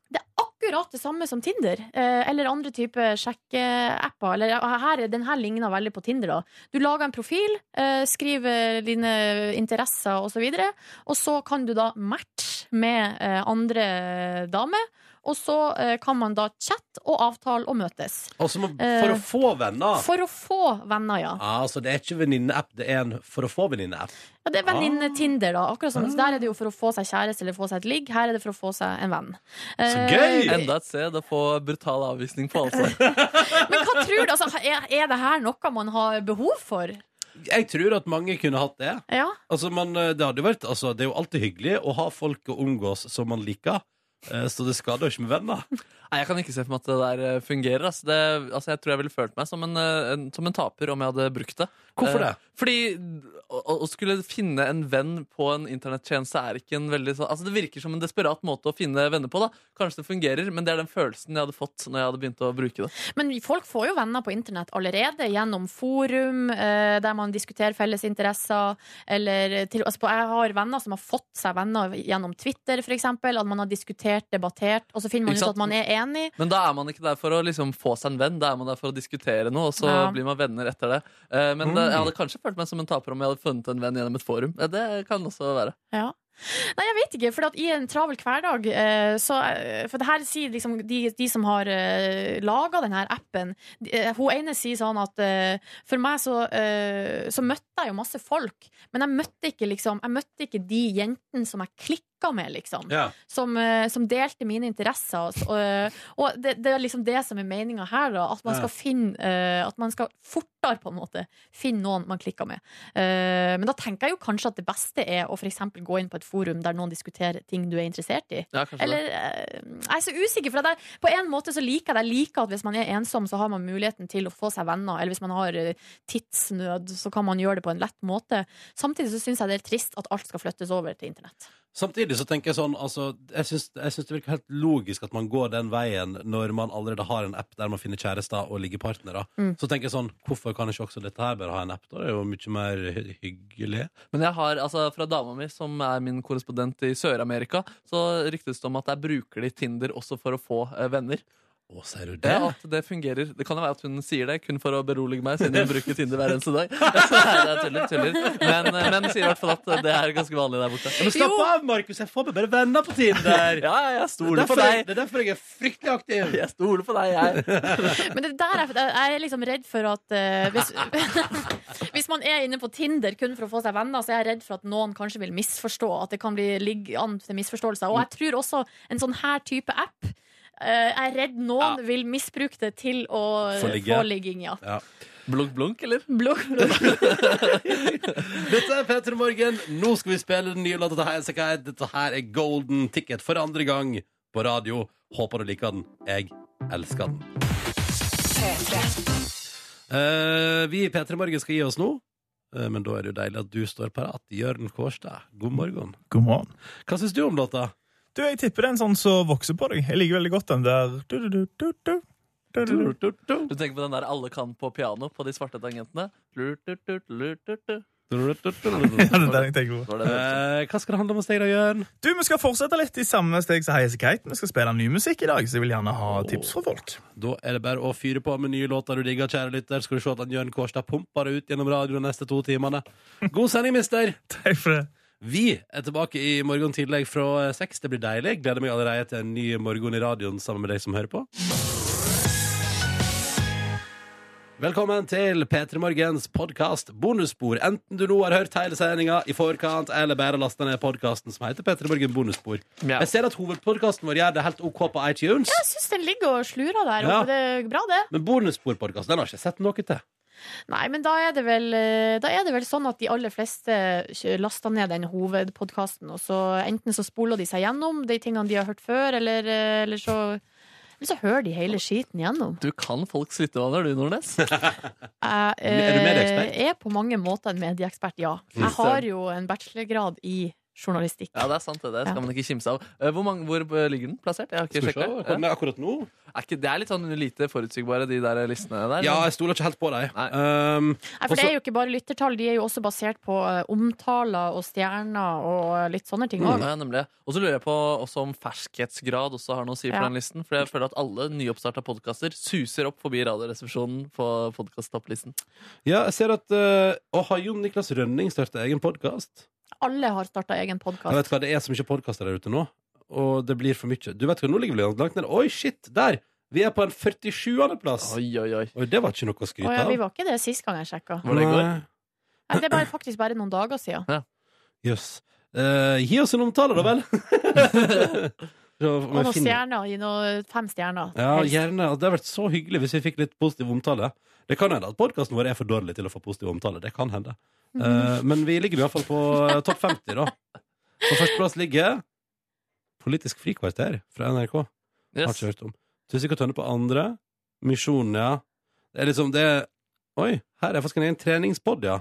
Speaker 2: akkurat det samme som Tinder, eh, eller andre typer sjekkeapper. Eller, eh, her, den her ligner veldig på Tinder. Da. Du lager en profil, eh, skriver dine interesser osv., og, så videre, og så kan du da matche med eh, andre damer. Og så eh, kan man da chatte og avtale og møtes.
Speaker 1: Altså, må-
Speaker 2: Eh,
Speaker 1: for å få venner?
Speaker 2: For å få venner, ja.
Speaker 1: Ah, altså, det er ikke venninne-app, det er en for å få venninne-app.
Speaker 2: Ja, Det er venninne-Tinder, da. Akkurat som, så Der er det jo for å få seg kjæreste eller få seg et ligg. Her er det for å få seg en venn. Eh,
Speaker 3: Enda et sted å få brutal avvisning på, altså.
Speaker 2: Men hva tror du? Altså, er, er det her noe man har behov for?
Speaker 1: Jeg tror at mange kunne hatt det.
Speaker 2: Ja.
Speaker 1: Altså, man, det, hadde jo vært, altså, det er jo alltid hyggelig å ha folk å omgås som man liker, eh, så det skader jo ikke med venner.
Speaker 3: Nei, Jeg kan ikke se for meg at det der eh, fungerer. ass. Det, altså, jeg tror jeg ville følt meg som en, eh, en, som en taper om jeg hadde brukt det.
Speaker 1: Hvorfor
Speaker 3: Eh,
Speaker 1: det?
Speaker 3: Fordi å, å- å skulle finne en venn på en internettjeneste er ikke en veldig sånn Altså, det virker som en desperat måte å finne venner på, da. Kanskje det fungerer, men det er den følelsen jeg hadde fått når jeg hadde begynt å bruke det.
Speaker 2: Men folk får jo venner på internett allerede gjennom forum eh, der man diskuterer felles interesser. Eller til, altså, på- jeg har venner som har fått seg venner gjennom Twitter, f.eks. At man har diskutert, debattert, og så finner man
Speaker 3: Ikke
Speaker 2: ut
Speaker 3: sant?
Speaker 2: at man er enig.
Speaker 3: Men da er man ikke der for å liksom få seg en venn, da er man der for å diskutere noe, og så
Speaker 2: Ja.
Speaker 3: blir man venner etter det. Eh, men
Speaker 2: Mm.
Speaker 3: det, jeg hadde kanskje følt meg som en taper om jeg hadde funnet en venn gjennom et forum. Eh, Det kan også være.
Speaker 2: Ja. Nei, jeg vet ikke, for at i en travel hverdag eh, så, eh, For det her sier liksom de, de som har eh, laga denne appen de, eh, Hun ene sier sånn at eh, for meg så, eh, så møtte jeg jo masse folk, men jeg møtte ikke liksom Jeg møtte ikke de jentene som jeg klikka snakka med, liksom.
Speaker 1: Ja.
Speaker 2: Som, eh, som delte mine interesser. og s- Og, og det, det er liksom det som er meninga her, da. At man
Speaker 11: Ja.
Speaker 2: skal finne eh, At man skal fortere, på en måte, finne noen man klikker med. Eh, men da tenker jeg jo kanskje at det beste er å f.eks. gå inn på et forum der noen diskuterer ting du er interessert i.
Speaker 11: Ja, kanskje
Speaker 2: Eller
Speaker 11: det.
Speaker 2: eh, Jeg er så usikker, for at jeg, på en måte så liker jeg det. Jeg liker at hvis man er ensom, så har man muligheten til å få seg venner. Eller hvis man har eh, tidsnød, så kan man gjøre det på en lett måte. Samtidig så syns jeg det er trist at alt skal flyttes over til internett.
Speaker 1: Samtidig så tenker jeg sånn altså, jeg, syns, jeg syns det virker helt logisk at man går den veien når man allerede har en app der man finner kjærester og liggepartnere.
Speaker 3: Mm.
Speaker 1: Så tenker jeg sånn, hvorfor kan ikke også dette her bare ha en app? da? Det er jo mye mer hy- hyggelig.
Speaker 3: Men jeg har, altså fra dama mi, som er min korrespondent i Sør-Amerika, så ryktes det om at jeg bruker de Tinder også for å få eh, venner.
Speaker 1: Å, sier du det?
Speaker 3: Ja, at det fungerer. Det kan jo være at hun sier det kun for å berolige meg, siden hun bruker Tinder hver eneste dag. Nei, det er tuller, tuller. Men, eh, men sier i hvert fall at det er ganske vanlig der borte.
Speaker 1: Ja, men slapp av, Markus. Jeg får meg bare venner på Tinder.
Speaker 3: ja, ja, jeg
Speaker 1: Det
Speaker 3: stoler
Speaker 1: er
Speaker 3: på
Speaker 1: derfor jeg-
Speaker 3: deg.
Speaker 1: Det er derfor jeg er fryktelig aktiv.
Speaker 3: Jeg stoler på deg, jeg.
Speaker 2: Men det der er, jeg er liksom redd for at eh, hvis, hvis man er inne på Tinder kun for å få seg venner, så er jeg redd for at noen kanskje vil misforstå. At det kan bli, ligge an til misforståelser. Og jeg tror også en sånn her type app eh, Jeg er redd noen vil misbruke det til å
Speaker 1: Få ligge.
Speaker 2: få ligging. Ja.
Speaker 3: Blunk, blunk, eller?
Speaker 2: Blunk, blunk.
Speaker 1: Dette er Peter Morgen. Nå skal vi spille den nye låta til Highasakite. Dette her er Golden Ticket for andre gang på radio. Håper du liker den. Jeg elsker den. Eh, vi i P3 Morgen skal gi oss nå. Eh, Men da er det jo deilig at du står parat. Jørn Kårstad, god morgen.
Speaker 13: God morgen.
Speaker 1: Hva syns du om låta?
Speaker 13: Du, Jeg tipper det er en sånn som vokser på deg. Jeg liker veldig godt den der du, du, du, du, du. Du, du, du.
Speaker 3: Du tenker på den der alle kan på piano, på de svarte tangentene? Lurt, lurt, lurt, lurt, lurt, lurt.
Speaker 13: Ja, det er den jeg tenker på.
Speaker 1: Eh, hva skal det handle om hos deg, da, Jørn?
Speaker 13: Du, Vi skal fortsette litt i samme steg som Heise Kite. Vi skal spille ny musikk i dag, så jeg vil gjerne ha tips fra folk.
Speaker 1: Da er det bare å fyre på med nye låter du digger, kjære lytter. Skal du se at han Jørn Kårstad pumper det ut gjennom radioen de neste to timene. God sending, mister!
Speaker 13: Takk for det.
Speaker 1: Vi er tilbake i morgen tidlig fra eh, seks. Det blir deilig. Gleder meg allerede til en ny morgen i radioen sammen med deg som hører på. Velkommen til P3 Morgens podkast Bonusspor. Enten du nå har hørt hele sendinga i forkant, eller bare lasta ned podkasten som heter P3 Morgen Bonusspor. Jeg ser at hovedpodkasten vår gjør det helt OK på iTunes.
Speaker 2: Jeg syns den ligger og slurer der.
Speaker 1: Ja.
Speaker 2: Og det er bra, det.
Speaker 1: Men bonussporpodkasten den har ikke sett noe til.
Speaker 2: Nei, men da er det vel, eh, da er det vel sånn at de aller fleste kjø- laster ned den hovedpodkasten, og så enten så spoler de seg gjennom de tingene de har hørt før, eller, eh, eller så eller så hører de hele skiten gjennom.
Speaker 3: Du kan folks lyttevaner, du, Nordnes.
Speaker 2: Jeg
Speaker 3: Er du medieekspert?
Speaker 2: eh, er på mange måter en medieekspert, ja. Jeg har jo en bachelorgrad i journalistikk.
Speaker 3: Ja, det er sant, det. Det skal
Speaker 2: Ja.
Speaker 3: man ikke kimse av. Eh, Hvor, mange, hvor eh, ligger den plassert? Jeg har ikke
Speaker 1: Skal vi se,
Speaker 3: sjekket.
Speaker 1: hvor den er akkurat nå?
Speaker 3: Er ikke, det er litt sånn lite forutsigbare, de der listene der.
Speaker 1: Ja, jeg stoler ikke helt på deg. Um,
Speaker 2: Nei, for
Speaker 1: også-
Speaker 2: det er jo ikke bare lyttertall, de er jo også basert på eh, omtaler og stjerner og litt sånne ting.
Speaker 3: Mm.
Speaker 2: også.
Speaker 3: Ja, nemlig. Og så lurer jeg på også om ferskhetsgrad også har noe å si for
Speaker 2: Ja.
Speaker 3: den listen. For jeg føler at alle nyoppstarta podkaster suser opp forbi Radioresepsjonen på podkast-topplisten.
Speaker 1: ja, jeg ser at uh, Å, har Jon Niklas Rønning starta egen podkast?
Speaker 2: Alle har starta egen podkast.
Speaker 1: Jeg vet hva, Det er så mye podkaster der ute nå, og det blir for mye. Du vet hva, Nå ligger vi langt ned. Oi, shit! Der! Vi er på en 47.-plass!
Speaker 3: Oi, oi, oi.
Speaker 1: Oi, det var ikke noe å skryte
Speaker 2: Å ja,
Speaker 1: av.
Speaker 2: vi var ikke det sist gang jeg sjekka.
Speaker 1: Var det i går? Nei.
Speaker 2: Nei, det er bare, faktisk bare noen dager siden.
Speaker 1: Jøss. Eh, gi oss en omtale, da vel! Så om
Speaker 2: Og
Speaker 1: jeg
Speaker 2: noen
Speaker 1: finner-
Speaker 2: stjerner. Gi noe fem stjerner.
Speaker 1: Ja,
Speaker 2: helst.
Speaker 1: gjerne. Og Det hadde vært så hyggelig hvis vi fikk litt positiv omtale. Det kan hende at podkasten vår er for dårlig til å få positiv omtale. Det kan hende.
Speaker 3: Mhm.
Speaker 1: Eh, men vi ligger i hvert fall på eh, topp 50, da. På førsteplass ligger Politisk frikvarter fra NRK. Har ikke hørt om. Tussik og Tønne på andre. Misjonen, ja. Det er liksom det Oi, her er faktisk en egen treningspod, ja.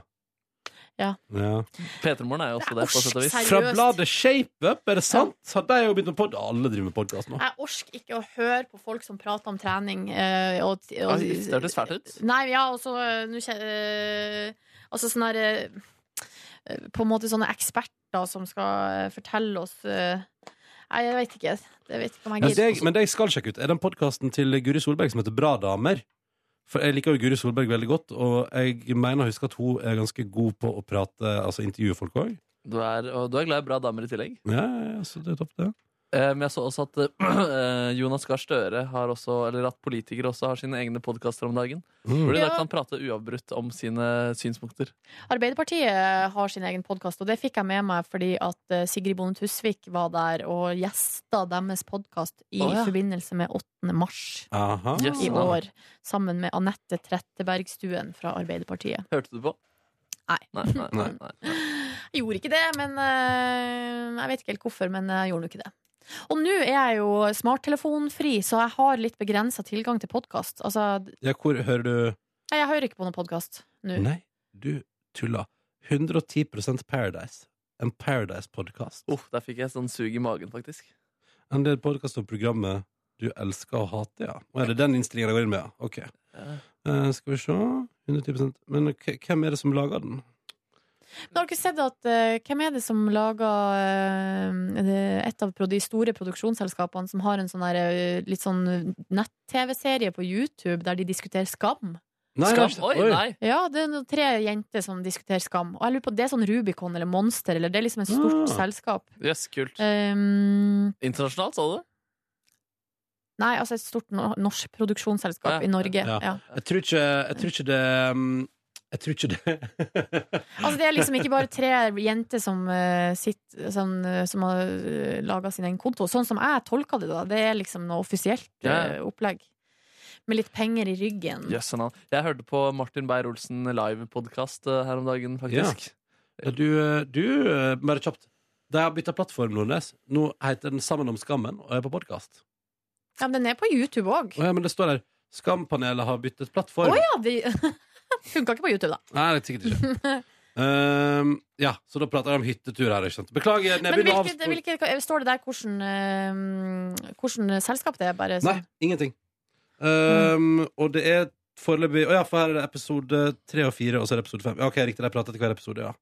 Speaker 2: Ja.
Speaker 1: ja.
Speaker 3: P3morgen er jo også det, på sett og vis.
Speaker 1: Fra bladet ShapeUp, er det sant? Har de jo begynt med pod? Alle driver med podkast nå.
Speaker 2: Jeg orsker ikke å høre på folk som prater om trening. eh, og, og,
Speaker 1: Oi, det Altså, hørtes fælt ut.
Speaker 2: Nei, ja, og så eh, nå kje- eh, Altså sånn her eh, eh, På en måte sånne eksperter som skal eh, fortelle oss eh, Nei, jeg vet ikke. Det vet ikke om
Speaker 1: Ja,
Speaker 2: jeg
Speaker 1: det, jeg-
Speaker 2: gidder.
Speaker 1: men det jeg skal sjekke ut, er den podkasten til Guri Solberg som heter Bra damer. For jeg liker jo Guri Solberg veldig godt, og jeg mener å huske at hun er ganske god på å prate, altså intervjue folk òg.
Speaker 3: Du er, og du er glad i bra damer i tillegg.
Speaker 1: Ja, ja, ja, så det er topp, det.
Speaker 3: Eh, Men jeg så også at eh, Jonas Gahr Støre har også, eller at politikere også har sine egne podkaster om dagen.
Speaker 2: Mm.
Speaker 3: Hvor de da
Speaker 2: Ja.
Speaker 3: kan prate uavbrutt om sine synspunkter.
Speaker 2: Arbeiderpartiet har sin egen podkast, og det fikk jeg med meg fordi at eh, Sigrid Bonde Tusvik var der og gjesta deres podkast i
Speaker 12: Å, ja.
Speaker 2: forbindelse med 8. mars
Speaker 3: Ah.
Speaker 1: Aha.
Speaker 2: i år. Sammen med Anette Trettebergstuen fra Arbeiderpartiet.
Speaker 3: Hørte du på?
Speaker 2: Nei.
Speaker 3: Nei, nei,
Speaker 1: nei.
Speaker 2: Jeg gjorde ikke det, men eh, jeg vet ikke helt hvorfor, men jeg gjorde nå ikke det. Og nå er jeg jo smarttelefonfri, så jeg har litt begrensa tilgang til podkast. Altså,
Speaker 1: Ja, hvor hører du
Speaker 2: nei, jeg hører ikke på noen podkast nå.
Speaker 1: Nei, du tuller. 110 Paradise. En Paradise-podkast.
Speaker 3: Uff, der fikk jeg sånn sug i magen, faktisk.
Speaker 1: En del podkast om programmet du elsker og hater, ja. Og er det den innstillinga det går inn med, ja? Ok. Eh, skal vi se 110 Men k hvem er det som lager den?
Speaker 2: Men har dere sett at eh, Hvem er det som lager eh, det- et av pro- de store produksjonsselskapene som har en sånn der, eh, litt sånn nett-TV-serie på YouTube der de diskuterer skam?
Speaker 1: Nei, Skam? nei, Oi, oi. nei.
Speaker 2: Ja, det er noen tre jenter som diskuterer skam. Og jeg lurer på, Det er sånn Rubicon eller Monster, eller det er liksom et stort
Speaker 3: Ah.
Speaker 2: selskap.
Speaker 3: Jøss, kult.
Speaker 2: Um,
Speaker 3: Internasjonalt, sa du det?
Speaker 2: nei, altså et stort no norsk produksjonsselskap i Norge. Ja.
Speaker 1: Jeg tror ikke, jeg tror ikke det mm, Jeg tror ikke det
Speaker 2: Altså Det er liksom ikke bare tre jenter som, eh, sitter, som, eh, som har uh, laga sin egen konto. Sånn som jeg tolker det, da. Det er liksom noe offisielt eh,
Speaker 3: Ja.
Speaker 2: opplegg. Med litt penger i ryggen.
Speaker 3: Jøss, han. Jeg hørte på Martin Beyer-Olsen live-podkast her om dagen, faktisk.
Speaker 1: Ja. Du, eh, du eh, bare kjapt. De har bytta plattform, Nordnes. Nå heter den Sammen om skammen og er på podkast.
Speaker 2: Ja, men den er på YouTube òg.
Speaker 1: ja, men det står der Skampanelet har byttet
Speaker 2: Å
Speaker 1: plattform.
Speaker 2: ja! De... Funka ikke på YouTube, da.
Speaker 1: Nei, det er sikkert ikke. Ehm, ja, så da prater jeg om hyttetur her, ikke sant. Beklager,
Speaker 2: Men
Speaker 1: Nebby. nå
Speaker 2: hvilket,
Speaker 1: avspor-
Speaker 2: hvilket, står det der hvordan, eh, hvordan selskap det er? Bare
Speaker 1: Nei,
Speaker 2: sånn.
Speaker 1: ingenting. Ehm, Og det er foreløpig Å ja, for her er det episode tre og fire, og så er det episode fem. Ja, OK, riktig, de prater til hver episode, ja.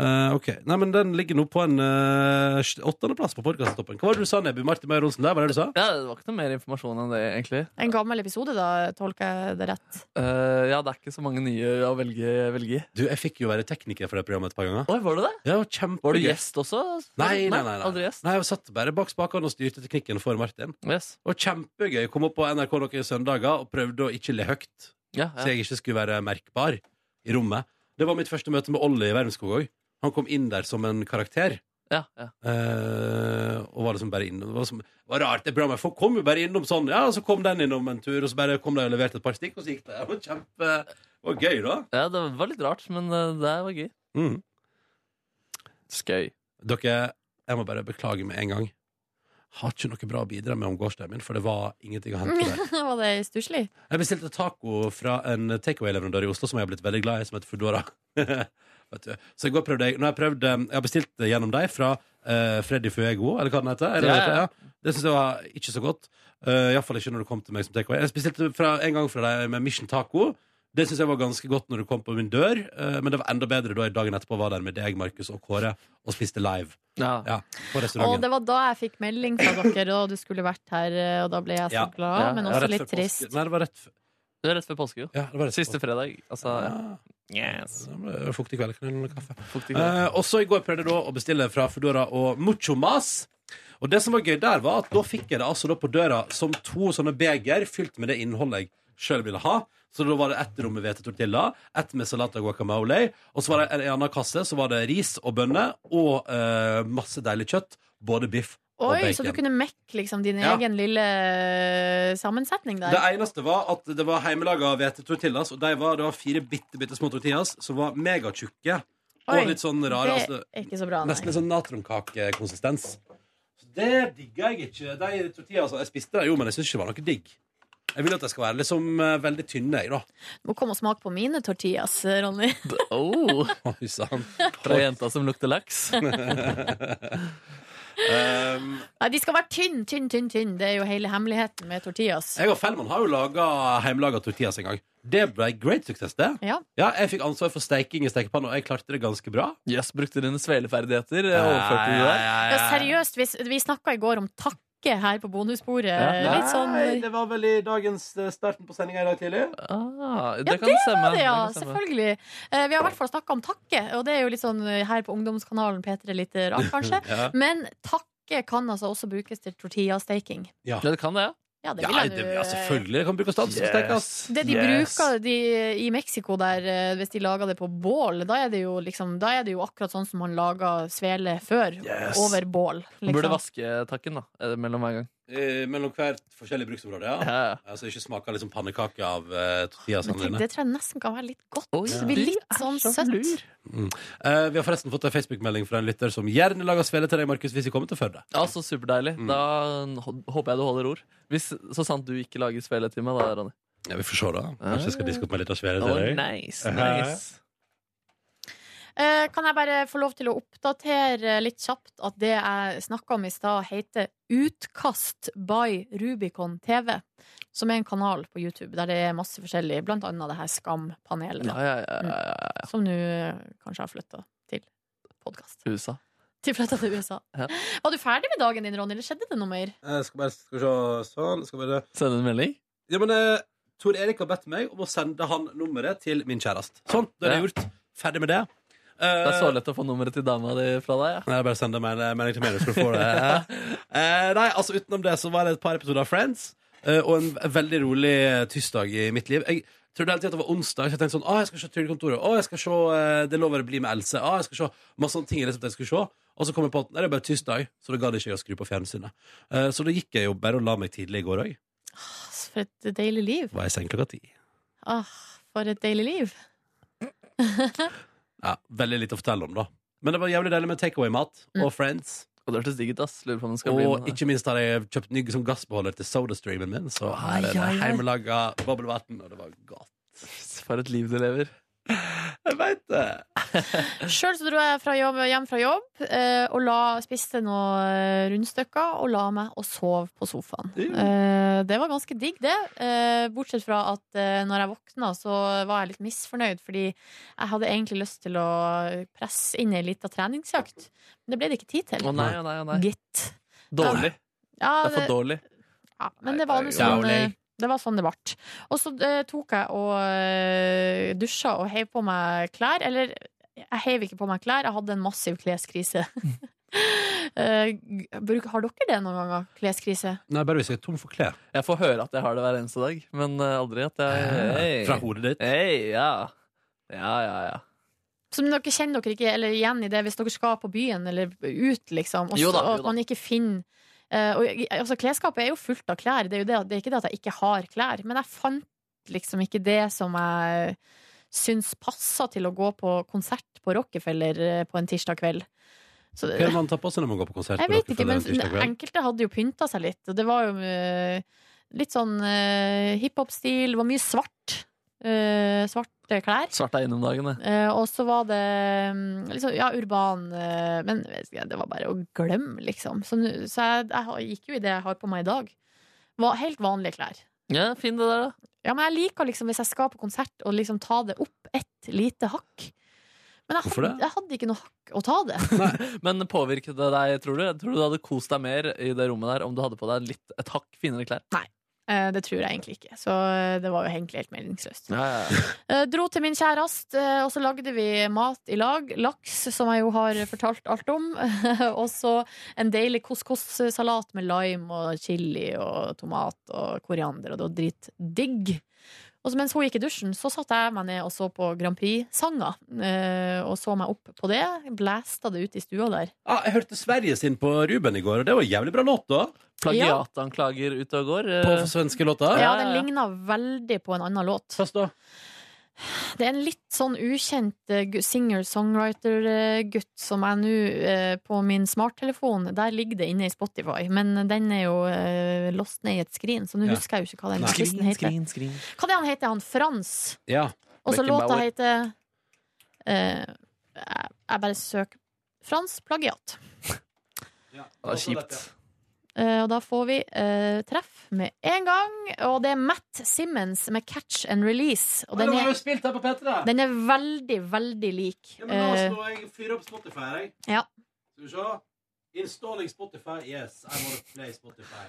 Speaker 1: Eh, ok, Nei, men Den ligger nå på en eh, sj- åttendeplass på podkasttoppen. Hva var det du sa, Nebby? Martin Meyer Olsen, der, hva var det du sa?
Speaker 3: Ja, det var ikke noe mer informasjon enn det, egentlig.
Speaker 2: En gammel episode, da, tolker jeg det rett.
Speaker 3: Eh, ja, det er ikke så mange nye å velge, velge i.
Speaker 1: Du, jeg fikk jo være tekniker for det programmet et par ganger.
Speaker 3: Oi, var du det?
Speaker 1: Ja, det var kjempegøy.
Speaker 3: Var du gjest også?
Speaker 1: Nei, nei, nei, nei.
Speaker 3: Aldri gjest?
Speaker 1: Nei, jeg satt bare bak spakene og styrte teknikken for Martin.
Speaker 3: Yes.
Speaker 1: Og kjempegøy. Kom opp på NRK noen søndager og prøvde å ikke le høyt,
Speaker 3: Ja, ja.
Speaker 1: så jeg ikke skulle være merkbar i rommet. Det var mitt første møte med Olli i Verdenskog òg. Han kom inn der som en karakter.
Speaker 3: Ja, ja.
Speaker 1: eh, og var liksom bare innom. Det var, som, det var rart, det programmet. Folk kom jo bare innom sånn. Ja, og så kom den innom en tur, og så bare kom de og leverte et par stikk, og så gikk det. Det var kjempe det var gøy, da.
Speaker 3: Ja, det var litt rart, men eh, det var gøy.
Speaker 1: Mm.
Speaker 3: Skøy.
Speaker 1: Dere, jeg må bare beklage med en gang. Har ikke noe bra å bidra med om gårsdagen min, for det var ingenting å hente der.
Speaker 2: Var det stusslig?
Speaker 1: Jeg bestilte taco fra en takeaway-leverandør i Oslo som jeg har blitt veldig glad i, som heter Foodora. Vet du. Så i går prøvde jeg Nå har jeg prøvd eh, Jeg har bestilt det gjennom deg fra eh, Freddy Fuego, eller hva den heter. Er det
Speaker 3: Ja, ja.
Speaker 1: det heter? Ja. Det syns jeg var ikke så godt. Uh, Iallfall ikke når det kom til meg som takeaway. Jeg bestilte fra, en gang fra deg med Mission Taco. Det syns jeg var ganske godt når det kom på min dør, eh, men det var enda bedre da jeg dagen etterpå var der med deg, Markus og Kåre, og spiste live. Ja, på
Speaker 2: Og
Speaker 1: restauranten.
Speaker 2: det var da jeg fikk melding fra dere, og du skulle vært her, eh, og da ble jeg så
Speaker 1: Ja.
Speaker 2: glad,
Speaker 1: Ja,
Speaker 2: men
Speaker 1: ja,
Speaker 2: også
Speaker 1: rett
Speaker 2: litt
Speaker 1: før påske.
Speaker 2: trist.
Speaker 1: Nei, det var rett før
Speaker 3: Det er rett før påske, jo. Siste fredag. Altså, yes.
Speaker 1: Fuktig kveldkanel eller kaffe. Eh, og så i går prøvde jeg da å bestille fra Foodora og Mucho Mas. Og det som var gøy der, var at da fikk jeg det altså da på døra som to sånne beger fylt med det innholdet jeg sjøl ville ha. Så da var det ett rom med hvetetortilla, ett med salat og guacamole, og så var det en annen kasse, så var det ris og bønner og eh, masse deilig kjøtt. Både biff og
Speaker 2: Oi,
Speaker 1: bacon.
Speaker 2: så du kunne mekke liksom din
Speaker 1: Ja.
Speaker 2: egen lille eh, sammensetning der?
Speaker 1: Det eneste var at det var hjemmelaga hvetetortillas, og de var, det var fire bitte, bitte små tortillas som var megatjukke.
Speaker 2: Oi,
Speaker 1: Og litt sånn rare.
Speaker 2: det
Speaker 1: Altså,
Speaker 2: er ikke så bra, nei.
Speaker 1: nesten litt sånn natronkakekonsistens. Så det digga jeg ikke. De tortillas jeg spiste, der, jo, men jeg syns ikke det var noe digg. Jeg vil at de skal være liksom eh, veldig tynne, jeg, da.
Speaker 2: Du må komme og smake på mine tortillas, eh, Ronny.
Speaker 3: Oh.
Speaker 1: Oi sann.
Speaker 3: Fra jenta som lukter laks.
Speaker 1: Um,
Speaker 2: Nei, de skal være tynn, tynn, tynn, tynn. Det er jo hele hemmeligheten med tortillas.
Speaker 1: jeg og Fellman har jo laga hjemmelaga tortillas en gang. Det ble great suksess, det.
Speaker 2: Ja.
Speaker 1: Ja, jeg fikk ansvar for steiking i stekepanna, og jeg klarte det ganske bra.
Speaker 3: Yes, brukte dine sveleferdigheter? eh, Overførte du det?
Speaker 2: Ja, seriøst, vi, s- vi snakka i går om takke her på bonusbordet.
Speaker 3: Ja.
Speaker 2: Litt sånn
Speaker 1: Nei, det var vel i dagens eh, starten på sendinga i dag tidlig.
Speaker 3: Ah, det
Speaker 2: ja,
Speaker 3: kan
Speaker 2: det
Speaker 3: stemme.
Speaker 2: var det, ja.
Speaker 3: Det kan stemme.
Speaker 2: Selvfølgelig. Eh, vi har i hvert fall snakka om takke, og det er jo litt sånn eh, her på ungdomskanalen P3 litt eh, rart, kanskje.
Speaker 3: Ja.
Speaker 2: Men takke Skinke kan altså også brukes til tortillasteking.
Speaker 1: Ja.
Speaker 3: det kan det, ja.
Speaker 2: Ja, det vil jeg nå,
Speaker 1: ja, selvfølgelig det kan brukes til alt som
Speaker 3: Yes.
Speaker 1: stekes.
Speaker 2: Det de bruker liksom. de, i Mexico der, eh, hvis de lager det på bål, da er det jo, liksom, da er det jo akkurat sånn som man laga svele før.
Speaker 3: Yes.
Speaker 2: Over bål.
Speaker 3: Man burde
Speaker 2: Liksom.
Speaker 3: vaske takken da, eh, mellom hver gang.
Speaker 1: Eh, mellom hvert forskjellig bruksområde, ja. ja. Så det ikke smaker liksom pannekake av eh, tortillasene
Speaker 2: Men tenk,
Speaker 1: dine.
Speaker 2: det tror jeg nesten kan være litt godt.
Speaker 1: ja.
Speaker 2: det blir litt sånn søtt.
Speaker 1: Mm. Eh, vi har forresten fått en Facebook-melding fra en lytter som gjerne lager svele til deg, Markus, hvis vi kommer til Førde.
Speaker 3: Ja, så superdeilig.
Speaker 1: Mm.
Speaker 3: Da hå- håper jeg du holder ord. Hvis, så sant du ikke lager svele til meg, da, Ronny.
Speaker 1: Ja, vi får se, da. Kanskje jeg skal diske opp med litt av svele til
Speaker 3: Oh,
Speaker 1: deg.
Speaker 3: nice, nice.
Speaker 2: Eh, Kan jeg bare få lov til å oppdatere litt kjapt at det jeg snakka om i stad, heter Utkast by Rubicon TV. Som er en kanal på YouTube der det er masse forskjellig, blant annet det her Skam-panelet. da.
Speaker 3: Ja, ja, ja, ja, ja, ja.
Speaker 2: Som nå eh, kanskje har flytta til podkast.
Speaker 3: USA.
Speaker 2: Til flytta til USA.
Speaker 3: Ja.
Speaker 2: Var du ferdig med dagen din, Ronny, eller skjedde det noe mer?
Speaker 1: Jeg Eh, skal bare skal vi se sånn. Skal bare...
Speaker 3: Sende en melding?
Speaker 1: Ja, men eh, Tor Erik har bedt meg om å sende han nummeret til min kjæreste. Sånn, det er det gjort. Ferdig med det. Eh,
Speaker 3: Det er så lett å få nummeret til dama di fra deg. Ja.
Speaker 1: Nei, jeg bare send deg en eh, melding til meg, du skal få det. Eh, nei, altså utenom det så var det et par episoder av Friends, eh, og en veldig rolig eh, tirsdag i mitt liv. Jeg trodde hele tiden at det var onsdag, så jeg tenkte sånn, ah, jeg skal se Trygdekontoret, ah, jeg skal se eh, Det lover å bli med Else, ah, jeg skal se masse sånne ting jeg liksom tenkte jeg skulle se. Og så kom jeg på at nei, det er bare tirsdag, så da gadd ikke jeg å skru på fjernsynet. Eh, så da gikk jeg jo bare og la meg tidlig i går òg.
Speaker 2: Altså, For et deilig liv.
Speaker 1: Var i seng klokka ti.
Speaker 2: Ah, for et deilig liv.
Speaker 1: Ja, veldig lite å fortelle om, da. Men det var jævlig deilig med takeaway-mat
Speaker 2: Mm.
Speaker 1: og Friends.
Speaker 3: Og det hørtes digg ut, ass. Lurer på om den skal bli
Speaker 1: Og
Speaker 3: med.
Speaker 1: ikke minst har jeg kjøpt ny som gassbeholder til sodastreamen min, så her er
Speaker 3: Ai,
Speaker 1: det
Speaker 3: ai, ai.
Speaker 1: hjemmelaga boblevann, og det var godt.
Speaker 3: For et liv du lever.
Speaker 1: Jeg veit det!
Speaker 2: Sjøl dro jeg fra jobb, hjem fra jobb eh, og la, spiste noen eh, rundstykker og la meg og sov på sofaen. Eh, det var ganske digg, det. Eh, bortsett fra at eh, når jeg våkna, så var jeg litt misfornøyd, fordi jeg hadde egentlig lyst til å presse inn ei lita treningsjakt. Men det ble det ikke tid til.
Speaker 3: Å nei, å nei, å nei.
Speaker 2: Gitt.
Speaker 3: Dårlig.
Speaker 2: Ja,
Speaker 3: det er for dårlig.
Speaker 2: Ja, men det var,
Speaker 3: det
Speaker 2: noe
Speaker 3: er
Speaker 2: sånn,
Speaker 3: jævlig.
Speaker 2: eh, det var sånn det ble. Og så eh, tok jeg og eh, dusja og heiv på meg klær. Eller, jeg heiv ikke på meg klær, jeg hadde en massiv kleskrise. Eh, g- bruk- har dere det noen ganger? Kleskrise?
Speaker 1: Nei, bare hvis jeg er tom for klær.
Speaker 3: Jeg får høre at jeg har det hver eneste dag, men eh, aldri at jeg
Speaker 1: Eh, fra hodet ditt?
Speaker 3: Hey, ja. ja, ja, ja.
Speaker 2: Så men dere kjenner dere ikke eller igjen i det hvis dere skal på byen eller ut, liksom. Og
Speaker 3: Jo da,
Speaker 2: så-
Speaker 3: jo
Speaker 2: og at
Speaker 3: da.
Speaker 2: man ikke finner eh, og, jeg- altså, Klesskapet er jo fullt av klær. Det er jo det, det er ikke det at jeg ikke har klær. Men jeg fant liksom ikke det som jeg syns passa til å gå på konsert på Rockefeller eh, på en tirsdag kveld. Så
Speaker 1: Hva
Speaker 2: det-
Speaker 1: er det man tar på seg når man går på konsert?
Speaker 2: jeg
Speaker 1: på
Speaker 2: vet ikke,
Speaker 1: Rockefeller
Speaker 2: men sånn
Speaker 1: en tirsdag kveld?
Speaker 2: enkelte hadde jo pynta seg litt. Og det var jo eh, litt sånn eh, hiphop-stil. Det var mye svart. eh, svarte klær.
Speaker 3: Svart er innom dagen, det.
Speaker 2: Eh, og så var det mm, liksom, ja, urban eh, Men vet ikke, det var bare å glemme, liksom. Så, nu- så jeg, jeg har- gikk jo i det jeg har på meg i dag. Var helt vanlige klær.
Speaker 3: Ja, fin det der, da.
Speaker 2: Ja, men jeg liker liksom, hvis jeg skal på konsert, å liksom ta det opp ett lite hakk. Men jeg
Speaker 3: Hvorfor
Speaker 2: hadde,
Speaker 3: det?
Speaker 2: jeg hadde ikke noe hakk å ta det.
Speaker 3: Men påvirket det deg, tror du? Tror du du hadde kost deg mer i det rommet der om du hadde på deg litt, et hakk finere klær?
Speaker 2: Nei. Eh, det tror jeg egentlig ikke. Så eh, det var jo egentlig helt meningsløst.
Speaker 3: Ja, ja, ja.
Speaker 2: Eh, Dro til min kjærest, eh, og så lagde vi mat i lag. Laks, som jeg jo har fortalt alt om. og så en deilig couscous-salat med lime og chili og tomat og koriander, og det var dritdigg. Og så mens hun gikk i dusjen, så satte jeg meg ned og så på Grand Prix-sanger. eh, Og så meg opp på det. Blæsta det ut i stua der.
Speaker 1: ah, jeg hørte Sverige sin på Ruben i går, og det var en jævlig bra låt, da.
Speaker 3: Plagiatanklager ute og går. eh.
Speaker 1: På svenske låter.
Speaker 2: Ja, den ligna veldig på en annen låt. Det er en litt sånn ukjent eh, gu- singer-songwriter-gutt som jeg nå eh, på min smarttelefon Der ligger det inne i Spotify, men den er jo eh, lost ned i et skrin, så nå
Speaker 1: Ja.
Speaker 2: husker jeg jo ikke hva den
Speaker 1: Nei.
Speaker 2: artisten heter. Hva er det han heter? Han Frans?
Speaker 1: Ja.
Speaker 2: Og så låta
Speaker 1: Beckenbauer.
Speaker 2: heter eh, jeg, jeg bare søker Frans plagiat.
Speaker 3: Det
Speaker 1: altså,
Speaker 3: var kjipt.
Speaker 2: Eh, og da får vi eh, treff med en gang. Og det er Matt Simmons med 'Catch and Release'. Og den er,
Speaker 1: spilt her på Petra!
Speaker 2: den er veldig, veldig lik.
Speaker 1: Ja, men nå
Speaker 2: eh,
Speaker 1: slår jeg fyrer opp Spotify, jeg.
Speaker 2: Ja.
Speaker 1: Skal vi se. Installing Spotify. Yes, I want to play Spotify.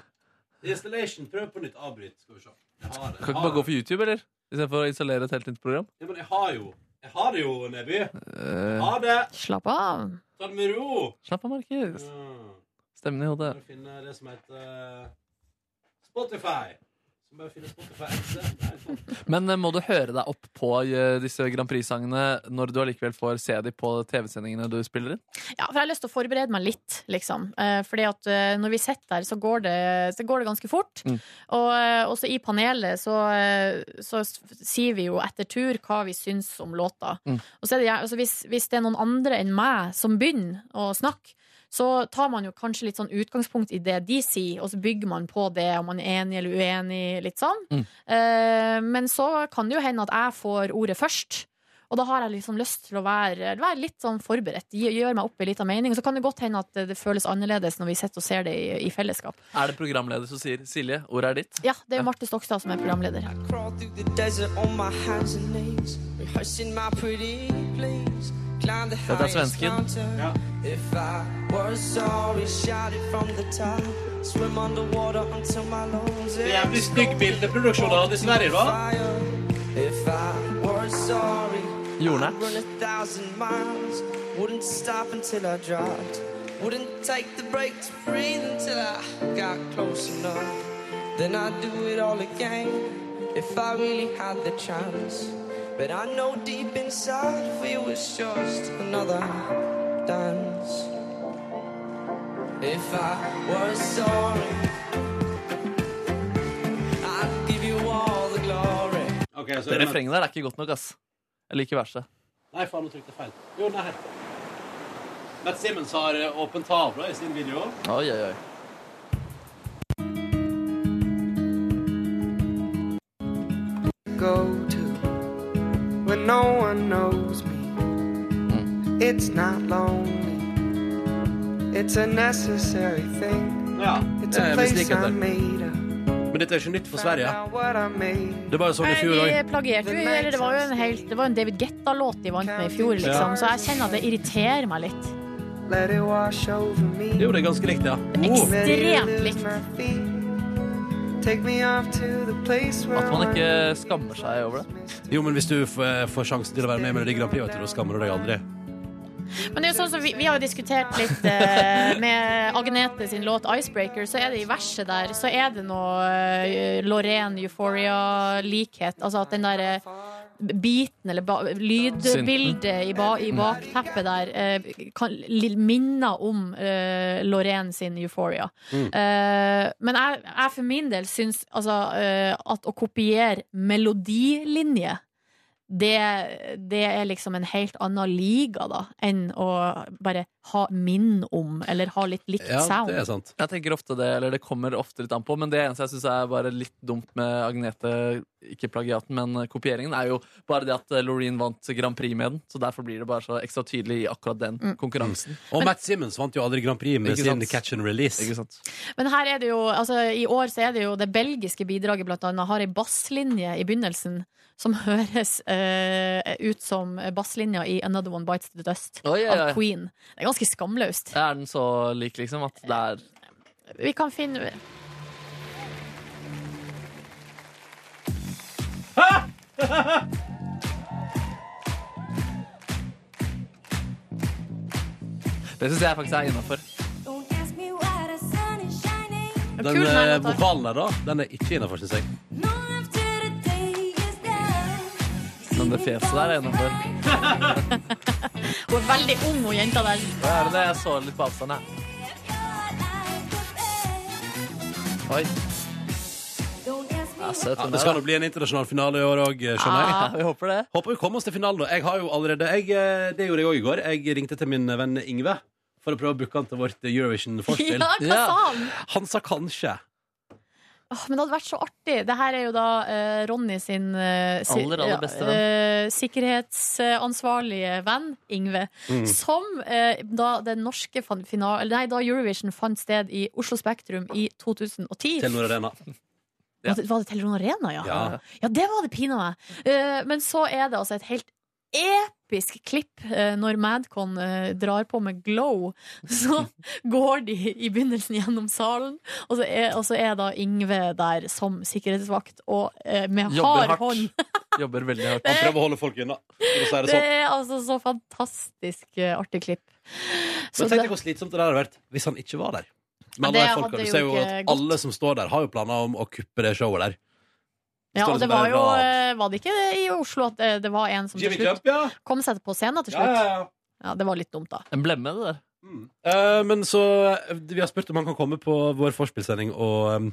Speaker 1: Installation. Prøv på nytt. Avbryt. Skal vi se. Jeg har det.
Speaker 3: Kan ikke bare gå for YouTube, eller? Istedenfor å installere et helt nytt program.
Speaker 1: Ja, men jeg har jo Jeg har det jo, Neby.
Speaker 3: Eh, Oh.
Speaker 1: Ha det!
Speaker 2: Slapp av.
Speaker 1: Ta det med ro.
Speaker 3: Slapp av, Markus. Stemmen i hodet.
Speaker 1: Bare finne det som heter eh, Spotify. Så bare finne Spotify XE.
Speaker 3: Men eh, må du høre deg opp på eh, disse Grand Prix-sangene når du allikevel får se dem på TV-sendingene du spiller inn?
Speaker 2: Ja, for jeg har lyst til å forberede meg litt, liksom. Eh, fordi at eh, når vi sitter der, så går det, så går det ganske fort.
Speaker 3: Mm.
Speaker 2: Og eh, også i panelet så, eh, så s- sier vi jo etter tur hva vi syns om låta.
Speaker 11: Mm.
Speaker 2: Og så er det, gjer- altså, hvis, hvis det er noen andre enn meg som begynner å snakke, så tar man jo kanskje litt sånn utgangspunkt i det de sier, og så bygger man på det om man er enig eller uenig, litt sånn.
Speaker 3: Mm.
Speaker 2: Eh, men så kan det jo hende at jeg får ordet først. Og da har jeg liksom lyst til å være, være litt sånn forberedt. Gj- Gjøre meg opp en liten mening. Og så kan det godt hende at det- det føles annerledes når vi sitter og ser det i, i fellesskap.
Speaker 3: Er det programleder som sier 'Silje, ordet er ditt'?
Speaker 2: Ja, det er jo Marte Stokstad som er programleder.
Speaker 11: Crawl through the desert on my hands and knees, rehearsing my pretty please. Climb the
Speaker 3: Ja, det er
Speaker 11: highest
Speaker 3: svensken.
Speaker 11: mountain. If I were sorry, shout it from the top. Swim underwater until my lungs
Speaker 1: Det er jævlig stygg bildeproduksjon av det i Sverige, da.
Speaker 11: If I were sorry,
Speaker 3: Jordnært.
Speaker 11: I'd run a thousand miles. Wouldn't stop until I dropped. Wouldn't take the break to breathe until I got close enough. Then I'd do it all again if I really had the chance. But I know deep inside for you it's just another dance. If I were sorry, I'd give you all the glory.
Speaker 1: Okay, så
Speaker 3: Det refrenget der er ikke godt nok, ass. Jeg liker verset.
Speaker 1: Nei, faen, nå trykte jeg feil. Jo, nei. Matt Simmons har eh, åpen tavle i sin video.
Speaker 3: Oi, oi, oi.
Speaker 11: go to when no one knows me. It's not lonely. It's a necessary thing. It's
Speaker 1: det
Speaker 11: a
Speaker 1: er
Speaker 11: place
Speaker 1: mislykket,
Speaker 11: I
Speaker 1: Eh, det.
Speaker 11: made up.
Speaker 1: Men dette er ikke nytt for Sverige.
Speaker 11: Now what I made.
Speaker 1: Det var jo sånn i
Speaker 2: Nei,
Speaker 1: fjor òg.
Speaker 2: De plagierte jo, eller det var jo en, helt, det var en David Getta-låt de vant med i fjor, liksom. Så jeg kjenner at det irriterer meg litt.
Speaker 11: Let it wash over me.
Speaker 1: Jo, det er ganske likt, ja. Oh.
Speaker 11: Let it
Speaker 2: Ekstremt
Speaker 11: lose
Speaker 2: likt.
Speaker 11: my feet. Take me off to the place where
Speaker 3: At man ikke skammer seg over det.
Speaker 1: Jo, men hvis du f- eh, får sjansen til å være med i Melodi Grand Prix, vet du, da skammer du deg aldri.
Speaker 2: Men det er jo sånn som vi, vi har jo diskutert litt eh, med Agnete sin låt 'Icebreaker', så er det i verset der så er det noe eh, Lorraine Euphoria-likhet. Altså at den der eh, biten, eller ba, lydbildet i, ba, i bakteppet der, eh, kan, li- minner om eh, Lorraine sin Euphoria.
Speaker 11: Mm.
Speaker 2: Eh, men jeg, jeg for min del syns altså, eh, at å kopiere melodilinje det, det er liksom en helt annen liga da enn å bare ha minn om, eller ha litt likt sound.
Speaker 3: Jeg tenker ofte det, eller det kommer ofte litt an på, men det eneste jeg syns er bare litt dumt med Agnete, ikke plagiaten, men kopieringen, er jo bare det at Loreen vant Grand Prix med den, så derfor blir det bare så ekstra tydelig i akkurat den
Speaker 2: Mm.
Speaker 3: konkurransen.
Speaker 1: Mm. Og Matt Simmons vant jo aldri Grand Prix med
Speaker 3: Ikke
Speaker 1: sin
Speaker 3: sant?
Speaker 1: catch and release.
Speaker 2: Men her er det jo, altså i år så er det jo det belgiske bidraget blant annet har ei basslinje i begynnelsen som høres eh, ut som basslinja i Another One Bites The Dust
Speaker 3: Oi, oi, oi.
Speaker 2: av Queen. Det er ganske skamløst.
Speaker 3: Er den så lik, liksom, at det er
Speaker 2: Vi kan finne
Speaker 3: Det syns jeg faktisk er innafor.
Speaker 1: Den eh, vokalen der, da, den er ikke innafor, syns jeg.
Speaker 3: Men det fjeset der er innafor.
Speaker 2: Hun er veldig ung, hun jenta der.
Speaker 3: Det er det jeg så litt på avstand, jeg. Oi. Ja, søt
Speaker 1: Ja,
Speaker 3: den
Speaker 1: det
Speaker 3: der,
Speaker 1: skal
Speaker 3: da.
Speaker 1: nå bli en internasjonal finale i år òg, skjønner jeg.
Speaker 3: Ja, vi håper det.
Speaker 1: Håper vi kommer oss til finalen. da. Jeg har jo allerede jeg, eh, Det gjorde jeg òg i går. Jeg ringte til min venn Ingve for å prøve å booke han til vårt Eurovision-forspill.
Speaker 2: Ja, hva sa han?
Speaker 1: Han sa kanskje.
Speaker 2: Åh, men det hadde vært så artig. Det her er jo da eh, Ronny sin eh, si-
Speaker 1: Aller, aller beste
Speaker 2: ja, eh, sikkerhetsansvarlige venn, Ingve,
Speaker 11: Mm.
Speaker 2: som eh, da den norske fan- final... Nei, da Eurovision fant sted i Oslo Spektrum i 2010.
Speaker 1: Telenor Arena.
Speaker 2: Var det, var det Telenor Arena, ja?
Speaker 1: Ja.
Speaker 2: Ja, det var det pina meg. Eh, men så er det altså et helt episk klipp eh, når Madcon eh, drar på med glow. Så går de i begynnelsen gjennom salen, og så er, og så er da Ingve der som sikkerhetsvakt og eh, med hard
Speaker 1: Jobber hardt.
Speaker 2: hånd.
Speaker 3: Jobber veldig hardt.
Speaker 1: Han prøver å holde folk unna. for å si
Speaker 2: Det
Speaker 1: det sånn.
Speaker 2: er altså så fantastisk eh, artig klipp.
Speaker 1: Men tenk deg hvor slitsomt det der hadde vært hvis han ikke var der. Men
Speaker 2: det
Speaker 1: alle de folka,
Speaker 2: hadde
Speaker 1: du
Speaker 2: jo
Speaker 1: ser jo
Speaker 2: ikke
Speaker 1: at alle som står der, har jo planer om å kuppe det showet der.
Speaker 2: Ja,
Speaker 1: Står
Speaker 2: og det
Speaker 1: liksom
Speaker 2: var
Speaker 1: der
Speaker 2: jo
Speaker 1: og-
Speaker 2: eh, Var det ikke det i Oslo at eh, det var en som
Speaker 1: Jimmy
Speaker 2: til slutt
Speaker 1: Trump, ja.
Speaker 2: kom seg på scenen til
Speaker 1: Ja,
Speaker 2: slutt?
Speaker 1: ja, ja.
Speaker 2: Ja, det var litt dumt, da.
Speaker 3: En blemme, det der.
Speaker 1: Eh, men så eh, Vi har spurt om han kan komme på vår forspillsending og, eh,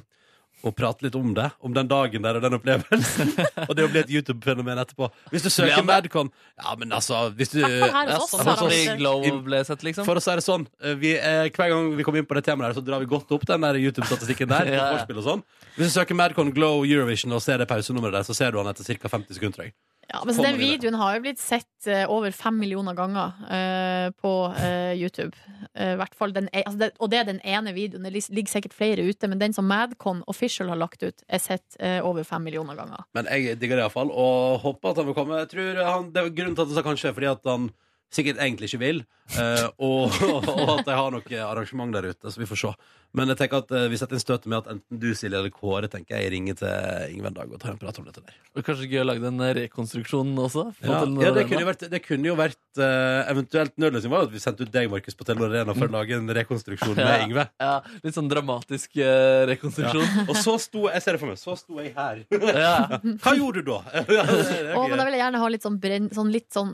Speaker 1: og prate litt om det. Om den dagen der og den opplevelsen. og det å bli et YouTube-fenomen etterpå. Hvis du
Speaker 3: Blir
Speaker 1: søker
Speaker 3: han
Speaker 1: Madcon Ja, men altså hvis du,
Speaker 3: Hvertfall her hos oss,
Speaker 1: sånn
Speaker 3: har
Speaker 1: hos
Speaker 3: han
Speaker 1: oss.
Speaker 3: det glow ble sett, liksom.
Speaker 1: For å si det sånn, eh, vi, eh, hver gang vi kommer inn på det temaet, der, så drar vi godt opp den der YouTube-statistikken der.
Speaker 3: Ja,
Speaker 1: på
Speaker 3: ja.
Speaker 1: forspill og sånn Hvis du søker Madcon Glow Eurovision og ser det pausenummeret der, så ser du han etter ca. 50 sekunder. tror jeg.
Speaker 2: Ja, men så
Speaker 1: Kommer
Speaker 2: Den
Speaker 1: vi der.
Speaker 2: videoen har jo blitt sett eh, over fem millioner ganger eh, på eh, YouTube. Eh, i hvert fall den, e- altså det, og det er den ene videoen. Det lis- ligger sikkert flere ute, men den som Madcon Official har lagt ut, er sett eh, over fem millioner ganger.
Speaker 1: Men jeg digger det iallfall, og håper at han vil komme. Jeg tror han, det er Grunnen til at han sa kanskje, er fordi at han sikkert egentlig ikke vil. eh, og, og at de har noe arrangement der ute, så vi får se. Men jeg tenker at eh, vi setter inn støtet med at enten du, Silje, eller Kåre tenker jeg ringer til Ingve en dag og tar en prat om dette der.
Speaker 3: Og kanskje gøy å lage den rekonstruksjonen også? Få
Speaker 1: Ja,
Speaker 3: til den
Speaker 1: ja Sånn det,
Speaker 3: arena.
Speaker 1: kunne jo vært, det kunne jo vært eh, Eventuelt nødløsning var jo at vi sendte ut deg, Markus, på Telenor Arena for å lage en rekonstruksjon med
Speaker 3: Ja,
Speaker 1: Ingve.
Speaker 3: Ja, litt sånn dramatisk eh, rekonstruksjon.
Speaker 1: Ja. Og så sto jeg ser det for meg, så sto jeg her.
Speaker 3: Ja.
Speaker 1: Hva gjorde du da? Ja, det er
Speaker 2: Og, men da
Speaker 1: gøy.
Speaker 2: vil jeg gjerne ha litt sånn, brenn, sånn, litt sånn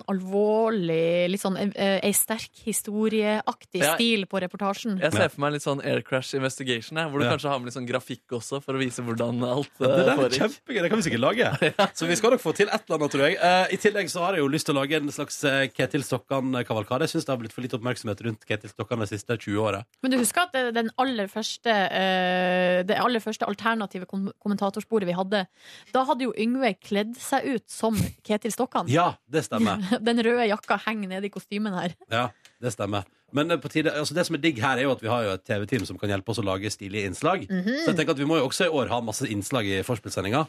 Speaker 2: alvorlig, litt sånn eh, ei sterk historieaktig
Speaker 3: Ja.
Speaker 2: stil på reportasjen.
Speaker 3: Jeg ser for meg litt sånn Air Crash Investigation, jeg, hvor du
Speaker 1: Ja.
Speaker 3: kanskje har med litt sånn grafikk også, for å vise hvordan alt
Speaker 1: Ja, det
Speaker 3: eh,
Speaker 1: der er
Speaker 3: foregikk.
Speaker 1: kjempegøy. Det kan vi sikkert lage. Så vi skal nok få til et eller annet, tror jeg. Eh, I tillegg så har jeg jo lyst til å lage en slags eh, Ketil Stokkan-kavalkade. Jeg syns det har blitt for lite oppmerksomhet rundt Ketil Stokkan de siste 20 åra.
Speaker 2: Men du husker at det, den aller første, eh, det aller første alternative kom kommentatorsporet vi hadde, da hadde jo Yngve kledd seg ut som Ketil Stokkan.
Speaker 1: Ja, det stemmer.
Speaker 2: Den røde jakka henger nede i kostymen her.
Speaker 1: Ja, det stemmer. Men eh, på tide, altså det som er digg her, er jo at vi har jo et TV-team som kan hjelpe oss å lage stilige innslag.
Speaker 2: Mhm.
Speaker 1: Så jeg tenker at vi må jo også i år ha masse innslag i forspillsendinga.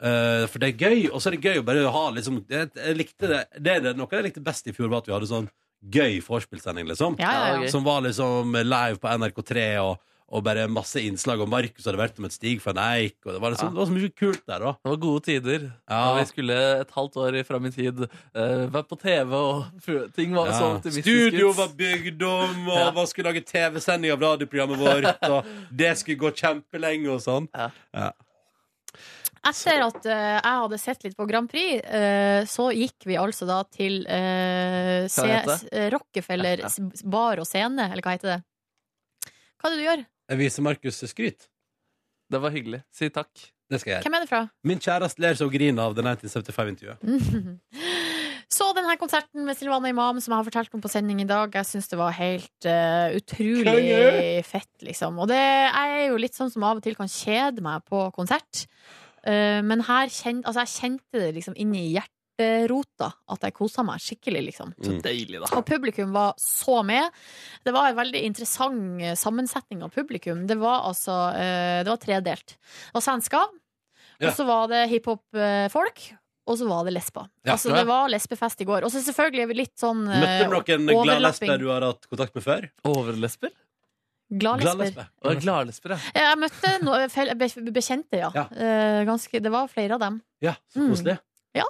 Speaker 1: Eh, for det er gøy, og så er det gøy å bare ha liksom jeg, jeg likte det, det er det, Noe jeg likte best i fjor, var at vi hadde sånn gøy forspillsending, liksom.
Speaker 2: Ja, ja, ja.
Speaker 1: Som var liksom live på NRK3 og, og bare masse innslag. Og Markus hadde vært om et stig for en eik, og det var,
Speaker 2: Ah.
Speaker 1: liksom, det var så mye kult der, da.
Speaker 3: Det var gode tider.
Speaker 1: Ja.
Speaker 3: Og vi skulle et halvt år fram i tid eh, vært på TV, og fu- ting var så
Speaker 1: Ja.
Speaker 3: optimistisk.
Speaker 1: Studio var bygd om, og man skulle lage TV-sending av radioprogrammet vårt. Og det skulle gå kjempelenge og sånn. Ja.
Speaker 2: Etter at eh, jeg hadde sett litt på Grand Prix, eh, så gikk vi altså da til eh,
Speaker 1: Hva heter det?
Speaker 2: CS eh, Rockefeller s- bar og scene, eller hva heter det? Hva er det du gjør?
Speaker 1: Jeg viser Markus skryt.
Speaker 3: Det var hyggelig. Si takk.
Speaker 1: Det skal jeg
Speaker 2: Hvem
Speaker 1: gjøre.
Speaker 2: er det fra?
Speaker 1: Min kjæreste ler så hun griner av det 1975-intervjuet.
Speaker 2: Så denne konserten med Silvana Imam som jeg har fortalt om på sending i dag, jeg syns det var helt eh, utrolig
Speaker 12: Konge!
Speaker 2: fett, liksom. Og det jeg er jo litt sånn som av og til kan kjede meg på konsert. Eh, men her kjen, altså jeg kjente det liksom inni hjerterota at jeg kosa meg skikkelig, liksom.
Speaker 3: Så
Speaker 1: Mm.
Speaker 3: deilig, da.
Speaker 2: Og publikum var så med. Det var en veldig interessant eh, sammensetning av publikum. Det var altså eh, Det var tredelt. Det var svensker,
Speaker 12: Ja.
Speaker 2: og så var det hiphop-folk, og så var det lesber.
Speaker 1: Ja.
Speaker 2: altså, det var lesbefest i går. Og så selvfølgelig litt sånn eh,
Speaker 1: Møtte du noen
Speaker 2: overlapping.
Speaker 1: gladlesber du har hatt kontakt med før?
Speaker 3: Overlesber?
Speaker 2: Gladlesber.
Speaker 3: Å, Gladlesber, ja.
Speaker 2: Eh, Jeg møtte no fel- be- bekjente, ja. Eh, Ganske, det var flere av dem. Mm.
Speaker 1: Ja, så koselig.
Speaker 2: Ja.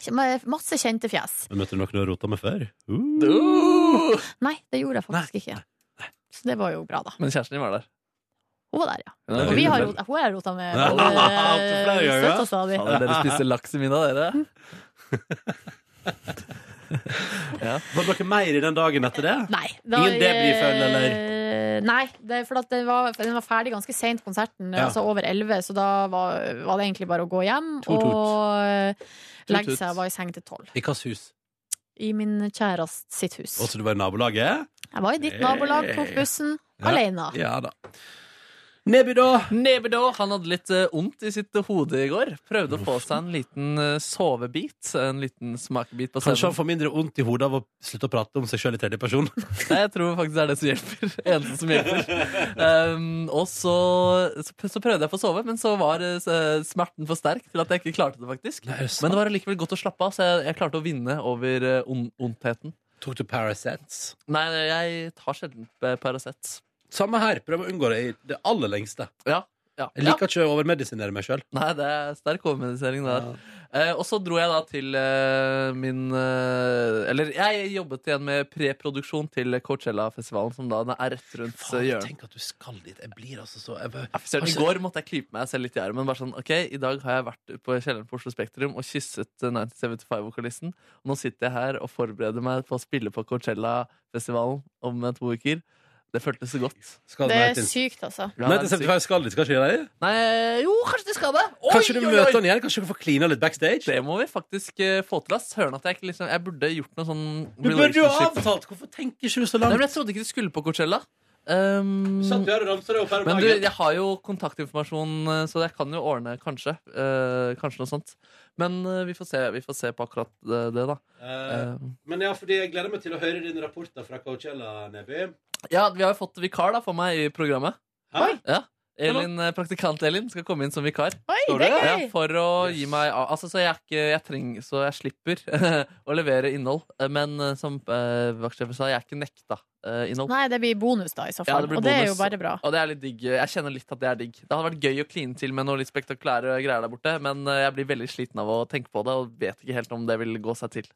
Speaker 2: Kjem- Masse kjente fjes.
Speaker 1: Men Møtte du noen du har rota med før? Uh.
Speaker 2: Nei, det gjorde jeg faktisk ikke. Så det var jo bra, da.
Speaker 3: Men kjæresten din var der.
Speaker 2: Hun var der, ja.
Speaker 3: Hun er
Speaker 2: Og vi har
Speaker 3: veldig
Speaker 2: rota, hun har rota med
Speaker 3: Ja,
Speaker 2: både
Speaker 3: flere ganger, ja.
Speaker 2: støtt og stadig.
Speaker 3: Fader, Dere spiste laks i middag, dere?
Speaker 2: Mm.
Speaker 1: Var det noe mer i den dagen etter det?
Speaker 2: Nei. eh,
Speaker 1: Ingen debriføl, eller?
Speaker 2: Nei, det er for at den var, den var ferdig ganske seint, konserten.
Speaker 1: Ja.
Speaker 2: Altså over elleve, så da var, var det egentlig bare å gå hjem
Speaker 1: Tut, tut.
Speaker 2: og eh, legge
Speaker 1: tut.
Speaker 2: seg. Jeg var i seng til tolv.
Speaker 1: I hvilket hus?
Speaker 2: I min kjærest sitt hus.
Speaker 1: Også du var i nabolaget?
Speaker 2: Jeg var i ditt nabolag, tok
Speaker 1: Hey.
Speaker 2: bussen,
Speaker 1: Eh, Ja.
Speaker 2: alene.
Speaker 1: Ja da. Neby, da?
Speaker 3: Han hadde litt eh, vondt i sitt hode i går. Prøvde å få seg en liten eh, sovebit. En liten smakebit på
Speaker 1: Kanskje
Speaker 3: scenen.
Speaker 1: han får mindre vondt i hodet av å slutte å prate om seg sjøl i tredje person.
Speaker 3: Nei, jeg tror faktisk det er det som hjelper. Eneste som hjelper. Um, og så, så så prøvde jeg på å sove, men så var eh, s- smerten for sterk til at jeg ikke klarte det, faktisk. men det var allikevel godt å slappe av, så jeg, jeg klarte å vinne over eh, on- ondheten.
Speaker 1: Tok du Paracets?
Speaker 3: Nei, jeg tar sjelden eh, Paracet.
Speaker 1: Samme her. Prøv å unngå det i det aller lengste.
Speaker 3: Ja.
Speaker 1: Jeg liker ikke å overmedisinere meg sjøl.
Speaker 3: Nei, det er sterk overmedisering der. Eh, og så dro jeg da til eh, min eh, Eller jeg jobbet igjen med preproduksjon til Coachella-festivalen, som da den er rett rundt eh, hjørnet.
Speaker 1: Tenk at du skal dit. Jeg blir altså så jeg,
Speaker 3: Selv I går måtte jeg klype meg selv litt i armen. Bare sånn, ok, I dag har jeg vært på kjelleren på Oslo Spektrum og kysset eh, 1975-vokalisten. Nå sitter jeg her og forbereder meg på å spille på Coachella-festivalen om eh, to uker. Det føltes så godt.
Speaker 2: Det er sykt, altså.
Speaker 3: Ja,
Speaker 1: Nei,
Speaker 3: det er
Speaker 1: til 75 skal dit, skal ikke det?
Speaker 3: Nei, jo, kanskje det skal det. Oi,
Speaker 1: Kanskje du
Speaker 3: oi,
Speaker 1: møter
Speaker 3: oi.
Speaker 1: han igjen? Kanskje du får klina litt backstage?
Speaker 3: Det må vi faktisk eh, få til. ass. Søren at jeg ikke liksom Jeg burde gjort noe sånn
Speaker 1: Du burde jo ha avtalt! Hvorfor tenker ikke du så langt?
Speaker 3: Nei, men Jeg trodde ikke du skulle på Coachella. Um,
Speaker 1: Satt du her og ramsa det opp her om
Speaker 3: men du,
Speaker 1: dagen?
Speaker 3: jeg har jo kontaktinformasjon, eh, så jeg kan jo ordne kanskje. Eh, kanskje noe sånt. Men eh, vi, får se, vi får se på akkurat det, det da. Ehm.
Speaker 1: Eh, Men ja, fordi jeg gleder meg til å høre dine rapporter fra Coachella, Neby.
Speaker 3: Ja, vi har jo fått vikar da for meg i programmet.
Speaker 1: Hæ?
Speaker 3: Ja. Elin, eh, Praktikant Elin skal komme inn som vikar.
Speaker 1: Oi, det er
Speaker 3: Ja,
Speaker 1: gøy.
Speaker 3: for å gi meg Altså, så jeg, er ikke, jeg trenger Så jeg slipper å levere innhold. Eh, Men eh, som eh, vaktsjefen sa, jeg er ikke nekta eh, innhold.
Speaker 2: Nei, det blir bonus, da, i så
Speaker 3: Ja,
Speaker 2: fall.
Speaker 3: det blir
Speaker 2: og det er
Speaker 3: bonus.
Speaker 2: jo bare bra.
Speaker 3: Og det er litt digg. Jeg kjenner litt at det er digg. Det hadde vært gøy å kline til med noe litt spektakulære greier der borte, men eh, jeg blir veldig sliten av å tenke på det, og vet ikke helt om det vil gå seg til.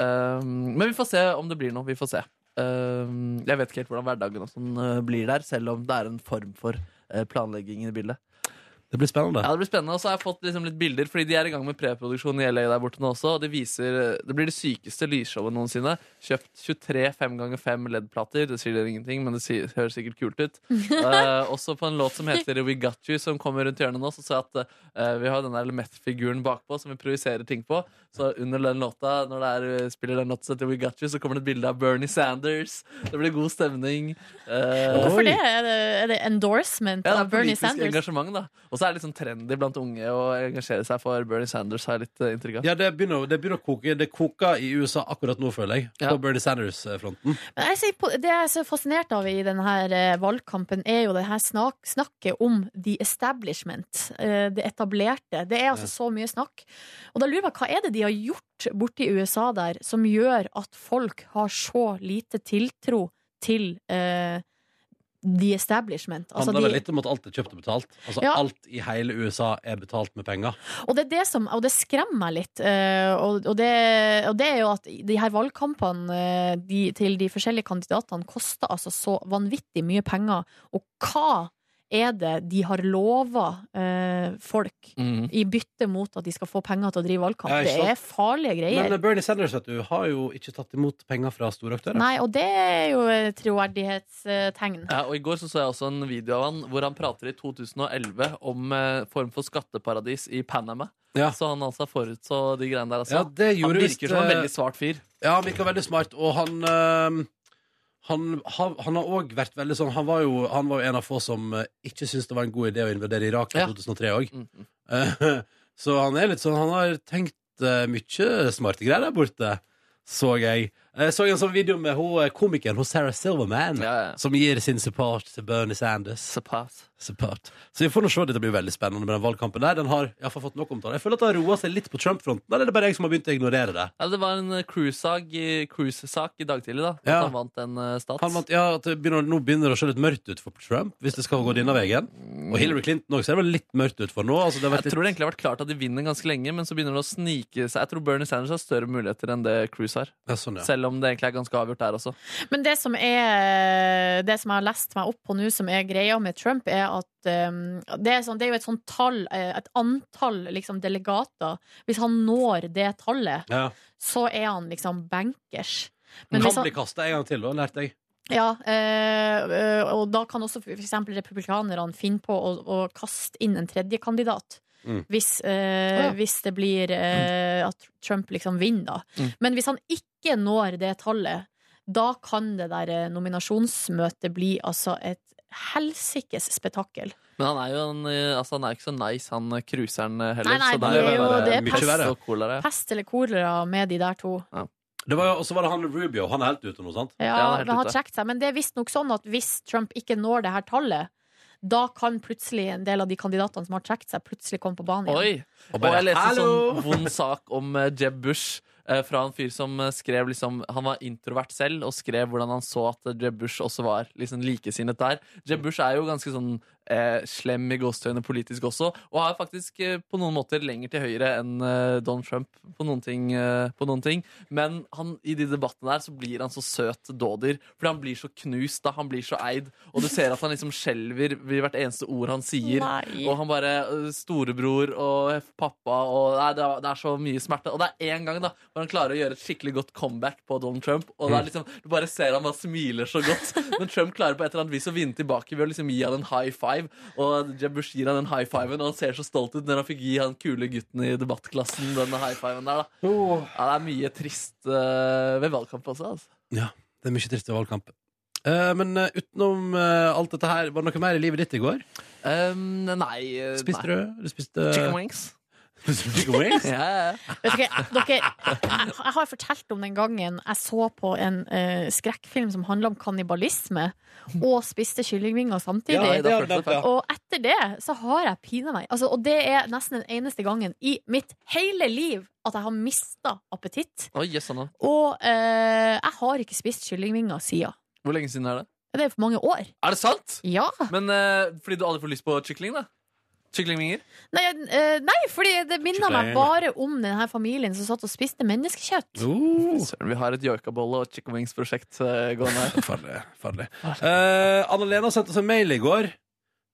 Speaker 3: Um, men vi får se om det blir noe. Vi får se. Um, jeg vet ikke helt hvordan hverdagen og sånn eh, blir der, selv om det er en form for eh, planlegging i bildet.
Speaker 1: Det blir spennende.
Speaker 3: Ja, det blir spennende, og så har jeg fått liksom litt bilder Fordi de er i gang med preproduksjon i LA der borte nå også Og det, viser, det blir det sykeste lysshowet noensinne Kjøpt 23 5x5 LED-plater E Det sier dere ingenting, men det sier, høres sikkert kult ut Eh, Også på en låt som heter We Got You Som kommer rundt hjørnet nå Så sa jeg at eh, vi har den der Lemeth-figuren bakpå Som vi projiserer ting på Så under den låta, når det er, eh, spiller den låta som heter We Got You Så kommer det et bilde av Bernie Sanders Det blir god stemning Eh,
Speaker 2: Hvorfor det? Er det, er det endorsement
Speaker 3: ja, det
Speaker 2: av
Speaker 3: er
Speaker 2: Bernie
Speaker 3: politisk
Speaker 2: Sanders?
Speaker 3: engasjement, da. Og så er det litt sånn trendy blant unge å engasjere seg for Bernie Sanders, har jeg litt eh, inntrykk av.
Speaker 1: Ja, det begynner, det begynner å koke. Det koker i USA akkurat nå, føler jeg. På Bernie Sanders-fronten.
Speaker 2: Men jeg sier, på- det jeg er så fascinert av i denne eh, valgkampen, er jo det her snak, snakket om the establishment. eh, Det etablerte. Det er altså så mye snakk. Og da lurer jeg på hva er det de har gjort borti USA der som gjør at folk har så lite tiltro til eh, the establishment? Altså,
Speaker 3: Altså,
Speaker 1: Det handler
Speaker 2: de,
Speaker 1: vel litt om at alt er kjøpt og betalt. Altså
Speaker 2: Ja.
Speaker 1: Alt i hele USA er betalt med penger.
Speaker 2: Og det, er det som, og det skremmer meg litt. eh, og, og, det, og det er jo at de her valgkampene eh, de, til de forskjellige kandidatene koster altså så vanvittig mye penger. Og hva er det de har lova eh, folk
Speaker 1: Mhm.
Speaker 2: i bytte mot at de skal få penger til å drive valgkamp?
Speaker 1: Ja, ikke sant?
Speaker 2: det er farlige greier.
Speaker 1: Men eh, Bernie Sanders vet du, har jo ikke tatt imot penger fra store aktører.
Speaker 2: Nei, og det er jo et troverdighetstegn.
Speaker 3: Ja, og I går så, så jeg også en video av han hvor han prater i 2011 om eh, form for skatteparadis i Panama.
Speaker 1: Ja.
Speaker 3: Så han altså forutså de greiene der. Altså.
Speaker 1: Ja, det gjorde
Speaker 3: han virker
Speaker 1: visst,
Speaker 3: som en
Speaker 1: eh,
Speaker 3: veldig svart fyr.
Speaker 1: Ja, han virker veldig smart, og han eh, han, han, han har òg vært veldig sånn Han var jo, han var jo en av få som eh, ikke syntes det var en god idé å invadere Irak i 2003 òg. så han er litt sånn Han har tenkt eh, mye smarte greier der borte, så jeg. Jeg så en sånn video med hun, eh, komikeren hos Sarah Silverman, som gir sin support til Bernie Sanders.
Speaker 3: Support.
Speaker 1: Så vi får nå se. Dette blir veldig spennende med den valgkampen der. Den har i hvert fall fått nok omtale. Jeg føler at det har roa seg litt på Trump-fronten, eller er det bare jeg som har begynt å ignorere det?
Speaker 3: Ja, det var en eh, cruise-sak i- cruise-sak i dag tidlig, da. At
Speaker 1: Ja.
Speaker 3: han vant en eh, stats.
Speaker 1: Han vant, ja, at det begynner, nå begynner det å se litt mørkt ut for Trump, hvis det skal gå denne veien. Og Hillary Clinton også ser vel litt mørkt ut for nå. Altså, det har vært
Speaker 3: Jeg
Speaker 1: litt...
Speaker 3: tror det egentlig har vært klart at de vinner ganske lenge, men så begynner det å snike seg. Jeg tror Bernie Sanders har større muligheter enn det Cruise har.
Speaker 1: sånn,
Speaker 3: Selv om det egentlig er ganske avgjort der også.
Speaker 2: Men det som, er, det som jeg har lest meg opp på nå, som er greia med Trump, er at um, det, er sånn, det er jo et sånt tall, eh, et antall liksom, delegater. Hvis han når det tallet,
Speaker 1: Ja.
Speaker 2: så er han liksom bankers. Men
Speaker 1: Men
Speaker 2: hvis
Speaker 1: kan
Speaker 2: han,
Speaker 1: bli kasta en gang til, da, lærte jeg.
Speaker 2: ja, eh, eh, og da kan også f.eks. republikanerne finne på å, å kaste inn en tredje kandidat.
Speaker 1: Mm.
Speaker 2: Hvis, eh, hvis det blir eh, at Trump liksom vinner, da.
Speaker 12: Mm.
Speaker 2: Men hvis han ikke når det tallet, da kan det der eh, nominasjonsmøtet bli altså et helsikes spetakkel.
Speaker 3: Men han er jo en, eh, altså, han er ikke så nice, han eh, cruiseren eh, heller.
Speaker 2: Nei, nei,
Speaker 3: så det
Speaker 2: de
Speaker 3: er
Speaker 2: er
Speaker 3: jo,
Speaker 2: jo-
Speaker 3: bare
Speaker 2: det er
Speaker 3: mye
Speaker 2: pest.
Speaker 3: verre. og kolera.
Speaker 2: Pest eller kolera med de der to.
Speaker 1: Det var jo, og så var det han Rubio. Han er helt ute nå, sant?
Speaker 2: Ja, men han har trukket seg. Men det er visstnok sånn at hvis Trump ikke når det her tallet, da kan plutselig en del av de kandidatene som har trukket seg, plutselig komme på banen igjen.
Speaker 3: Oi! Og,
Speaker 1: bare,
Speaker 3: jeg leste en
Speaker 1: «Hallo!»
Speaker 3: sånn vond sak om eh, Jeb Bush. eh, fra en fyr som eh, skrev liksom Han var introvert selv og skrev hvordan han så at eh, Jeb Bush også var liksom likesinnet der. Jeb Bush er jo ganske sånn eh, slem i gåseøyne politisk også, og har faktisk eh, på noen måter lenger til høyre enn eh, Don Trump på noen ting. Eh, på noen ting. Men han, i de debattene der så blir han så søt dådyr, fordi han blir så knust da, han blir så eid, og du ser at han liksom skjelver ved hvert eneste ord han sier.
Speaker 2: Nei.
Speaker 3: Og han bare øh, Storebror og pappa og nei, det, er, det er så mye smerte. Og det er én gang da hvor han klarer å gjøre et skikkelig godt comeback på Donald Trump. Og det
Speaker 1: Mm.
Speaker 3: er liksom, Du bare ser han bare smiler så godt. Men Trump klarer på et eller annet vis å vinne tilbake ved å liksom gi han en high five. Og Jeb Bush gir han den high fiven, og han ser så stolt ut når han fikk gi han kule gutten i debattklassen den high fiven der. da Ja, Det er mye trist øh, ved valgkamp også. altså
Speaker 1: Ja, det er mye trist ved valgkamp. Eh, men eh, utenom eh, alt dette her, var det noe mer i livet ditt i går?
Speaker 3: Um, nei eh,
Speaker 1: Spiste
Speaker 3: nei.
Speaker 1: du? Du spiste
Speaker 3: Chicken wings.
Speaker 1: Chicken wings?
Speaker 3: ja, ja.
Speaker 2: Vet dere, dere, jeg jeg har fortalt om den gangen jeg så på en eh, skrekkfilm som handla om kannibalisme, og spiste kyllingvinger samtidig.
Speaker 14: Ja, det har jeg hørt om, ja.
Speaker 2: Og etter det så har jeg pina meg. Altså, og det er nesten den eneste gangen i mitt hele liv at jeg har mista appetitt.
Speaker 3: Oi, jøss, Anna.
Speaker 2: Og eh, jeg har ikke spist kyllingvinger siden.
Speaker 3: Hvor lenge siden er det?
Speaker 2: Det er for mange år.
Speaker 3: Er det sant?
Speaker 2: Ja
Speaker 3: Men eh, fordi du aldri får lyst på kykling, da? Kyklingvinger?
Speaker 2: Nei, eh, nei fordi det minner meg
Speaker 3: Kylling.
Speaker 2: bare om denne familien som satt og spiste menneskekjøtt.
Speaker 3: Søren, vi har et joikabolle- og chicken wings-prosjekt eh, gående her.
Speaker 1: farlig. farlig. Eh, Anna-Lena sendte oss en mail i går.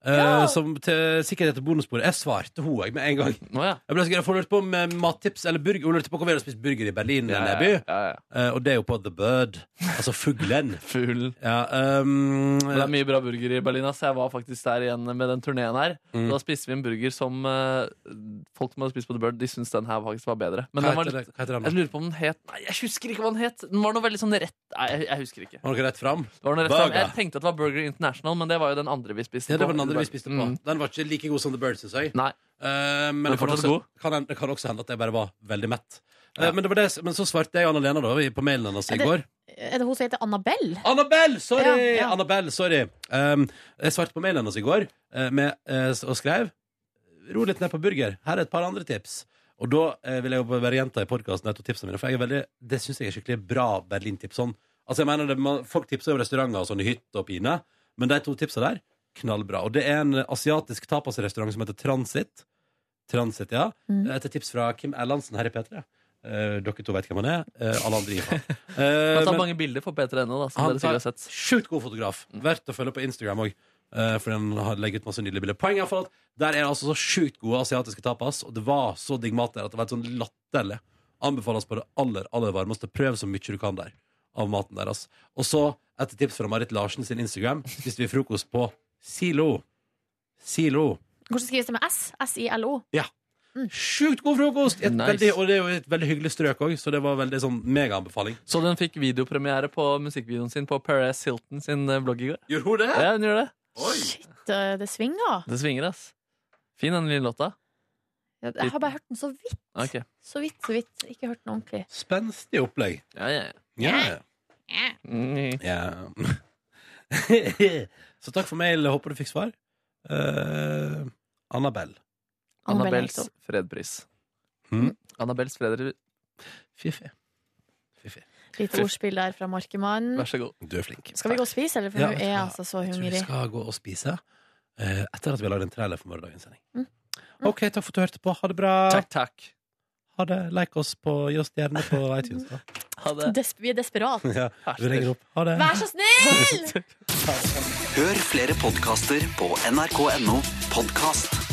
Speaker 1: eh, som til sikkerhet til bonusbordet. Jeg svarte hun jeg, med en gang. Jeg ble så gøy, for hun lurte på om eh, mattips eller burger. Hun lurte på hvor vi hadde spist burger i Berlin.
Speaker 3: Ja,
Speaker 1: Neby.
Speaker 3: ja, ja,
Speaker 1: Eh, og det er jo på The Bird. Altså fuglen.
Speaker 3: Fuglen.
Speaker 1: Ja, um,
Speaker 3: Men Det er mye bra burger i Berlin. ass. Jeg var faktisk der igjen med den turneen her.
Speaker 1: Mm.
Speaker 3: Da spiste vi en burger som eh, folk som hadde spist på The Bird, de syntes den her faktisk var bedre. Men
Speaker 1: Hva
Speaker 3: den var
Speaker 1: heter
Speaker 3: litt-
Speaker 1: det- hva heter den da?
Speaker 3: Jeg lurer på om den het Nei, jeg husker ikke hva den het. Den var noe veldig sånn rett Nei, jeg, jeg husker ikke.
Speaker 1: Var det noe rett fram?
Speaker 3: Det var noe rett
Speaker 1: Burger.
Speaker 3: fram. Jeg tenkte at det var Burger International, men det var jo den andre vi spiste
Speaker 1: Ja, det
Speaker 3: på.
Speaker 1: var den andre vi spiste på.
Speaker 3: Mm.
Speaker 1: Den var ikke like god som The Bird, syns jeg. Eh,
Speaker 3: Nei.
Speaker 1: men
Speaker 3: Men
Speaker 1: det kan,
Speaker 3: fortsatt
Speaker 1: også, kan, hen- det kan også hende at jeg bare var veldig mett. Eh, men, det var det, men så svarte jeg Anna-Lena da vi- på mailen hennes i
Speaker 2: Er det-
Speaker 1: går.
Speaker 2: Er det hun som heter Annabelle?
Speaker 1: Annabelle! Sorry!
Speaker 2: Ja, ja.
Speaker 1: Annabelle, sorry. Um, jeg svarte på mailen hennes i går eh, med, eh, og skrev Ro litt ned på burger. Her er et par andre tips. Og da eh, vil jeg jo bare gjenta i podkasten et av tipsene mine, for jeg er veldig, det syns jeg er skikkelig bra Berlin-tips. Sånn. Altså, jeg mener det, man, folk tipser jo restauranter og sånn i hytte og pine, men de to tipsa der, knallbra. Og det er en asiatisk tapasrestaurant som heter Transit. Transit, ja.
Speaker 15: Mm.
Speaker 1: Etter tips fra Kim Erlandsen her i P3. Eh, dere to vet hvem han er. Eh, alle andre gir faen. Eh,
Speaker 3: Han tar
Speaker 1: men-
Speaker 3: mange bilder for P3.no, da, som
Speaker 1: han
Speaker 3: dere sikkert har
Speaker 1: er
Speaker 3: sett.
Speaker 1: sjukt god fotograf. Verdt å følge på Instagram òg. Fordi han har- legger ut masse nydelige bilder. Poenget er for at Der er det altså så sjukt gode asiatiske tapas, og det var så digg mat der at det var helt sånn latterlig. Anbefales på det aller aller varmeste. Prøv så mye du kan der av maten deres. Og så, etter tips fra Marit Larsen sin Instagram, spiste vi frokost på Silo. Silo.
Speaker 2: Hvordan skrives det med S? S-I-L-O?
Speaker 1: Ja. Sjukt god frokost! Et
Speaker 3: Nice.
Speaker 1: veldig, og det er jo et veldig hyggelig strøk òg, så det var veldig sånn megaanbefaling.
Speaker 3: Så den fikk videopremiere på musikkvideoen sin på Perez Hilton sin eh, blogg i går.
Speaker 1: Gjorde hun det?
Speaker 3: Ja, hun gjorde det.
Speaker 2: Det, det svinger.
Speaker 3: Det svinger, ass. Fin den lille låta.
Speaker 2: Ja, Jeg har bare hørt den så vidt.
Speaker 3: Ok.
Speaker 2: Så vidt, så vidt. Ikke hørt den ordentlig.
Speaker 1: Spenstig opplegg.
Speaker 3: Ja, ja,
Speaker 1: Ja. Mm. ja. Så takk for mail. Håper du fikk svar. Eh, Annabelle.
Speaker 3: Annabels fredpris.
Speaker 1: Hmm?
Speaker 3: Annabels fredpris.
Speaker 1: Fiffi. Fiffi.
Speaker 2: Litt ordspill der fra Markemannen.
Speaker 1: Vær så god. Du er flink.
Speaker 2: Skal vi gå og spise, eller? For
Speaker 1: Ja,
Speaker 2: nå er
Speaker 1: vet du
Speaker 2: jeg
Speaker 1: hva?
Speaker 2: altså så
Speaker 1: Jeg tror vi
Speaker 2: hungrig.
Speaker 1: skal gå og spise eh, etter at vi har lagd en trailer for morgendagens sending. OK, takk for at du hørte på. Ha det bra.
Speaker 3: Takk, takk.
Speaker 1: Ha det. Like oss på Gi oss stjerne på iTunes, da.
Speaker 2: Des vi er desperate.
Speaker 1: ja, vi ringer opp. Ha det.
Speaker 2: Vær så snill!
Speaker 16: Hør flere podkaster på nrk.no podkast.